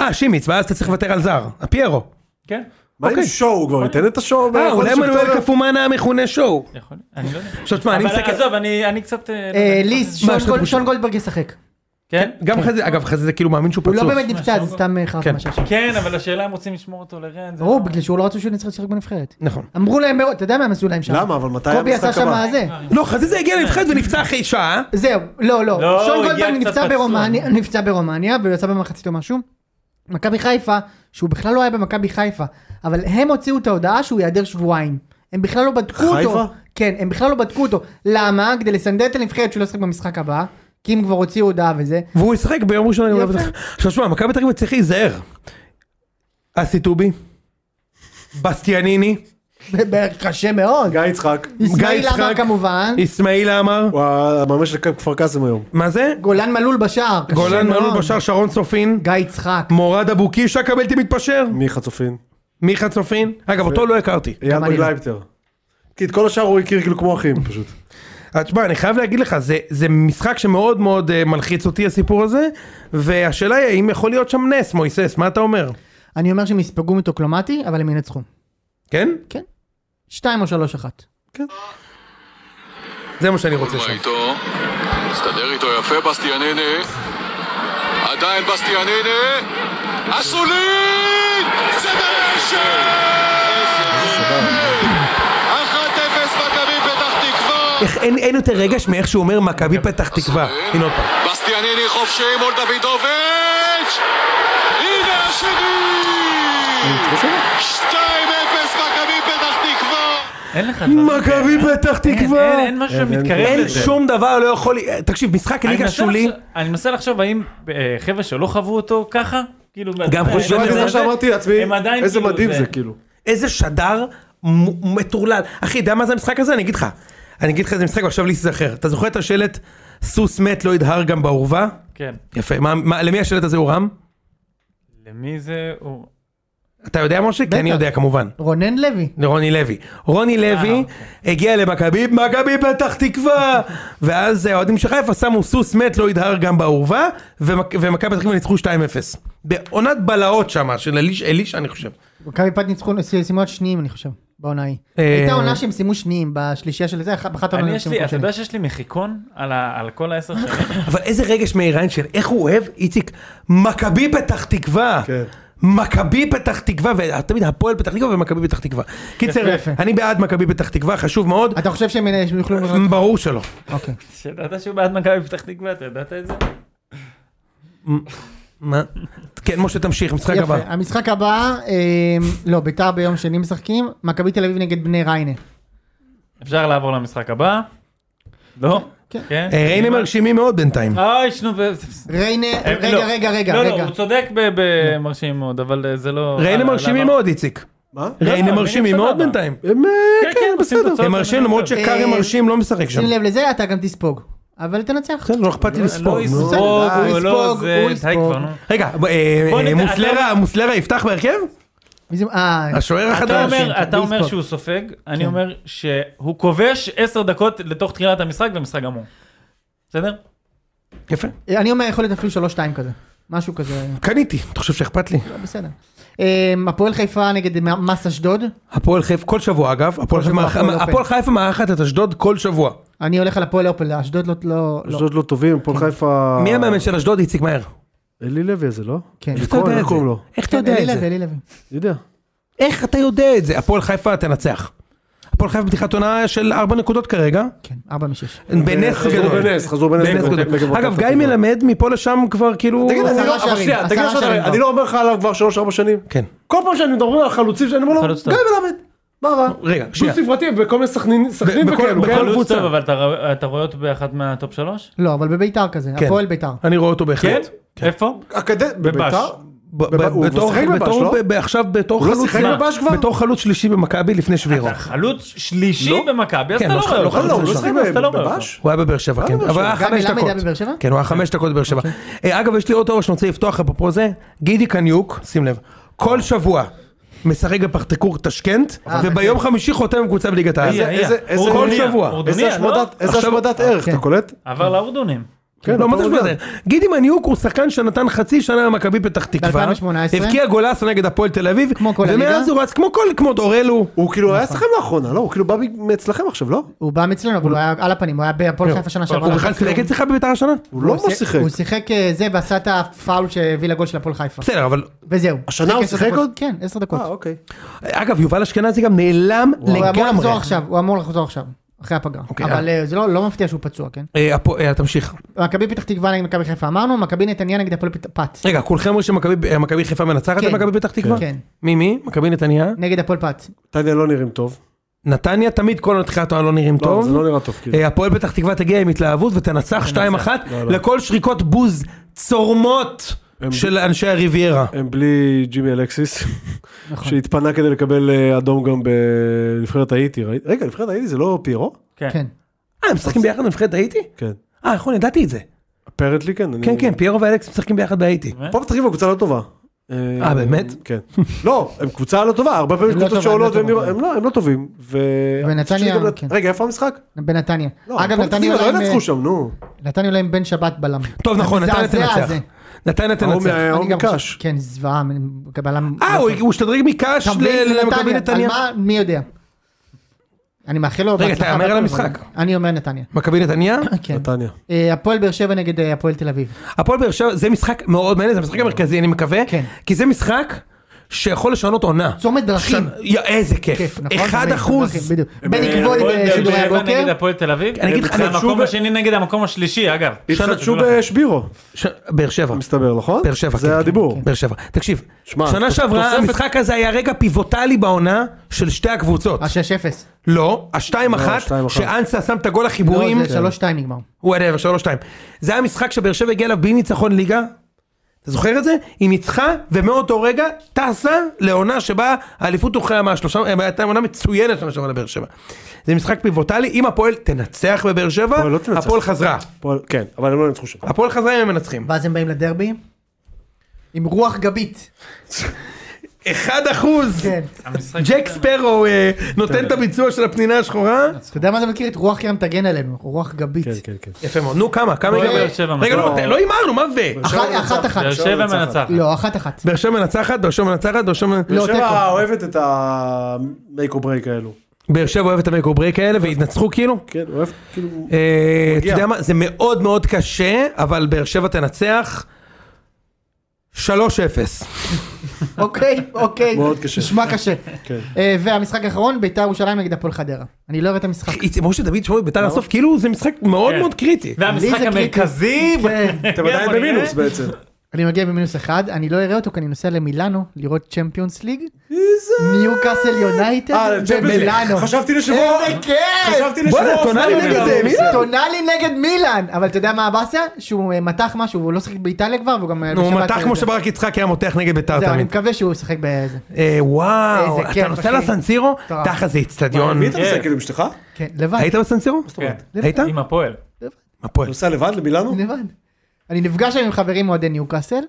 אה, שימיץ, ואז אתה צריך לוותר על זר. הפיירו. כן, מה עם אוקיי. שואו? הוא כבר ייתן את השואו? לא, אה, בחודש אולי מנואל אוקטובר? קפומאנה המכונה שואו. יכול להיות, אני לא יודע. עכשיו תשמע, אני אבל מסתכל... עזוב, אני אני קצת... אה, לא אה, יודע. ליז, מה, שון יש לך גול- בושה? שון גולדברג ישחק. כן? גם חזה, אגב חזה זה כאילו מאמין שהוא הוא לא פצוע. באמת נפצע, זה שונגו. סתם אה, חרטא כן. מה שעכשיו. כן, אבל השאלה אם רוצים לשמור אותו לרן. זה ברור, לא- בגלל שהוא לא רצו שהוא נצטרך לשחק בנבחרת. נכון. אמרו להם, מאוד- אתה יודע מה הם עשו להם שם? למה? אבל מתי קובי עשה המשחק שם הבא? זה. לא, חזה זה הגיע לנבחרת ונפצע אחרי שעה. זהו, לא, לא. לא, שון הוא הגיע גולדברג קצת נפצע פצוע. ברומניה, נפצע ברומניה, והוא יצא במחצית או משהו. מכבי חיפה, שהוא בכלל לא היה במכבי חיפה, אבל הם הוציאו את ההודעה שהוא ייעדר שבועיים. הם בכלל לא בדקו אותו. חיפה? כן, הם בכלל לא בדקו אותו. למה? כדי לסנדל את הנבחרת שהוא לא ישחק במשחק הבא, כי הם כבר הוציאו הודעה וזה. והוא ישחק ביום ראשון. אני יפה. אומר, עכשיו שמע, מכבי תל אביב צריך להיזהר. אסי טובי, בסטיאניני, בערך קשה מאוד. גיא יצחק. ישמעאל גיא יצחק. אמר כמובן, אסמאעיל עמר, הוא הממש של כפר קאסם היום. מה זה? גולן מלול בשער. קשה גולן מאוד. מלול בשער, שרון צופין, גיא יצחק. מורד אבו קישה כבלתי מתפשר, מיכה צופין. מיכה צופין, אגב אותו לא הכרתי. אייל אני לא. בגלייפטר. כי את כל השאר הוא הכיר כאילו כמו אחים פשוט. אז תשמע, אני חייב להגיד לך, זה, זה משחק שמאוד מאוד אה, מלחיץ אותי הסיפור הזה, והשאלה היא האם יכול להיות שם נס, מויסס, מה אתה אומר? אני אומר שהם יספגו מטוקלומטי, אבל הם ינצחו. כן? שתיים או שלוש אחת. זה מה שאני רוצה מה שם. איתו? מסתדר איתו יפה בסטיאניני עדיין בסטיאניני אסולין! זה ברשת! 1-0 מכבי פתח תקווה איך, אין, אין יותר רגש מאיך שהוא אומר מכבי פתח תקווה. הנה עוד פעם. בסטיאניני חופשי מול דוידוביץ' הנה השני! 2-0 מכבי פתח תקווה אין לך... דבר. מכבי פתח אין, אין, אין משהו אין, אין, שמתקרב אין לזה. שום דבר לא יכול... אה, תקשיב, משחק אני ליגה מנסה שולי, לחשוב- אני מנסה לחשוב האם אה, חבר'ה שלא חוו אותו ככה, כאילו... גם אה, חושבים לא, אה, לא, זה אה, מה שאמרתי לעצמי, הם עדיין איזה כאילו מדהים זה כאילו. איזה שדר מ- מטורלל. אחי, יודע מה זה המשחק הזה? אני אגיד לך. אני אגיד לך איזה משחק ועכשיו להיזכר. אתה זוכר את השלט סוס מת לא ידהר גם באורווה? כן. יפה. מה, מה, למי השלט הזה הורם? למי זה... הוא- אתה יודע משה? כי אני בטח. יודע כמובן. רונן לוי. לרוני לוי. רוני לוי הגיע למכבי, מכבי פתח תקווה! ואז אה, האוהדים של חיפה שמו סוס מת לא ידהר גם באורווה, ומק- ומכבי פתח תקווה ניצחו 2-0. בעונת בלהות שמה, של אליש- אלישע אני חושב. מכבי פת ניצחו, אה, סיימו עד שניים אני חושב, בעונה ההיא. אה, הייתה עונה שהם סיימו שניים בשלישייה של זה, אח- באחת אני העונות יש שהם לי, מקום אתה שני. יודע שיש לי מחיקון על ה- על כל העשר שנים? אבל איזה רגש מאיר איינשטיין, איך הוא אוהב, איציק, מכבי פתח תקווה. כן. מכבי פתח תקווה, ותמיד הפועל פתח תקווה ומכבי פתח תקווה. קיצר, יפה. אני בעד מכבי פתח תקווה, חשוב מאוד. אתה חושב שהם אה, שהם יוכלו... ברור שלא. אוקיי. שידעת שהוא בעד מכבי פתח תקווה, אתה ידעת את זה? מה? כן, משה, תמשיך, משחק יפה. הבא. המשחק הבא, אה, לא, ביתר ביום שני משחקים, מכבי תל אביב נגד בני ריינה. אפשר לעבור למשחק הבא? לא? כן. כן. אה, ריינה מרשימים מאוד בינתיים. אוי, שנו... ו- ריינה, הם- לא. רגע, רגע, רגע, לא, לא, רגע. הוא צודק ב- במרשים מאוד, אבל אה, זה לא... ריינה למה- מרשימים למה- מאוד, איציק. מה? ריינה לא, מרשימים ריינה מאוד סבבה. בינתיים. הם, אה, כן, כן, עושים תוצאות. הם מרשים למרות בסדר. שקארי אה, מרשים לא משחק שם. שים לב לזה, אתה גם תספוג. אבל תנצח. בסדר, לא אכפת לי לא לספוג. נו. יספוג, בסדר, הוא הוא לא יספוג, זה... הוא די כבר, יספוג. נו. רגע, אה, אה, בוא נדע, מוסלרה- מוסלרה יפתח בהרכב? מי זה- אה, השוער אתה החדש. אומר, אתה אומר ויספוג. שהוא סופג, כן. אני אומר שהוא כובש 10 דקות לתוך תחילת המשחק ומשחק גמור. בסדר? כן, יפה. אני אומר יכול להיות אפילו 3-2 כזה. משהו כזה, קניתי, אתה חושב שאכפת לי? לא, בסדר. אה, הפועל חיפה נגד מ- מס אשדוד, הפועל חיפה, כל שבוע אגב, הפועל חיפה שבוע מארח- הפועל אופל. הפועל חיפה מארחת את אשדוד כל שבוע. אה. אני הולך על הפועל אופל, אשדוד לא- לא... לא. אשדוד לא טובים, הפועל חיפה... מי המאמן של אשדוד, איציק מהר? אלי לוי הזה, לא? כן. איך אתה יודע איך את קוראים לו? זה? איך אתה כן, יודע אלי את לוי, זה? אלי לוי. אני יודע. איך אתה יודע את זה? הפועל חיפה תנצח. הפועל חיפה פתיחת עונה של 4 נקודות כרגע, אה, כן, 4 מ-6. בנס חזרו גדול. בנס, חזרו בנס בנס נגד- נגד גדול. מכבי אגב, פתח גיא תקווה. מלמד מפה לשם כבר כאילו... אה, תגיד, אני עשרה לא- אבל שערים, שנייה, תגיד עשרה עכשיו, שערים אני כבר. לא אומר לך עליו כבר שלוש ארבע שנים. כן. כל פעם שאני מדברים על חלוצים, שאני אומר לו, חלוץ גיא טוב. מלמד, מה רע? רגע, דו שנייה. ספרתי בכל מיני סכנין- סכנין בכל- וכאלו, בכל כן? חלוץ קבוצה. טוב, אבל אתה ר- אתה רואה אותו באחת מהטופ שלוש? לא, אבל בביתר כזה, כן. הפועל ביתר. אני רואה אותו בהחלט. כן? איפה? אה, בבש. אקד- בביתר? ב- ב- הוא בתור- שיחק בבש, בתור- לא? ב- ב- עכשיו בתור הוא לא חלוץ- שיחק מה? בבש כבר? בתור חלוץ שלישי במכבי לפני שבירו. אתה חלוץ שלישי במכבי, אז לא. כן, אתה לא, לא רואה לא, אותו. לא, הוא לא בסדר, אז אתה לא רואה אותו. בבש? הוא היה בבאר שבע, כן, בבאר אבל שבע. היה גם חמש מלמד דקות. היה בבאר שבע? אוקיי. כן, הוא היה חמש דקות בבאר שבע. אה, אגב, יש לי עוד תיאוריה שאני רוצה לפתוח אפרופו זה, גידי קניוק, שים לב, כל שבוע משחק בפרטקור טשקנט, אה, וביום כן. חמישי חותם עם קבוצה בליגת העל. היה, היה. איזה- איזה- הוא כל דוניה, שבוע. הוא איזה דוניה, לא? השמדת- איזה עכשיו- השמדת ערך, אתה קולט? עבר לאורדונים. כן, לא, מה זה אותו שמונה? עניין. גידי מניוק הוא שחקן שנתן חצי שנה למכבי פתח תקווה, ב-2018. הבקיע גולסו נגד הפועל תל אביב, כמו כל הליגה. ומאז הוא רץ כמו כל, כמו דורלו, הוא כאילו היה אצלכם לאחרונה, לא? הוא כאילו בא מאצלכם עכשיו, לא? הוא בא מאצלנו, אבל הוא היה על הפנים, הוא היה בהפועל חיפה שנה שעברה. כן. הוא בכלל שיחק אצלך בביתר השנה? הוא לא הוא שיחק. הוא שיחק אה, זה ועשה את הפאול שהביא לגול של הפועל חיפה. בסדר, אבל וזהו. השנה הוא עשר שיחק דקות. עוד? כן, עשר דקות. אה, אוקיי. אגב, יובל אשכנזי גם נעלם הוא אמור לגמרי. לחזור עכשיו, הוא אמור לחזור עכשיו, אחרי הפגרה. אוקיי, אבל אה, זה לא לא מפתיע שהוא פצוע, כן? אה, הפו- אה, תמשיך. מכבי פתח תקווה נגד מכבי חיפה אמרנו, מכבי נתניה נגד הפועל פת- פת. רגע, כולכם אומרים שמכבי אה, מכבי חיפה מנצחת כן. את מכבי פתח אה. תקווה? כן. מי מי? מכבי נתניה? נגד הפועל פת. אה. טניה לא נראים טוב. נתניה תמיד כל התחילת העונה לא נראים לא, טוב. זה לא נראה טוב כאילו. אה, הפועל פתח תקווה תגיע עם התלהבות ותנצח 2-1 לא, לכל שריקות בוז צורמות של אנשי הריביירה. הם בלי ג'ימי אלקסיס, שהתפנה כדי לקבל אה, אדום גם בנבחרת האיטי. ראית- רגע, נבחרת האיטי זה לא פיירו? כן. אה, הם משחקים ביחד בנבחרת האיטי? כן. אה, נכון, ידעתי את זה. אפרנטלי כן. אני- כן, כן, פיירו ואלכס משחקים ביחד בהאיטי. פה פתח תקווה קבוצה לא טובה. אה, באמת? כן. לא, הם קבוצה לא טובה, הרבה פעמים הם יש לא קבוצות טובה, שעולות הם לא והם נראות- טובה. הם לא, הם לא טובים. ו- ונתניה, אני חושב שגם- כן. רגע, איפה המשחק? בנתניה. לא, אגב, פה פתח נתניה אה, תקווה אולי לא עם, ינצחו שם, נו. נתניה אולי עם בן שבת בלם. טוב, נכון, נתניה המזעזע תנצח. הזה. נתניה ההוא תנצח. מה- אני גם חושב- מקש. כן, זוועה, מ- בלם. לא אה, הוא הוא השתדרג מקאש אתה מבין? ל- למכבי על נתניה. מה? מי יודע. אני מאחל לו רגע, בהצלחה תהמר על בכל המשחק. הדברים. אני אומר נתניה. מכבי נתניה? כן. נתניה. אה, הפועל באר שבע נגד אה, הפועל תל אביב. הפועל באר שבע זה משחק מאוד מעניין, זה המשחק המרכזי אני מקווה, כן. כי זה משחק שיכול לשנות עונה. צומת דרכים. שנה- יא, איזה כיף, כיף, נכון? אחד צומת אחוז. דרכים, בדיוק. בני הפועל גבולי באר שבע בשידורי נגד הבוקר. הפועל תל אביב. אה, אני אגיד לך, זה התחדשו המקום ב- השני נגד המקום השלישי, אגב. התחדשו שנה- אה, בשבירו, ש- באר שבע. מסתבר, נכון? באר שבע, כן, זה הדיבור. כן, באר שבע. תקשיב, שמע, שנה תוס- שעברה תוספת- המשחק הזה היה רגע פיבוטלי בעונה של שתי הקבוצות. השש אה, אפס. לא, השתיים אחת, השתיים אחת. שאנסה שם את הגול לא, החיבורים, זה שלוש שתיים נגמר. וואטאבר, שלוש שתיים. זה היה משחק שבאר שבע הגיע אליו בלי ניצחון ליגה. אתה זוכר את זה? היא ניצחה, ומאותו רגע טסה לעונה שבה האליפות הוכרעה מהשלושה, אה, הייתה עונה מצוינת שנה שעברה לבאר שבע. זה משחק פיבוטלי, אם הפועל תנצח בבאר שבע, הפועל לא תנצח. הפועל חזרה. פועל- כן, אבל הם לא ניצחו שם. הפועל חזרה אם הם מנצחים. ואז הם באים לדרבי. עם רוח גבית. אחד אחוז! כן. המשחק- ג'ק ספרו אה, כן. נותן את הביצוע של הפנינה השחורה. אתה יודע מה זה מכיר? את רוח ים תגן עלינו. רוח גבית. כן, כן, כן. יפה מאוד, נו כמה? כמה הפועל הגיע באר באר שבע שבע? רגע, לא, מנצחת. לא הימרנו, מה ו? אחת אחת. אחת. באר שבע מנצחת. לא, אחת אחת. באר שבע מנצחת, באר שבע מנצחת, באר שבע... לא, באר שבע תיקו. אוהבת את המייק או ברייק האלו. באר שבע אוהבת את המייק ברייק האלה והתנצחו כאילו? כן, אוהבת כאילו... אה, אתה מגיע. יודע מה, זה מאוד מאוד קשה, אבל באר שבע תנצח 3-0. אוקיי, אוקיי. מאוד קשה. נשמע קשה. כן. אה, והמשחק האחרון, ביתר ירושלים נגד הפועל חדרה. אני לא אוהב את המשחק. איציק, משה דוד שמואל ביתר הסוף, כאילו זה משחק מאוד כן. מאוד קריטי. והמשחק לי זה קריטי. המרכזי. כן. אתם עדיין במינוס בעצם. אני מגיע במינוס אחד, אני לא אראה אותו כי אני נוסע למילאנו לראות צ'מפיונס ליג. ניו קאסל אה, יונייטד צ'מפיונס ליג. במילאנו. חשבתי כן, לשבוע... איזה כיף! חשבתי לשבוע... בואנה, טונאלי אופניים נגד, לא בגלל אה, האופציה. מילאן. טונאלי נגד מילאן! אבל אתה יודע מה הבאסה? שהוא אה, מתח משהו, והוא לא שיחק באיטליה כבר, והוא גם... אה, הוא בשבת מתח אה, כמו זה. שברק יצחק היה מותח נגד ביתר זהו, אני תמיד. מקווה שהוא ישחק באיזה... אה, וואו, איזה אתה כיף, נוסע אחי. לסנסירו? מטורף. תחת זה איצטדיון. מי אתה נוסע כאילו עם אשתך? כן, לבד. היית בסנסירו? כן. היית? עם הפועל. הפועל. נוסע לבד למילאנו? לבד. אני נפגש היום עם חברים אוהדי ניו קאסל,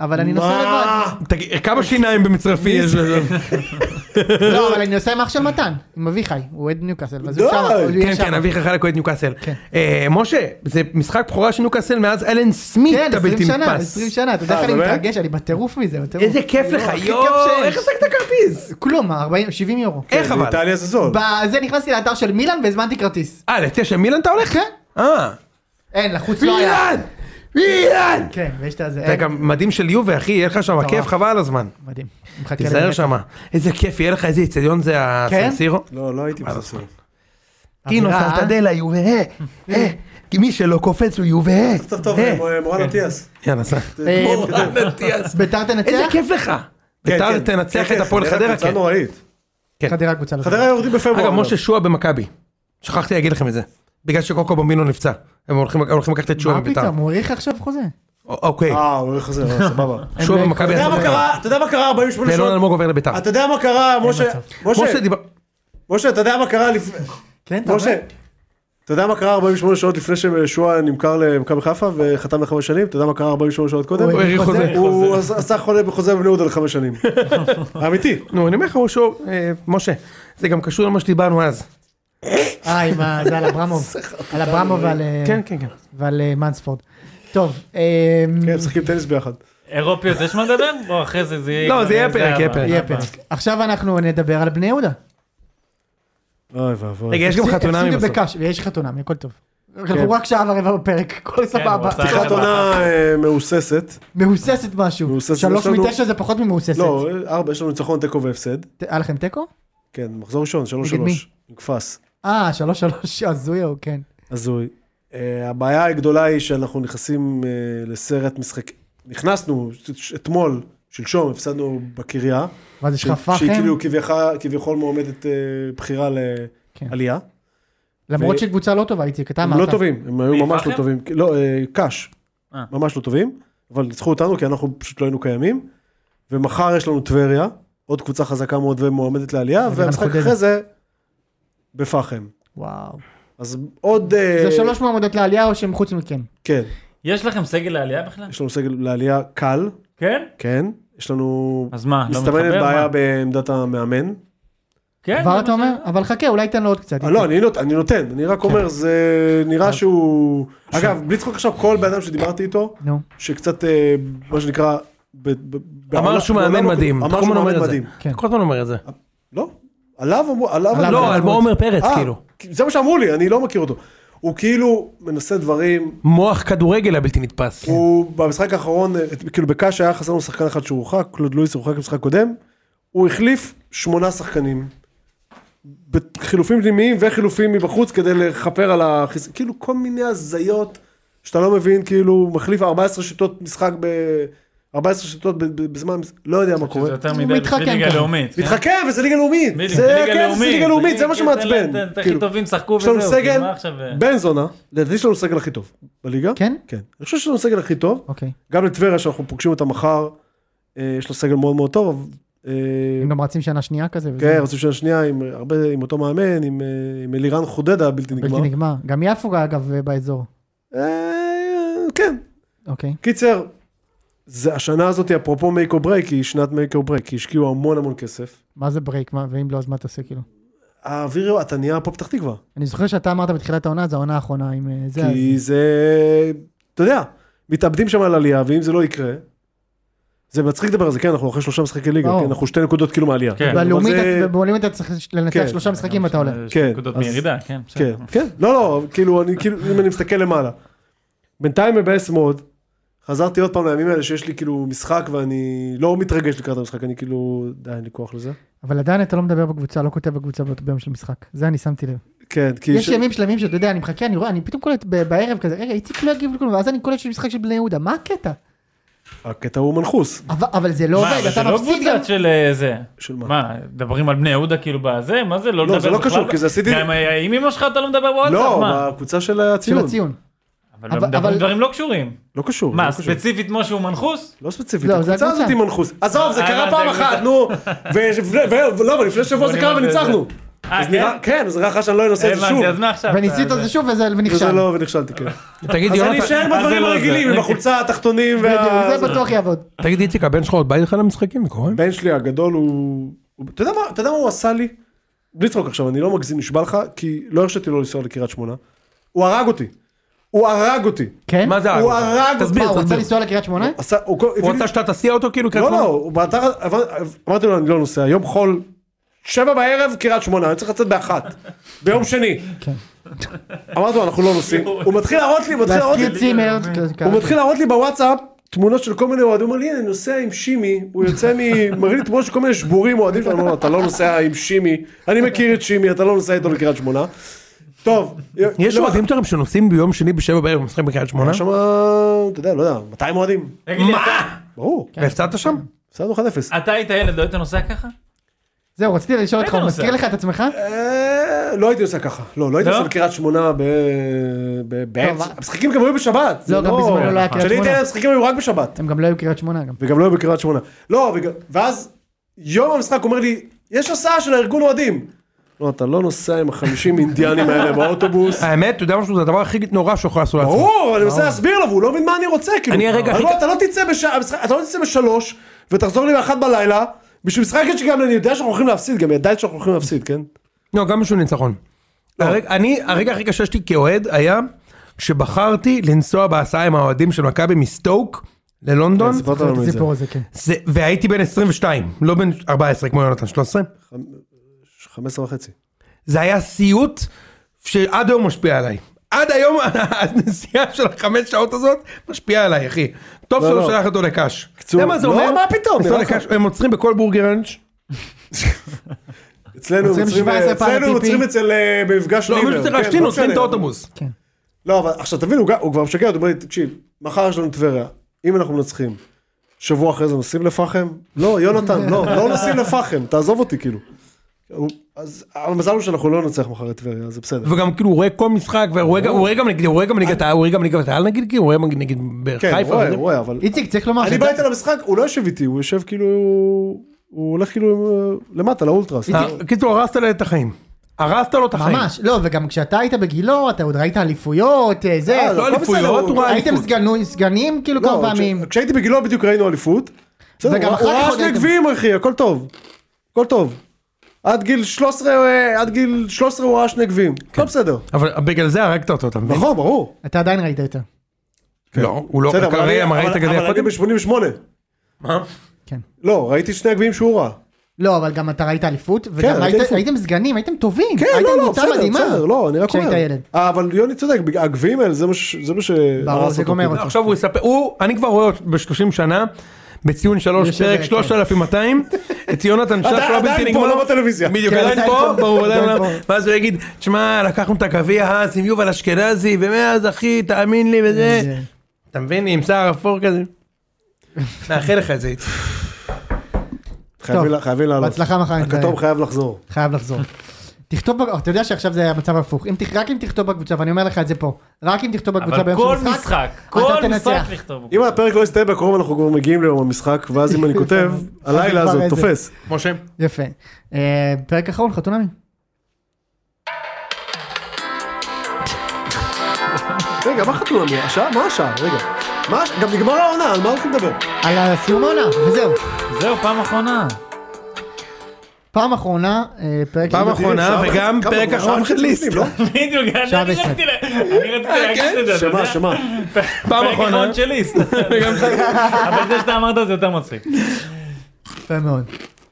אבל אני נוסע לבד. תגיד, כמה שיניים במצרפי יש? לא, אבל אני נוסע עם אח של מתן, עם אביחי, הוא אוהד ניו קאסל. אז הוא די. שם, הוא יהיה כן, שם. כן, אביך חלק אוהד ניוקאסל. כן. אה, משה, זה משחק בכורה של ניוקאסל מאז אלן סמית כן, 20 הבלתי שנה, נתפס. 20 שנה, אתה יודע אה, איך אני באמת? מתרגש, אני בטירוף מזה, בטירוף. איזה כיף לך, הכי כיף יואו, שיש. איך השגת כרטיס? כלום, 40, 70 יורו. איך אבל? באיטליה זה זול. בזה נכנסתי לאתר של מילאן והזמנתי כרטיס. אה, לתשע מילן אתה הולך? כן. אה. אין, לחוץ לא היה. מילן! מילן! כן, ויש את הזה. זה אין, גם מדהים של יובה, אחי, יהיה לך שם כיף חבל על הזמן. מדהים. מחכה תיזהר לזה. שם. איזה כיף, יהיה לך איזה איצטדיון זה הסנסירו. לא, לא הייתי בסוף. טינו אווירה, אה? סלטדלה יובה, אה, אה, כי מי שלא קופץ הוא יובה. אה. טוב טוב, אה. מורן אטיאס. יאללה, סע. אה, מורן אטיאס. ביתר איזה תנצח? כיף לך. כן, ביתר תנצח את הפועל חדרה. קבוצה כן. נוראית. חדרה קבוצה לא חדרה טובה. יורדים בפברואר. אגב, משה שועה במכבי. שכחתי להגיד לכם את זה. בגלל שקוקו בומבינו נפצע. הם הולכים הולכים לקחת את שועה מה מביתר. פתאום, הוא האריך עכשיו חוזה. א- אוקיי, אה, הוא הולך לזה, אה, סבבה. אתה שועה במכבי. יודע מה יעשו קרה? אתה יודע מה קרה 48 ואלון שעות? אלמוג עובר לביתר. אתה יודע מה קרה, משה? משה משה, דיבר... משה, אתה יודע מה קרה לפני... כן, אתה משה, אתה יודע מה קרה 48 שעות לפני ששועה נמכר למכבי חיפה וחתם לחמש שנים? אתה יודע מה קרה 48 שעות קודם? הוא האריך חוזה. הוא עשה עשה חולה בחוזה בבני יהודה לחמש שנים. אמיתי. נו, אני אומר לך, הוא שור... אה, משה, זה גם קשור למה שדיברנו אז. אה, עם ה... זה על אברמוב. על אברמוב ועל... אה, כן, כן, כן. ועל אה, מנספורד. טוב, אה, כן, משחקים טניס ביחד. אירופיות יש מה לדבר? בוא אחרי זה זה יהיה... לא, זה יהיה פרק, יהיה הבא. פרק. יהיה פרק. עכשיו אנחנו נדבר על בני יהודה. אוי ואבוי. רגע, יש גם חתונמי הפסידו בסוף. בקש, ויש חתונמי, הכל טוב. כן. אנחנו רק שעה ורבע בפרק, הכל סבבה. הוא עשה- פתיחת עונה אה, מהוססת. מהוססת משהו. מהוססת, שלוש יש לנו- מתשע זה פחות ממהוססת. לא, ארבע, יש לנו ניצחון, תיקו והפסד. ת- היה לכם תיקו? כן, מחזור ראשון, שלוש נגד מי? שלוש. נקפס. אה, שלוש שלוש, הזוי הוא, כן. הזוי. אה, הבעיה הגדולה היא שאנחנו נכנסים אה, לסרט משחק... נכנסנו ש- אתמול, שלשום, הפסדנו בקריה. מה זה, יש לך ש- פחם? שהיא כאילו כביכול- כביכול מועמדת אה, בחירה כן. לעלייה. למרות ו- שהיא קבוצה לא טובה, איציק, אתה הם אמרת. לא טובים, הם היו מי, ממש פחם? לא טובים. לא, אה, קאש. אה. ממש לא טובים, אבל ניצחו אותנו כי אנחנו פשוט לא היינו קיימים. ומחר יש לנו טבריה, עוד קבוצה חזקה מאוד ומועמדת לעלייה, וגם והמשחק חודד. אחרי זה בפחם. וואו. אז עוד... אה, זה שלוש מועמדות לעלייה או שהם חוץ מכם? כן, יש לכם סגל לעלייה בכלל? יש לנו סגל לעלייה קל, כן? כן. יש לנו... אז מה, לא מתחבר? מסתמנת מה? בעיה בעמדת המאמן. כן? כבר זה אתה מה אומר? ש- אבל חכה, אולי תן לו עוד קצת. לא, אה, לא, אני נות- אני נותן, אני רק אומר, זה נראה שהוא... אגב, בלי צחוק עכשיו, כל בן אדם שדיברתי איתו, נו. שקצת, אה, מה שנקרא... ב- ב- בעולם- לא- אמר שהוא מאמן בעולם- מדהים. אמר שהוא מאמן מדהים. כן. כל הזמן אומר את זה. לא, עליו אמרו, עליו עליו, אמרו- לא, על למרות- עומר פרץ, אה, כאילו. כי זה מה שאמרו לי, אני לא מכיר אותו. הוא כאילו מנסה דברים, מוח כדורגל הבלתי נתפס. כן. הוא במשחק האחרון, אה, כאילו בקאש היה חסר לנו שחקן אחד שהוא הורחק, קלוד לואיס הורחק במשחק קודם, הוא החליף שמונה שחקנים. בחילופים פנימיים וחילופים מבחוץ כדי לכפר על החיס... כאילו כל מיני הזיות שאתה לא מבין, כאילו הוא מחליף 14 שיטות משחק ב... 14 שיטות ב- ב- בזמן, לא יודע מה קורה. זה יותר הוא מדי מתחכם בשביל ליגה ככה. לאומית. כן? מתחכם, וזה ליגה לאומית. בדיוק, זה כן, זה ליגה לאומית, זה מה כאילו, שמעצבן. תן את הכי כאילו. טובים שחקו יש לנו וזהו, סגל, כאילו, מה עכשיו... אה? בן זונה, לדעתי יש לנו סגל הכי טוב בליגה. כן? כן. אני חושב שיש לנו סגל הכי טוב. אוקיי. גם לטבריה שאנחנו פוגשים אותה מחר, אה, יש לה סגל מאוד מאוד טוב. אבל, אה, הם גם רצים שנה שנייה כזה. וזה- כן, רצו שנה שנייה עם הרבה, עם אותו מאמן, עם, אה, עם אלירן חודדה הבלתי נגמר. בלתי נגמר. גם יפו אגב באזור. אה, כן. אוקיי. קיצר, זה השנה הזאת, אפרופו מייק או ברייק, היא שנת מייק או ברייק, כי השקיעו המון המון כסף. מה זה ברייק? מה- ואם לא, אז מה תעשה כאילו? האוויר, אתה נהיה פה פתח תקווה. אני זוכר שאתה אמרת בתחילת העונה, זו העונה האחרונה עם אה, זה. אז- כי זה, אתה יודע, מתאבדים שם על עלייה, ואם זה לא יקרה, זה מצחיק לדבר על זה, כן, אנחנו אחרי שלושה משחקי ליגה, ברור. כן, אנחנו שתי נקודות כאילו מעלייה. כן. אבל בלאומית זה- אתה- בלאומית אתה צריך לנצח כן. שלושה משחקים ואתה עולה. יש כן, נקודות אז- מירידה, אה, כן. כן, בסדר. כן, לא, לא, כאילו, אני, כאילו, אם אני מסתכל למעלה. בינתיים מבאס מאוד, חזרתי עוד פעם לימים האלה שיש לי כאילו משחק ואני לא מתרגש לקראת המשחק, אני כאילו, די, אין לי כוח לזה. אבל עדיין אתה לא מדבר בקבוצה, לא כותב בקבוצה ב- ביום של משחק. זה אני שמתי לב. כן, כי... יש ש- ימים שלמים שאתה יודע, אני מחכה, אני רואה, אני פתאום קולט ב- בערב כזה, רגע, איציק לא יגיב לכלום, ואז אני קולט שיש משחק של בני יהודה, מה הקטע? הקטע הוא מנחוס. אבל- אבל זה לא מה, עובד, אבל זה אתה לא מפסיד גם... קבוצה של אה, זה. של מה? מה, מדברים על בני יהודה כאילו בזה? מה זה? לא לא, לדבר זה לא בכלל? קשור, כי זה עשיתי- גם אה, עם אמא שלך אתה לא מדבר לא, בוואטסאפ, מה? בקבוצה של של הציון. הציון. אבל אבל- מדברים אבל- דברים לא קשורים. לא קשור. מה, לא קשור. ספציפית משהו מנחוס? לא ספציפית, לא, זה הקבוצה הקבוצה. הזאת היא מנחוס. עזוב, זה אה, קרה זה פעם הקבוצה. אחת, נו. ו- ו- ולא, אבל לפני שבוע זה בוא קרה נלמד את זה. וניצחנו. אה, אז נראה- כן, אז נראה לך שאני לא אנסה את זה שוב. הבנתי, אז מה עכשיו? אה, וניסית אתה- את זה שוב וזה- וזה ונכשל. לא, ונכשלתי, כן. תגיד, אז אני יונתן, אשאר אז זה בדברים לא הרגילים, זה. עם החולצה, התחתונים וה... בדיוק, זה בטוח יעבוד. תגיד, איציק, הבן שלך עוד בא איתך למשחקים? קוראים? הבן שלי הגדול הוא... הוא- אתה יודע מה- אתה יודע מה הוא עשה לי? בלי צחוק עכשיו, אני לא מגזים, נשבע לך, כי לא הרשיתי לו לנסוע לקריית שמונה. הוא הרג אותי. הוא הרג אותי. כן? מה זה הוא הרג אותך? הרג אותך. מה, תסביר, הוא רצה תסביר. לנסוע לקריית שמונה? עשה- הוא כל- הביא הוא לי- רצה שאתה תסיע אותו כאילו? לא, כעצמו? לא, הוא באתר... עבר- אמרתי לו, אני לא נוסע. יום חול, שבע בערב, קריית שמונה, אני צריך לצאת באחת. ביום שני. אמרתי לו, אנחנו לא נוסעים. הוא מתחיל להראות לי, הוא מתחיל להראות לי. להזכיר צימר. הוא מתחיל להראות לי בוואטסאפ תמונות של כל מיני אוהדים, הוא אומר לי הנה אני נוסע עם שימי, הוא יוצא מ... מראה לי תמונות של כל מיני שבורים אוהדים שלנו, לא, אתה לא נוסע עם שימי, אני מכיר את שימי, אתה לא נוסע איתו לקריית שמונה. טוב, יש לא, אוהדים שלכם שנוסעים ביום שני בשבע בערב ומשחקים בקריית שמונה? היה שם, אתה יודע, לא יודע, 200 אוהדים, תגיד לי, אתה- ברור, והפסדת שם? הפסדנו 1-0. אה, אתה היית ילד, לא היית נוסע ככה? זהו, רציתי לשאול אותך, אתה הוא נוסע? מזכיר לך את עצמך? אה, לא הייתי עושה ככה, לא, לא הייתי לא? עושה לקריית שמונה ב- ב- באמצע, אבל- המשחקים גם היו בשבת, זה אה. לא, גם בזמנו לא היה קריית כשאני הייתי שמונה. ילד, המשחקים היו רק בשבת. הם גם לא היו קריית שמונה גם. וגם לא היו בקריית שמונה. לא, וג... ואז יום המשחק אומר לי, יש הסעה של הארגון אוהדים. לא, אתה לא נוסע עם החמישים אינדיאנים האלה באוטובוס. האמת, אתה יודע משהו? זה הדבר הכי נורא שהוא יכול לעשות לעצמו. ברור, אני מנסה להסביר לו, והוא לא מבין מה אני רוצה, כאילו. אני הרגע אבל הכי- לא, אתה לא תצא בשעה, המשחק- אתה לא תצא בשלוש, ותחזור לי באחת בלילה, בשביל משחק שגם אני יודע שאנחנו הולכים להפסיד, גם ידעת שאנחנו הולכים להפסיד, כן? לא, גם בשביל ניצחון. לא. הרג- אני, הרגע הכי קשה שלי כאוהד היה שבחרתי לנסוע בהסעה עם האוהדים של מכבי מסטוק ללונדון, כן, סיפרת לנו את זה. הסיפור הזה, כן. זה- והייתי בן 22, לא בן 14 כמו יונתן 13. חמש עשרה וחצי. זה היה סיוט שעד היום משפיע עליי. עד היום הנסיעה של החמש שעות הזאת משפיעה עליי, אחי. טוב לא, שלא לא. שלח אותו לקאש. אתה קצור. יודע מה זה לא, אומר? מה פתאום, לנסוע נראה לך. לקאש, הם עוצרים בכל בורגראנץ'. אצלנו עוצרים עוצרים, 17 פעם אצלנו לפיפי. עוצרים אצל אה, במפגש לא, ליבר, מישהו צריך כן, להשתין, לא עוצרים את משנה. האוטובוס. לא, אבל עכשיו תבין, הוא, גם- הוא כבר משגע, הוא אומר לי, תקשיב, מחר יש לנו טבריה, אם אנחנו מנצחים, שבוע אחרי זה נוסעים לפחם? לא, יונתן, לא, לא נוסעים לפחם, תעזוב אותי כאילו. הוא, אז המזל הוא שאנחנו לא ננצח מחר את טבריה, זה בסדר. וגם כאילו הוא רואה כל משחק, והוא רואה גם- הוא רואה גם נגד, הוא רואה גם נגד, הוא רואה גם נגד העל נגיד, כאילו, הוא רואה גם נגד באר כן, חיפה. הוא רואה, וזה. הוא רואה, אבל... איציק, צריך לומר אני שאתה- בא איתו למשחק, הוא לא יושב איתי, הוא יושב כאילו... הוא הולך כאילו אה, למטה, לאולטרס. אה, קיצור, הרסת לו את החיים. הרסת לו את החיים. ממש, לא, וגם כשאתה היית בגילו, אתה עוד ראית אליפויות, אה, זה, אה, לא הכל בסדר, אליפויות, הוא ראה הייתם אליפות. סגנו- סגנים כאילו לא, כמה פעמים. כש- כשהייתי בגילו בדיוק ראינו אליפות. בסדר, וגם הוא- אחר הוא כך ראה עוד שני הייתם. גביעים אחי, הכל טוב. הכל טוב. עד גיל 13, אה, עד גיל 13 הוא ראה שני גביעים. כן. הכל בסדר. אבל בגלל זה הרגת אותו, אתה מבין? נכון, ברור. אתה עדיין ראית יותר. לא, הוא לא, בסדר, אבל הרי אני- ראית אבל- כזה אבל אני קודם? ב-88. מה? כן. לא, ראיתי שני הגביעים שהוא ראה. לא, אבל גם אתה ראית אליפות, וגם כן, ראיתי ראית- אליפות. הייתם סגנים, הייתם טובים, כן, הייתם לא, לא, קבוצה בסדר, מדהימה. בסדר, לא, אני רק אומר. כשהיית ילד. אה, אבל יוני צודק, בג- הגביעים האלה זה מה ש... זה מה ש... ברור, זה גומר לא, אותו. עכשיו הוא יספר, הוא, אני כבר רואה אותו ב-30 שנה, בציון שלוש, יושב פרק ברקע. 3200, את יונתן שש עדיין- לא עדיין בלתי פה, נגמר. לא בטלוויזיה. בדיוק, כן, עדיין עדיין פה, פה. ברור, עדיין עדיין לא. ואז הוא יגיד, שמע, לקחנו את הגביע אז עם יובל אשכנזי, ומאז אחי, תאמין לי אה. וזה. זה- אתה מבין, עם שיער אפור כזה. מאחל לך את זה, איציק. חייבים לה- חייבים לעלות. בהצלחה מחר, נתראה. הכתום חייב לחזור. חייב לחזור. תכתוב, בג- אתה יודע שעכשיו זה המצב הפוך, אם תכ- רק אם תכתוב בקבוצה, ואני אומר לך את זה פה, רק אם תכתוב בקבוצה אבל ביום כל של משחק, אתה כל משחק תנצח. לכתוב. אם הפרק לא יסתיים בקרוב אנחנו כבר מגיעים ליום המשחק, ואז אם אני כותב, הלילה כבר הזה איזה- תופס. משה. יפה. אה, פרק אחרון, חתונמי. רגע, מה חתונה? השעה? מה השעה? רגע. מה הש- גם נגמר העונה, על מה הולכים לדבר? על סיום העונה, וזהו. זהו, פעם אחרונה. פעם אחרונה, אה, פרק... פעם אחרונה, שעה וגם וחצי, פרק כמה? אחרון שעה של וחצי ליסט. לפני, לא? בדיוק, אני שעה אני ועשר. רציתי לה- אני רציתי להגיד את זה, אתה יודע? שמה, שמה. פעם פרק אחרונה. אחרון של ליסט. אבל זה שאתה אמרת זה יותר מצחיק. יפה מאוד.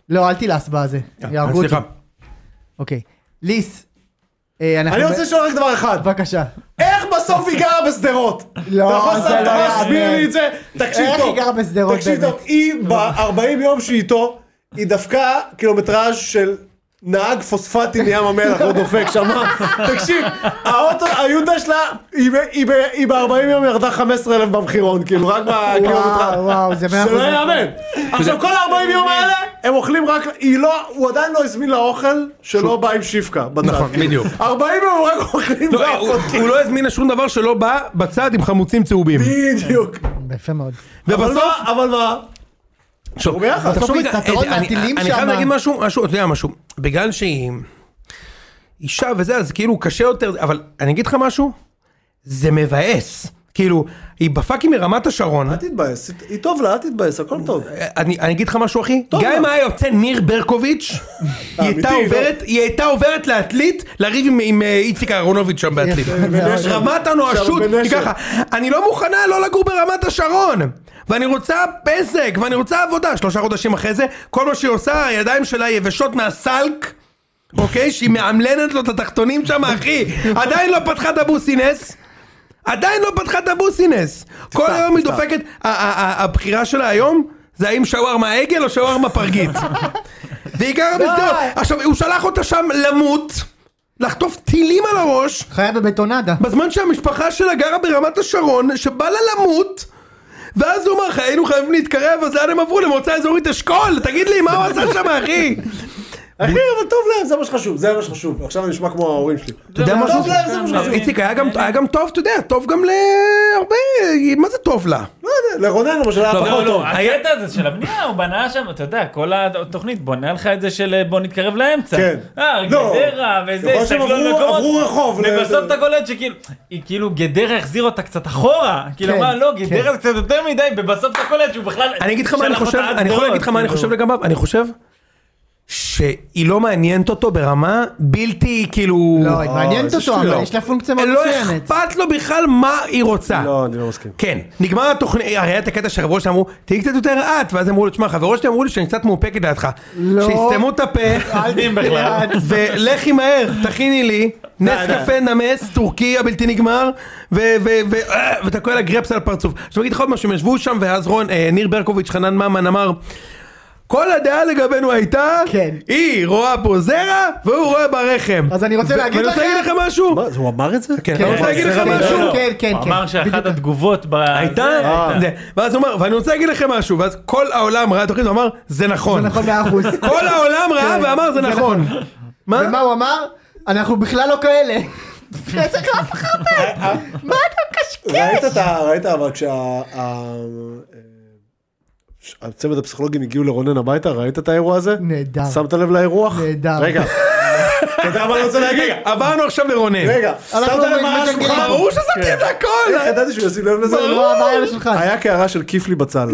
לא, אל תילעס בזה. יהרגו אותי. אה, סליחה. אוקיי. ליס. אה, אנחנו אני ב- רוצה לשאול רק דבר אחד. בבקשה. איך בסוף היא גרה בשדרות? לא, אתה יכול זה לסיים, לא אתה יכול יאמן. להסביר לי את זה? תקשיב טוב. איך היא גרה בשדרות תקשיב באמת? לא. טוב, היא ב-40 יום שהיא איתו, היא דפקה קילומטראז' של נהג פוספטים מים המלח, לא דופק שם. תקשיב, האוטו, היונדה שלה, היא ב- היא ב- היא ב-40 יום ירדה 15 אלף במחירון, כאילו, רק בקילומטר. וואו, וואו, זה מאה שלא אחוז. לא יאמן. עכשיו, כל ה-40 יום האלה, הם אוכלים רק, היא לא, הוא עדיין לא הזמין לה אוכל שלא בא עם שיפקה. נכון, בדיוק. 40 יום הם רק אוכלים לא, הוא- ואפות. הוא לא הזמין שום דבר שלא בא בצד עם חמוצים צהובים. בדיוק. יפה מאוד. אבל ובסוף, מה, אבל מה? שוב, ביחד. תחשוב בסוף רגע, מסתתרות אני- מהטילים אני חייב שמה. להגיד משהו, משהו, אתה יודע משהו, בגלל שהיא אישה וזה, אז כאילו קשה יותר, אבל אני אגיד לך משהו, זה מבאס. כאילו, היא בפאקינג מרמת השרון, אל תתבאס, היא טוב לה, אל תתבאס, הכל טוב. אני, אני אגיד לך משהו אחי, טוב, גם אם מה? היה יוצא ניר ברקוביץ', היא הייתה אמיתי, לא? עוברת, היא הייתה עוברת לעתלית, לריב עם, עם אה, איציק אהרונוביץ' שם בעתלית. בנשק. רמת הנואשות, שם היא בנשק. ככה, אני לא מוכנה לא לגור ברמת השרון, ואני רוצה פסק, ואני רוצה עבודה, שלושה חודשים אחרי זה, כל מה שהיא עושה, הידיים שלה יבשות מהסלק. אוקיי? שהיא מאמלנת לו את התחתונים שם, אחי. עדיין לא פתחה את הבוסינס. עדיין לא פתחה את הבוסינס. כל היום היא דופקת, ה- ה- ה- הבחירה שלה היום זה האם שווארמה עגל או שווארמה פרגית. והיא גרה בשדרות. עכשיו, הוא שלח אותה שם למות, לחטוף טילים על הראש, חיה בבטונדה. בזמן שהמשפחה שלה גרה ברמת השרון, שבא לה למות. ואז הוא אמר לך, היינו חייבים להתקרב, אז לאן הם עברו? למועצה אזורית אשכול? תגיד לי, מה הוא עשה שם, אחי? אחי, אבל טוב להם, זה מה שחשוב, זה מה שחשוב. עכשיו אני נשמע כמו ההורים שלי. אתה יודע משהו? טוב להם, זה מה שחשוב. איציק היה גם היה גם טוב, אתה יודע, טוב גם להרבה, מה זה טוב לה? לא יודע, לרונן למשל היה לא, פחות לא, טוב. לא, הקטע הזה של הבנייה, הוא בנה שם, אתה יודע, כל התוכנית בונה לך את זה של אה, בוא נתקרב לאמצע. כן. אה, לא. גדרה וזה, יכול שהם הסתכלו על עברו- מקומות, עברו רחוב ל- ובסוף אתה קולט שכאילו, היא כאילו גדרה החזירה אותה קצת אחורה. כאילו, כן, מה, לא, כן. גדרה זה קצת יותר מדי, ובסוף אתה קולט שהוא בכלל... אני אגיד לך מה אני שלח אותה חושב, עד אני יכול דורות, להגיד לך מה אני כאילו. חושב לגביו, אני חושב שהיא לא מעניינת אותו ברמה בלתי כאילו... לא, היא מעניינת איזה אותו, שטויות. אבל יש לה פונקציה מאוד לא מצוינת. אכפת לו בכלל מה היא רוצה. לא, אני לא מסכים. כן, נגמר התוכנית, הרי היה את הקטע שהחברות שלי אמרו, תהיי קצת יותר את, ואז אמרו לו, תשמע, חברות שלי אמרו לי שאני קצת מאופקת לידך. לא. שיסתמו את הפה, כן, מדהים בכלל. ולכי מהר, תכיני לי, נס קפה נמס, טורקי הבלתי נגמר, ו- ו- ו- אה, ואתה קורא לה גרפס על הפרצוף. עכשיו אני אגיד לך עוד משהו, הם ישבו שם, ואז רון, אה, ניר ברקוביץ', חנן ממן אמר, כל הדעה לגבינו הייתה, כן. היא רואה פה זרע, והוא רואה ברחם. אז אני רוצה ו- להגיד ואני רוצה לכם- להגיד לך משהו, מה, הוא אמר את זה? כן, אני רוצה להגיד לך כן, משהו, לא, לא. כן, כן, הוא כן. אמר שאחת בדיוק. התגובות ב... זה, הייתה, זה. ואז הוא אמר, ואני רוצה להגיד לכם משהו, ואז כל העולם ראה את התוכנית, הוא אמר, זה נכון. זה נכון מאה אחוז. כל העולם ראה כן, ואמר, זה זה נכון. מה? ומה הוא אמר? אנחנו בכלל לא כאלה. איזה רב חפש! מה אתה מקשקש? ראית את ה... ראית אבל כשה... ה- ש- הצוות הפסיכולוגים הגיעו לרונן הביתה, ראית את האירוע הזה? נהדר. שמת לב לאירוח? נהדר. רגע, אתה יודע מה אני רוצה להגיד? נכון. עברנו עכשיו לרונן. רגע, שמת אנחנו לב מה על מגלגלים. השולחן? ברור כן. ששמתי את איך הכל! ידעתי שהוא ישים לב לזה? לא הבעיה על השולחן. היה קערה של כיפלי בצל.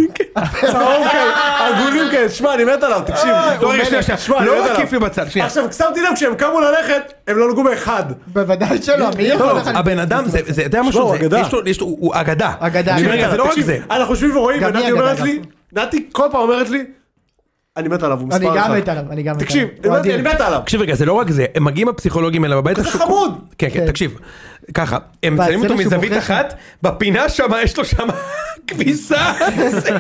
צהוב כאלה, עגולים כאלה, שמע אני מת עליו, תקשיב. לא, רגע, שנייה, אה, שמע, שנייה, אני מת לא רק עליו. כיף לי בצד, שנייה. עכשיו שמתי לב כשהם קמו ללכת, הם לא נגעו באחד. בוודאי שלא, מי יכול לא, לך... הבן אדם, זה, זה- אתה יודע משהו, הוא זה- אגדה. יש לו, יש לו, הוא אגדה. אגדה, אני אומר, אגדה. רגע, זה לא רק תקשיב, זה. אנחנו יושבים ורואים, גם ונתי היא אומרת אגדה, לי, נתי כל פעם אומרת לי, אני מת עליו, הוא אני מספר גם אחד. מת עליו, אני גם מת תקשיב, עליו. הוא אמרתי, אני אדיר. מת עליו. תקשיב רגע, זה לא רק זה, הם מגיעים הפסיכולוגים אליו הביתה. כזה שהוא- חמוד. כן, כן, כן. תקשיב. ככה, הם והצבע מצלמים אותו שהוא מזווית בוחר שם. אחת, בפינה שמה יש לו שמה כביסה, זה זה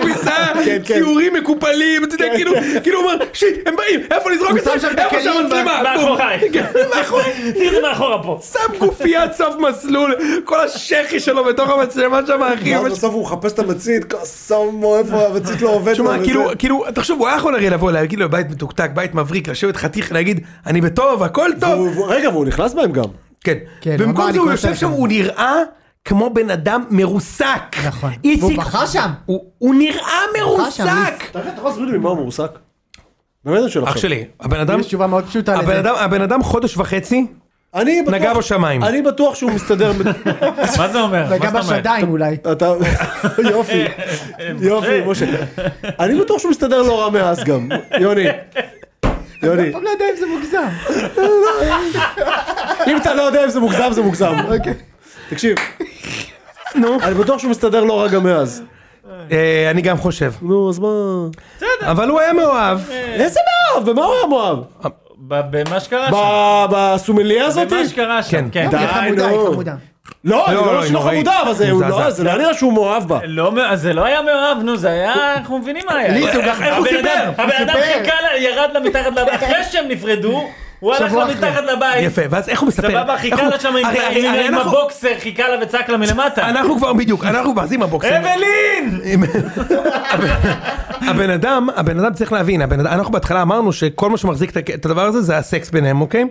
כביסה, כן, כן. ציורים מקופלים, אתה יודע, כאילו, כאילו הוא אומר, שיט, הם באים, איפה לזרוק הוא את זה, שם שם את איפה הכלים שהמצלמה, מאחוריי. בום. כן, מאחוריי. תראי זה מאחורה פה. שם גופיית סף מסלול, כל השחי שלו בתוך המצלמה שם, אחי. ואז ממש- בסוף הוא מחפש את המצית, סמו איפה המצית לא עובדת. תשמע, וזה. כאילו, כאילו, תחשוב, הוא היה יכול הרי לבוא, להגיד לו, בית מתוקתק, בית מבריק, לשבת חתיך, להגיד, אני בטוב, הכל טוב. והוא- והוא- רגע, והוא נכנס בהם גם. כן. כן, הוא אמר, במקום אני זה הוא קורא יושב שם, טלפון. הוא נראה כמו בן אדם מרוסק. נכון. איציק- והוא בכה שם. הוא- הוא נראה שם, מרוסק. אתה יודע, אתה יכול להסביר לי ממה הוא מועסק? באמת אני שואל אח עכשיו. שלי, הבן אדם, יש תשובה מאוד פשוטה הבן לזה. אדם, הבן אדם חודש וחצי, אני בטוח- נגע בשמיים. אני בטוח שהוא מסתדר. מה זה אומר? וגם מה זאת אומרת? השדיים אולי. אתה... יופי. יופי, משה. אני בטוח שהוא מסתדר לא רע מאז גם. יוני. יוני. פעם לא יודע אם זה מוגזם. אם אתה לא יודע אם זה מוגזם, זה מוגזם. תקשיב. נו. אני בטוח שהוא מסתדר לא רע גם מאז. אה, אני גם חושב. נו, אז מה... אבל הוא היה מאוהב. אה. איזה מאוהב? במה הוא היה מאוהב? ב- במה שקרה שם. ב- בסומליה הזאת? במה שקרה שם, כן. כן. היא אוקיי, חמודה, היא חמודה. לא, אני לא, לא אומר היא שהיא לא נוראית. חמודה, אבל זה הוא מזעזע. לא- זה לא נראה שהוא מאוהב בה. לא, מא- אז זה לא היה מאוהב, נו, זה היה, אנחנו מבינים מה היה. ליס, הוא גם- הבן הוא אדם- סיפר, הוא הבן אדם סיפר. חיכה, לה- ירד לה מתחת לבית, אחרי שהם נפרדו, הוא הלך שבוע לה אחרי. מתחת לבית. יפה, ואז איך הוא מספר? סבבה, איך חיכה הוא- לה שם עם- הרי- הרי- עם הרי עם אנחנו- הבוקסר, חיכה לה וצעק לה מלמטה. אנחנו כבר בדיוק, אנחנו כבר, אז עם הבוקסר. אבלין! עם- הבן אדם, הבן אדם צריך להבין, הבן אדם, אנחנו בהתחלה אמרנו שכל מה שמחזיק את הכ- את הדבר הזה זה הסקס ביניהם, אוקיי?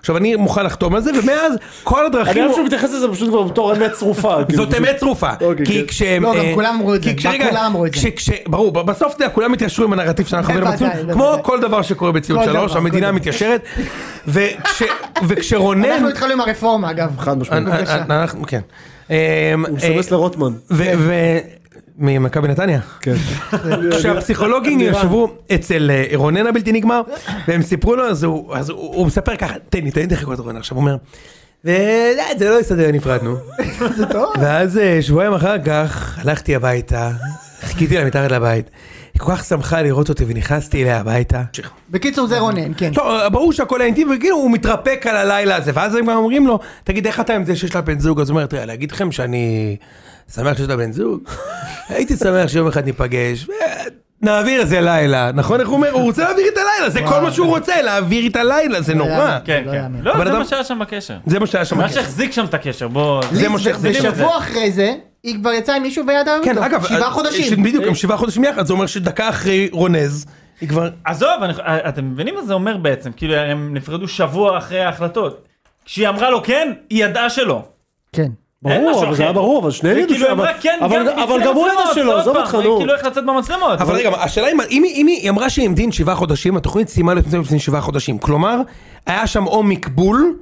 עכשיו אני מוכן לחתום על זה, ומאז כל אני הדרכים... אוהב שהוא מתייחס לזה פשוט כבר בתור אמת צרופה. כאילו, זאת פשוט. אמת צרופה, אוקיי, כי כן. כשהם... לא, גם אה, כולם אמרו את כי זה, כשרגע, כולם אמרו את זה. כן, לא, כש- כש- ברור, ב- בסוף אתה יודע, כולם התיישרו עם הנרטיב שאנחנו הבאנו בוודאי, בציון, בוודאי. כמו כל דבר שקורה בציון כל שלוש, דבר, המדינה כל דבר. מתיישרת, וכש- וכשרונן... אנחנו התחלנו עם הרפורמה אגב. חד משמעית. אנ- אנ- אנחנו, כן. אה, הוא אה, מסמס לרוטמן. כן. ו- ו... ממכבי נתניה. כן. כשהפסיכולוגים ישבו אצל אה, רונן הבלתי נגמר, והם סיפרו לו, אז הוא אז הוא- הוא מספר ככה, תן לי, תן לי לחכות רונן, עכשיו הוא אומר, "אה, זה לא הסתדר, נפרדנו. זה טוב. ואז אה, שבועיים אחר כך הלכתי הביתה, חיכיתי לה מתחת לבית, היא כל כך שמחה לראות אותי ונכנסתי אליה הביתה. בקיצור זה רונן, כן. לא, ברור שהכל היה אינטימי, וכאילו הוא מתרפק על הלילה הזה, ואז הם גם אומרים לו, תגיד, איך אתה עם זה שיש לה בן זוג? אז הוא אומר, תראה, להגיד לכם שאני שמח שיש לה בן זוג? הייתי שמח שיום אחד ניפגש, ונעביר איזה לילה, נכון? איך הוא אומר? הוא רוצה להעביר את הלילה, זה כל מה שהוא רוצה, להעביר את הלילה, זה נורא. כן, לא כן. יאמן. לא, הבן זה אדם- מה שהיה שם בקשר. זה מה שהיה שם. מה שהחזיק שם את הקשר, בוא... זה ליס, מה שהחזיק את זה. ושבוע אחרי זה, היא כבר יצאה עם מישהו ויד היום כן, איתו. אגב, שבעה אה, ש- חודשים. בדיוק, הם שבעה חודשים יחד, זה אומר שדקה אחרי רונז, היא כבר... עזוב, אני- אה, אתם מבינים מה זה אומר בעצם? כאילו, הם נפרדו שבוע אחרי ההחלטות. כשהיא אמרה לו כן, היא ידעה שלא. כן. אין משהו ברור, אבל אחר. זה היה ברור, אבל שניהם ידעו וכאילו, היא שהוא... אמרה כן, גם אבל לפני אבל גם הוא ידע המצלמות, שלו, עוד עזוב פעם, אותך, היא נו. כאילו איך לצאת במצלמות. אבל רגע, השאלה אם, אם, היא- אם היא אמרה שהיא המתין שבעה חודשים, התוכנית סיימה להיות מצוינת לפני שבעה חודשים. כלומר, היה שם או מקבול,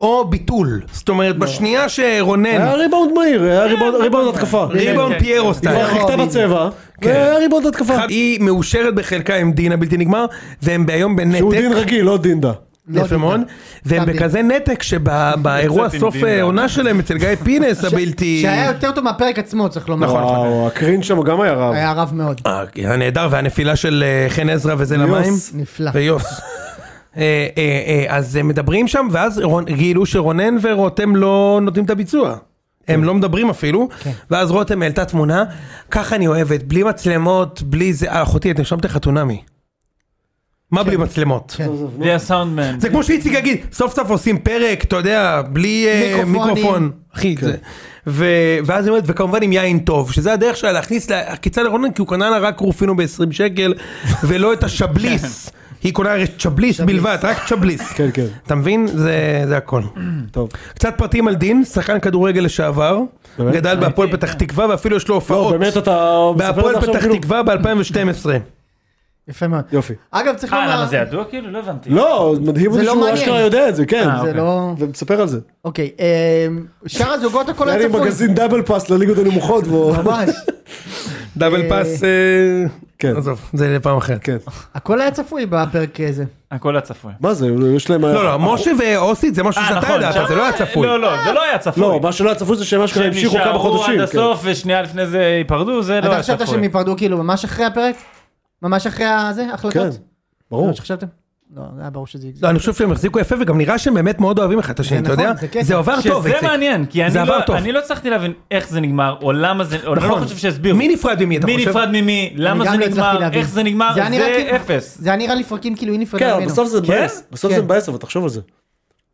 או ביטול. זאת אומרת, בשנייה היה שרונן, ריבאונד מהיר, היה ריבאונד- ריבאונד התקפה. ריבאון כן, פיירו היא סטייל. כבר חיכתה בצבע, והיה ריבאונד התקפה. אחד, היא מאושרת בחלקה עם דין הבלתי נגמר, והם היום שהוא בנתק, דין רגיל, לא דינדה. לא יפה מאוד, דין. והם גם דין. בכזה נתק שבאירוע יוצאת עם סוף דין. אה, עונה שלהם אצל גיא פינס הבלתי... שהיה יותר טוב מהפרק עצמו צריך לומר. נכון, וואו, הקרין שם גם היה רב. היה רב מאוד. אה, היה נהדר, והנפילה של אה, חן עזרא וזה למים. נפלא. ויוס. אה, אה, אה, אז הם מדברים שם, ואז רון- גילו שרונן ורותם לא נותנים את הביצוע. הם לא מדברים אפילו, כן. ואז רותם העלתה תמונה, ככה אני אוהבת, בלי מצלמות, בלי זה, אה, אחותי, את נרשמת לחתונמי. מה בלי מצלמות? כן. בלי הסאונדמן. זה כמו שאיציק יגיד, סוף סוף עושים פרק, אתה יודע, בלי אה, מיקרופונים. מיקרופון. אחי, כן. זה. ו- ואז היא אומרת, וכמובן עם יין טוב, שזה הדרך שלה להכניס לה- עקיצה לרונן, כי הוא קנה לה רק רופינו ב-20 שקל, ולא את השבליס. היא קונה הרי צ'בליס בלבד, רק צ'בליס. כן, כן. אתה מבין? זה, זה הכל. טוב. קצת פרטים על דין, שחקן כדורגל לשעבר, באמת? גדל בהפועל פתח תקווה ואפילו יש לו לא, הופעות. באמת אתה... מספר את זה בהפועל עכשיו פתח כאילו- תקווה ב-2012. יפה מאוד. יופי. אגב צריך אה, למה לומר, זה ידוע? כאילו, לא הבנתי. לא, מדהים זה אותי לא שהוא מעניין. אשכרה יודע את זה, כן. אה, זה לא... ומספר על זה. אוקיי. אמ, שאר הזוגות הכל היה היה לי צפוי. מגזין דאבל פאס לליגות הנמוכות. והוא- ממש. דאבל פאס, אה, כן. עזוב, זה לפעם אחרת. כן. הכל היה צפוי בפרק הזה. הכל הצפוי. מה זה, יש להם... אה, לא, לא, משה ואוסית זה משהו שאתה ידעת, זה לא היה צפוי. נכון, לא, לא, זה לא היה צפוי. לא, מה שלא היה צפוי זה שהם אשכרה שהם המשיכו כמה נשארו חודשים. עד כן. הסוף ושנייה לפני זה ייפרדו, זה לא אתה היה חשבת שהם צפוי. ייפרדו כאילו ממש אחרי הפרק? ממש אחרי הזה? כן, החלטות? זה ברור. מה שחשבתם? לא, זה היה ברור שזה יגזור. לא, אני חושב שהם החזיקו יפה וגם נראה שהם באמת מאוד אוהבים אחד את השני, זה אתה יודע? נכון, זה קטע. זה עבר טוב, שזה איציק. מעניין, כי אני זה עבר לא- טוב. אני לא הצלחתי להבין איך זה נגמר, או למה זה, או אני לא נכון. חושב שהסבירו. מי נפרד ממי, אתה מי חושב? נפרד ממי, למה אני זה גם לא הצלחתי נגמר, להבין. איך זה נגמר, היה נראה זה כאילו- אפס. זה היה נראה לפרקים כאילו היא כן, נפרדה אבל ממנו. בסוף זה מבאס, בסוף זה כן. אה. מבאס, אבל תחשוב על זה.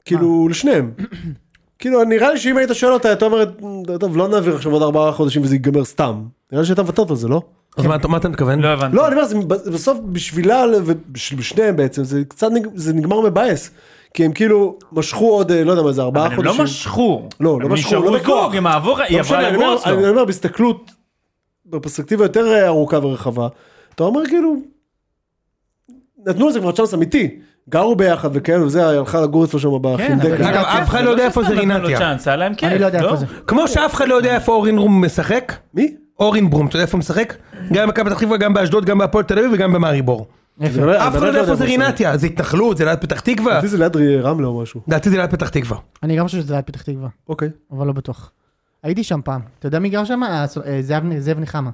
כאילו, לשניהם. כאילו, נראה לי שאם היית שואל אותה, הייתה אומרת, טוב, לא נעביר עכשיו עוד ארבעה חודשים וזה ייגמר סתם. נראה לי שהייתה מוותרת על זה, לא? אז מה אתה- מה אתה מכוון? לא הבנתי. לא, אני אומר, זה בסוף בשבילה ובשניהם בעצם, זה קצת, נג- זה נגמר מבאס. כי הם כאילו משכו עוד, אה, לא יודע מה זה, ארבעה אבל הם חודשים. לא משכו. לא, לא הם משכו, נשארו לא בכוח. זוג, הם העבור, היא לא משנה, עברה אני לגור אומר- אצלו. אני אומר בהסתכלות, בפרספקטיבה יותר אה, ארוכה ורחבה, אתה אומר כאילו, נתנו לזה כבר צ'אנס אמיתי, גרו ביחד וכאלה וזה, היא הלכה לגור אצלו שם כן, אבל בחינדקה. זה אגב, היה אף כיף, אחד לא יודע סתם איפה זה נתנו לו רינתיה. צ'אנס, היה להם כיף, אני לא יודע איפה זה. כמו שאף אחד לא יודע איפה אורין רום משחק, מי? אורין ברום, אתה יודע איפה הוא משחק? גם במכבי פתח תקווה, גם באשדוד, גם בהפועל תל אביב וגם במאריבור. זה לא- אף אחד באמת לא יודע איפה מה זה רינתיה, זה התנחלות, זה אה, ליד פתח תקווה. לדעתי זה ליד רי- רמלה או משהו. לדעתי זה ליד פתח תקווה. אני גם חושב שזה ליד פתח תקווה, אוקיי. אבל לא בטוח. הייתי שם פעם. אתה יודע מי גר שם? אה, ס- אה, זאב- זאב נחמה.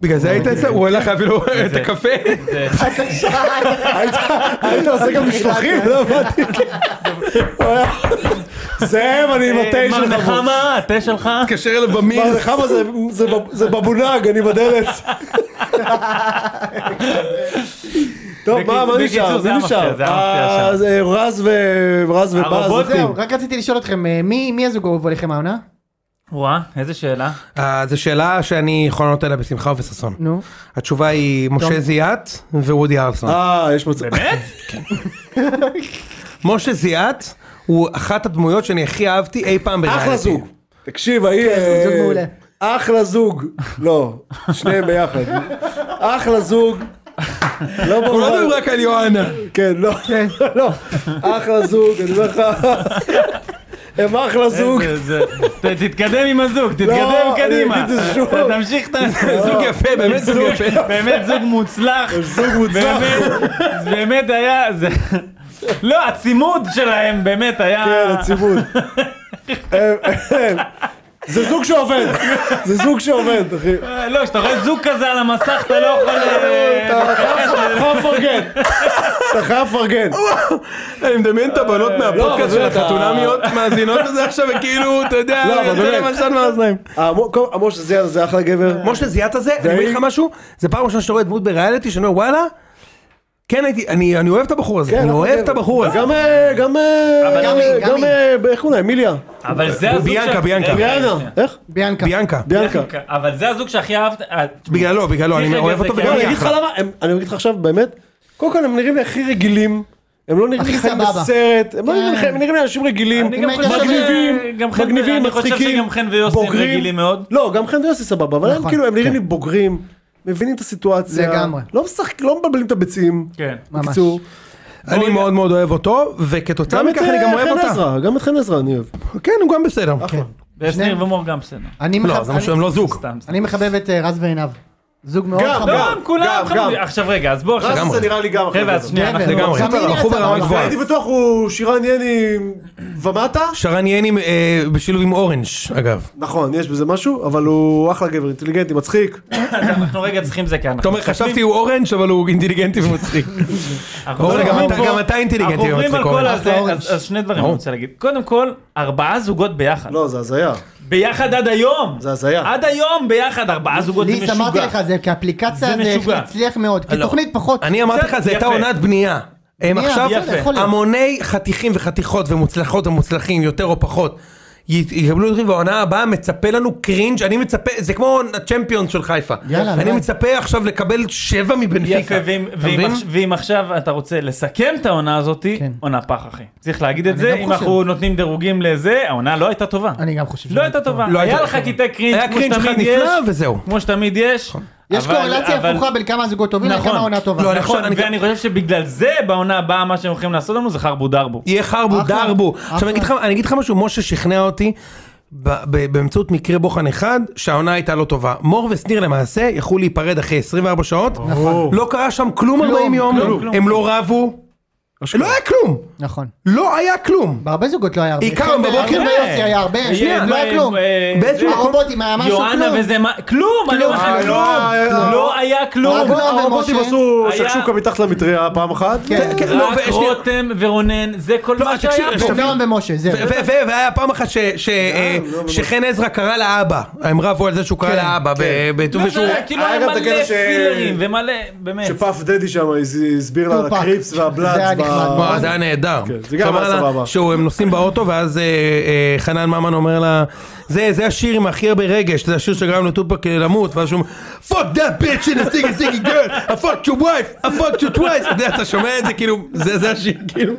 בגלל זה היית אצלו? הוא הלך להביא לו את הקפה? היית אה, עושה גם משלוחים? לא הבנתי. זאב, אני עם התה מר שלך. בוא. נחמה, התה שלך? התקשר אליו במין. מר נחמה זה- זה בב- זה בבונג, אני בדלת. טוב, מה מה בקיצור, נשאר? זה מי המפתח, נשאר? זה המפתח אה, שם. זה רז ו- רז ובאז. הרובוטים. זהו, רק רציתי לשאול אתכם, אה, מי מי הזוג האהוב עליכם העונה? וואה, איזה שאלה. אה, זו שאלה שאני יכול לענות עליה בשמחה ובששון. נו. התשובה היא משה זיאת ווודי ארלסון. אה, יש מצב. באמת? משה זיאת הוא אחת הדמויות שאני הכי אהבתי אי פעם בריאליטי. אחלה זוג. תקשיב, ההיא... אה, כן, זוג מעולה. אחלה זוג. לא, שניהם ביחד. אחלה זוג. לא אנחנו לא במובן- מדברים רק על יואנה. כן, לא, לא. אחלה זוג, אני אומר לך. הם אחלה זוג. זה- זה- ת- תתקדם עם הזוג, תתקדם לא, אני קדימה. אגיד את זה שוב. ת- תמשיך את ה... זוג יפה, באמת זוג זוג- יפה. באמת זוג מוצלח. זוג מוצלח. באמת, באמת היה, זה... לא, הצימוד שלהם באמת היה... כן, הצימוד. הם- הם- זה זוג שעובד. זה זוג שעובד, אחי. אה, לא, כשאתה רואה זוג כזה על המסך, אתה לא יכול... אה, אתה חייב לפרגן. אתה חייב לפרגן. אני מדמיין את הבנות אה, מהפודקאסט של באמת, החתונמיות מאזינות לזה עכשיו וכאילו אתה יודע, לא, אבל יוצא להם באמת. עשן מהאוזניים. המו- כל- המשה זיאן אה, זה אחלה גבר. משה זיאת הזה, אני אומר לך משהו, זה פעם ראשונה שאתה רואה דמות בריאליטי שאני אומר וואלה, כן הייתי, אני אני אוהב את הבחור הזה, כן, אני אחלה אוהב גבר. את הבחור הזה. גם, אה, גם, אה, אבל גם, אני- אה, גם גם, אה, איך קוראים לה? אמיליה. אבל זה הזוג... ביאנקה, שה- ביאנקה. רגע, ביאנה. שנייה. איך? ביאנקה. ביאנקה. ביאנקה. ביאנקה. אבל זה הזוג שהכי אהבת... אה, בגללו, בגללו, אני צריך אוהב להגיד אותו את זה, כן, וגם אני אני אגיד לך אחלה. למה, הם- אני אגיד לך עכשיו באמת, קודם כל הם נראים לי הכי רגילים, הם לא נראים לי הכי חלק סבבה. מסרט, הם לא נראים לי כן. הם נראים לי אנשים רגילים, אני גם חושב ש- מגניבים, גם חן- מגניבים, אני חושב מצחיקים, שגם חן ויוסי הם בוגרים. רגילים מאוד. לא, גם חן ויוסי סבבה, אבל הם נכון, כאילו, הם נראים כן. לי בוגרים, מבינים את הסיטואציה, לגמרי. לא משחק- לא מבלבלים את הביצים, כן. ממש. בקיצור, אני מאוד מאוד אוהב אותו, וכתוצאה גם את מכך אני גם אה, אוהב חן אותה. עזרא, גם את חן עזרא אני אוהב, כן, הוא גם בסדר. ושניר ומור גם בסדר. אני לא, זה מה מחבב- שהם לא זוג. סתם. סתם. אני מחבב את אה, רז ועינב. זוג מאוד גם, חמור. לא, הם כולם גם, חמודים. גם. לא, עכשיו רגע, אז בואו עכשיו. רז לגמרי. זה נראה לי גם אחלה חבר'ה, אז גבר. שנייה, אנחנו... לגמרי, גם היא אנחנו נראית ברמה סבבה. גבוהה. הייתי בטוח הוא שירן יני ומטה, שרן יני אה, בשילוב עם אורנג' אגב. נכון, יש בזה משהו, אבל הוא אחלה גבר, אינטליגנטי, מצחיק, אנחנו רגע צריכים זה כי אתה אנחנו אומר חשבתי הוא אורנג' אבל הוא אינטליגנטי ומצחיק. אנחנו אורן, גם עוברים אתה- פה- גם אתה אינטליגנטי אנחנו עוברים ומצחיק, על כל אורן. הזה, אחלה אורן. אז אז שני דברים אני ברור. רוצה להגיד. קודם כל, ארבעה זוגות ביחד. לא, זה הזיה, ביחד עד היום. זה הזיה. עד היום ביחד ארבעה זוגות זה ליס, אמרתי משוגע. לך, זה כאפליקציה זה זה משוגע. הצליח מאוד. לא. כתוכנית פחות. אני אמרתי לך בסדר, זה הייתה יפה. עונת בנייה. הם בנייה, עכשיו בסדר, יכול להיות. המוני חתיכים וחתיכות ומוצלחות ומוצלחים יותר או פחות. י- יקבלו את ריב העונה הבאה מצפה לנו קרינג' אני מצפה זה כמו הצ'מפיון של חיפה. יאללה, אני נו. מצפה עכשיו לקבל שבע יפה, מבנפיקה. ואם- אתה ואם מבין? עכש- ואם עכשיו אתה רוצה לסכם את העונה הזאת, כן. עונה פח אחי. צריך להגיד את אני לא זה, גם אם חושב. אנחנו נותנים דירוגים לזה, העונה לא הייתה טובה. אני גם חושב לא הייתה טובה. לא היה הייתה לך טובה. קטעי קרינג' היה כמו קרינג' אחד שתמיד נפלא יש. וזהו. נכון. כמו שתמיד יש. יש אבל- קורלציה אבל- הפוכה בין כמה הזוגות טובים נכון. לכמה עונה טובה. לא, אני- נכון, עכשיו ואני חושב שבגלל זה בעונה הבאה מה שהם הולכים לעשות לנו זה חרבו דרבו. יהיה חרבו אחלה, דרבו. אחלה. עכשיו אני אגיד לך- אני אגיד לך משהו, משה שכנע אותי ב- ב- באמצעות מקרה בוחן אחד, שהעונה הייתה לא טובה. מור ושניר למעשה יכלו להיפרד אחרי 24 שעות, לא קרה שם כלום 40 יום, כלום, הם לא רבו, לא היה כלום, נכון. לא היה כלום. בהרבה זוגות לא היה הרבה. עיקר חן בבוקר- חן ויוסי היה הרבה. שנייה, לא היה כלום. אה, באיזשהו זה- מקום- הרובוטים היה משהו יואנה כלום. וזה מה... כלום! אני אומר לך, אה, כלום! לא, אה, לא היה כלום! אה, הרובוטים ומשה? עשו היה- שקשוקה מתחת למטריה פעם אחת. כן. כן, לא, רק ושנייה. אה, רותם ורונן, זה כל לא, מה תקשיב, שהיה פה. עכשיו- ונועם ומשה, זהו. ו- ו- ו- והיה פעם אחת ש- ש- אה, שחן עזרא קרא לאבא, הם רבו על זה שהוא קרא לאבא, ב- בט"ו לא, ושהוא... לא, כאילו היה היה גם את מלא הקטע ש- פילרים ומלא, באמת. שפאף דדי שם הז- הסביר לה על טופק. הקריפס זה היה והבלאץ. ב- נחמד. וואו, זה היה נהדר. אוקיי. זה גם שאמר היה לה סבבה. שהוא, הם נוסעים באוטו, ואז אה, אה, חנן ממן אומר לה, זה זה השיר עם הכי הרבה רגש, זה השיר שגרם לטופק אה, למות, ואז שהוא אומר, fuck that bitch in a singing singing girl, I fucked your wife, I fucked you twice, אתה יודע, אתה שומע את זה, כאילו, זה זה השיר, כאילו,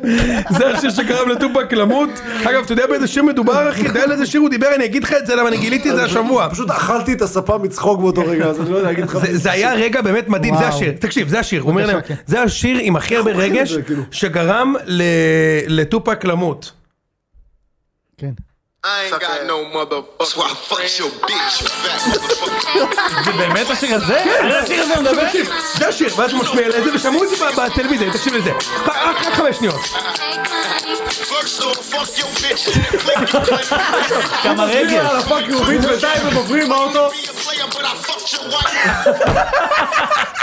זה השיר שגרם לטופק למות. אגב, אתה יודע באיזה שיר מדובר, אחי? אתה יודע על איזה שיר הוא דיבר, אני אגיד לך את זה, למה אני גיליתי את זה השבוע. פשוט אכלתי את הספה מצחוק באותו רגע, אז אני לא יודע להגיד לך. זה- זה היה רגע באמת מדהים, זה וואו. השיר, תקשיב, זה השיר, הוא אומר להם, בבקשה, כן. זה השיר עם הכי הרבה רגש זה, כאילו? שגרם ל- לטופק למות. כן. I ain't got no motherfucker. why I fucked your bitch, you fat motherfucker. זה באמת השיר הזה? על השיר הזה הוא מדבר? תקשיב, זה השיר, ואז הוא משמיע לזה, ושמעו את זה ב- בטלוויזיה, תקשיב לזה. ח- רק רק חמש שניות. fuck so fuck your bitch. in the clique, you play- אה, כמה רגש. על הפאק יורית בינתיים הם עוברים באוטו. Be a player, but I fucked your wife.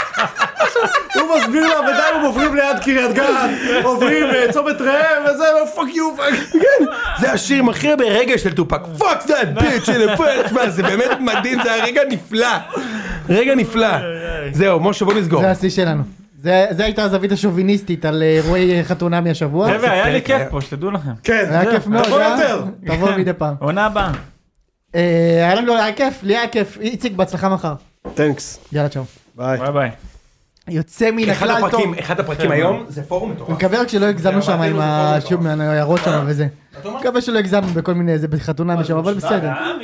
הוא מסביר לה, ודי, הם עוברים ליד קריית גת, עוברים אה, צומת ראם, וזה, פאק יו, פאק. כן, זה השיר עם הכי הרבה רגש של טופק. פאק דאט ביץ' אלה פאק. תשמע, זה באמת מדהים, זה היה רגע נפלא. רגע נפלא. זהו, משה בוא נסגור. זה השיא שלנו. זה זה הייתה הזווית השוביניסטית על אה, אירועי אה, חתונה מהשבוע. חבר'ה, היה לי פרק כיף היה. פה, שתדעו לכם. כן. זה היה כיף נכון מאוד. תבוא אה? יותר. תבוא מדי פעם. עונה הבאה. אה, היה לנו, היה כיף, לי היה כיף. איציק, בהצלחה מחר. תנקס. יאללה, צ'או. ביי. ביי ביי. יוצא מן אחד הכלל טוב. הפרקים, אחד כן. הפרקים היום זה פורום אני מטורף. מקווה רק שלא הגזמנו שם עם אמרתי לו, זה השום, עם ההערות שם וזה. מקווה שלא הגזמנו בכל מיני, זה בחתונה משם, אבל בסדר.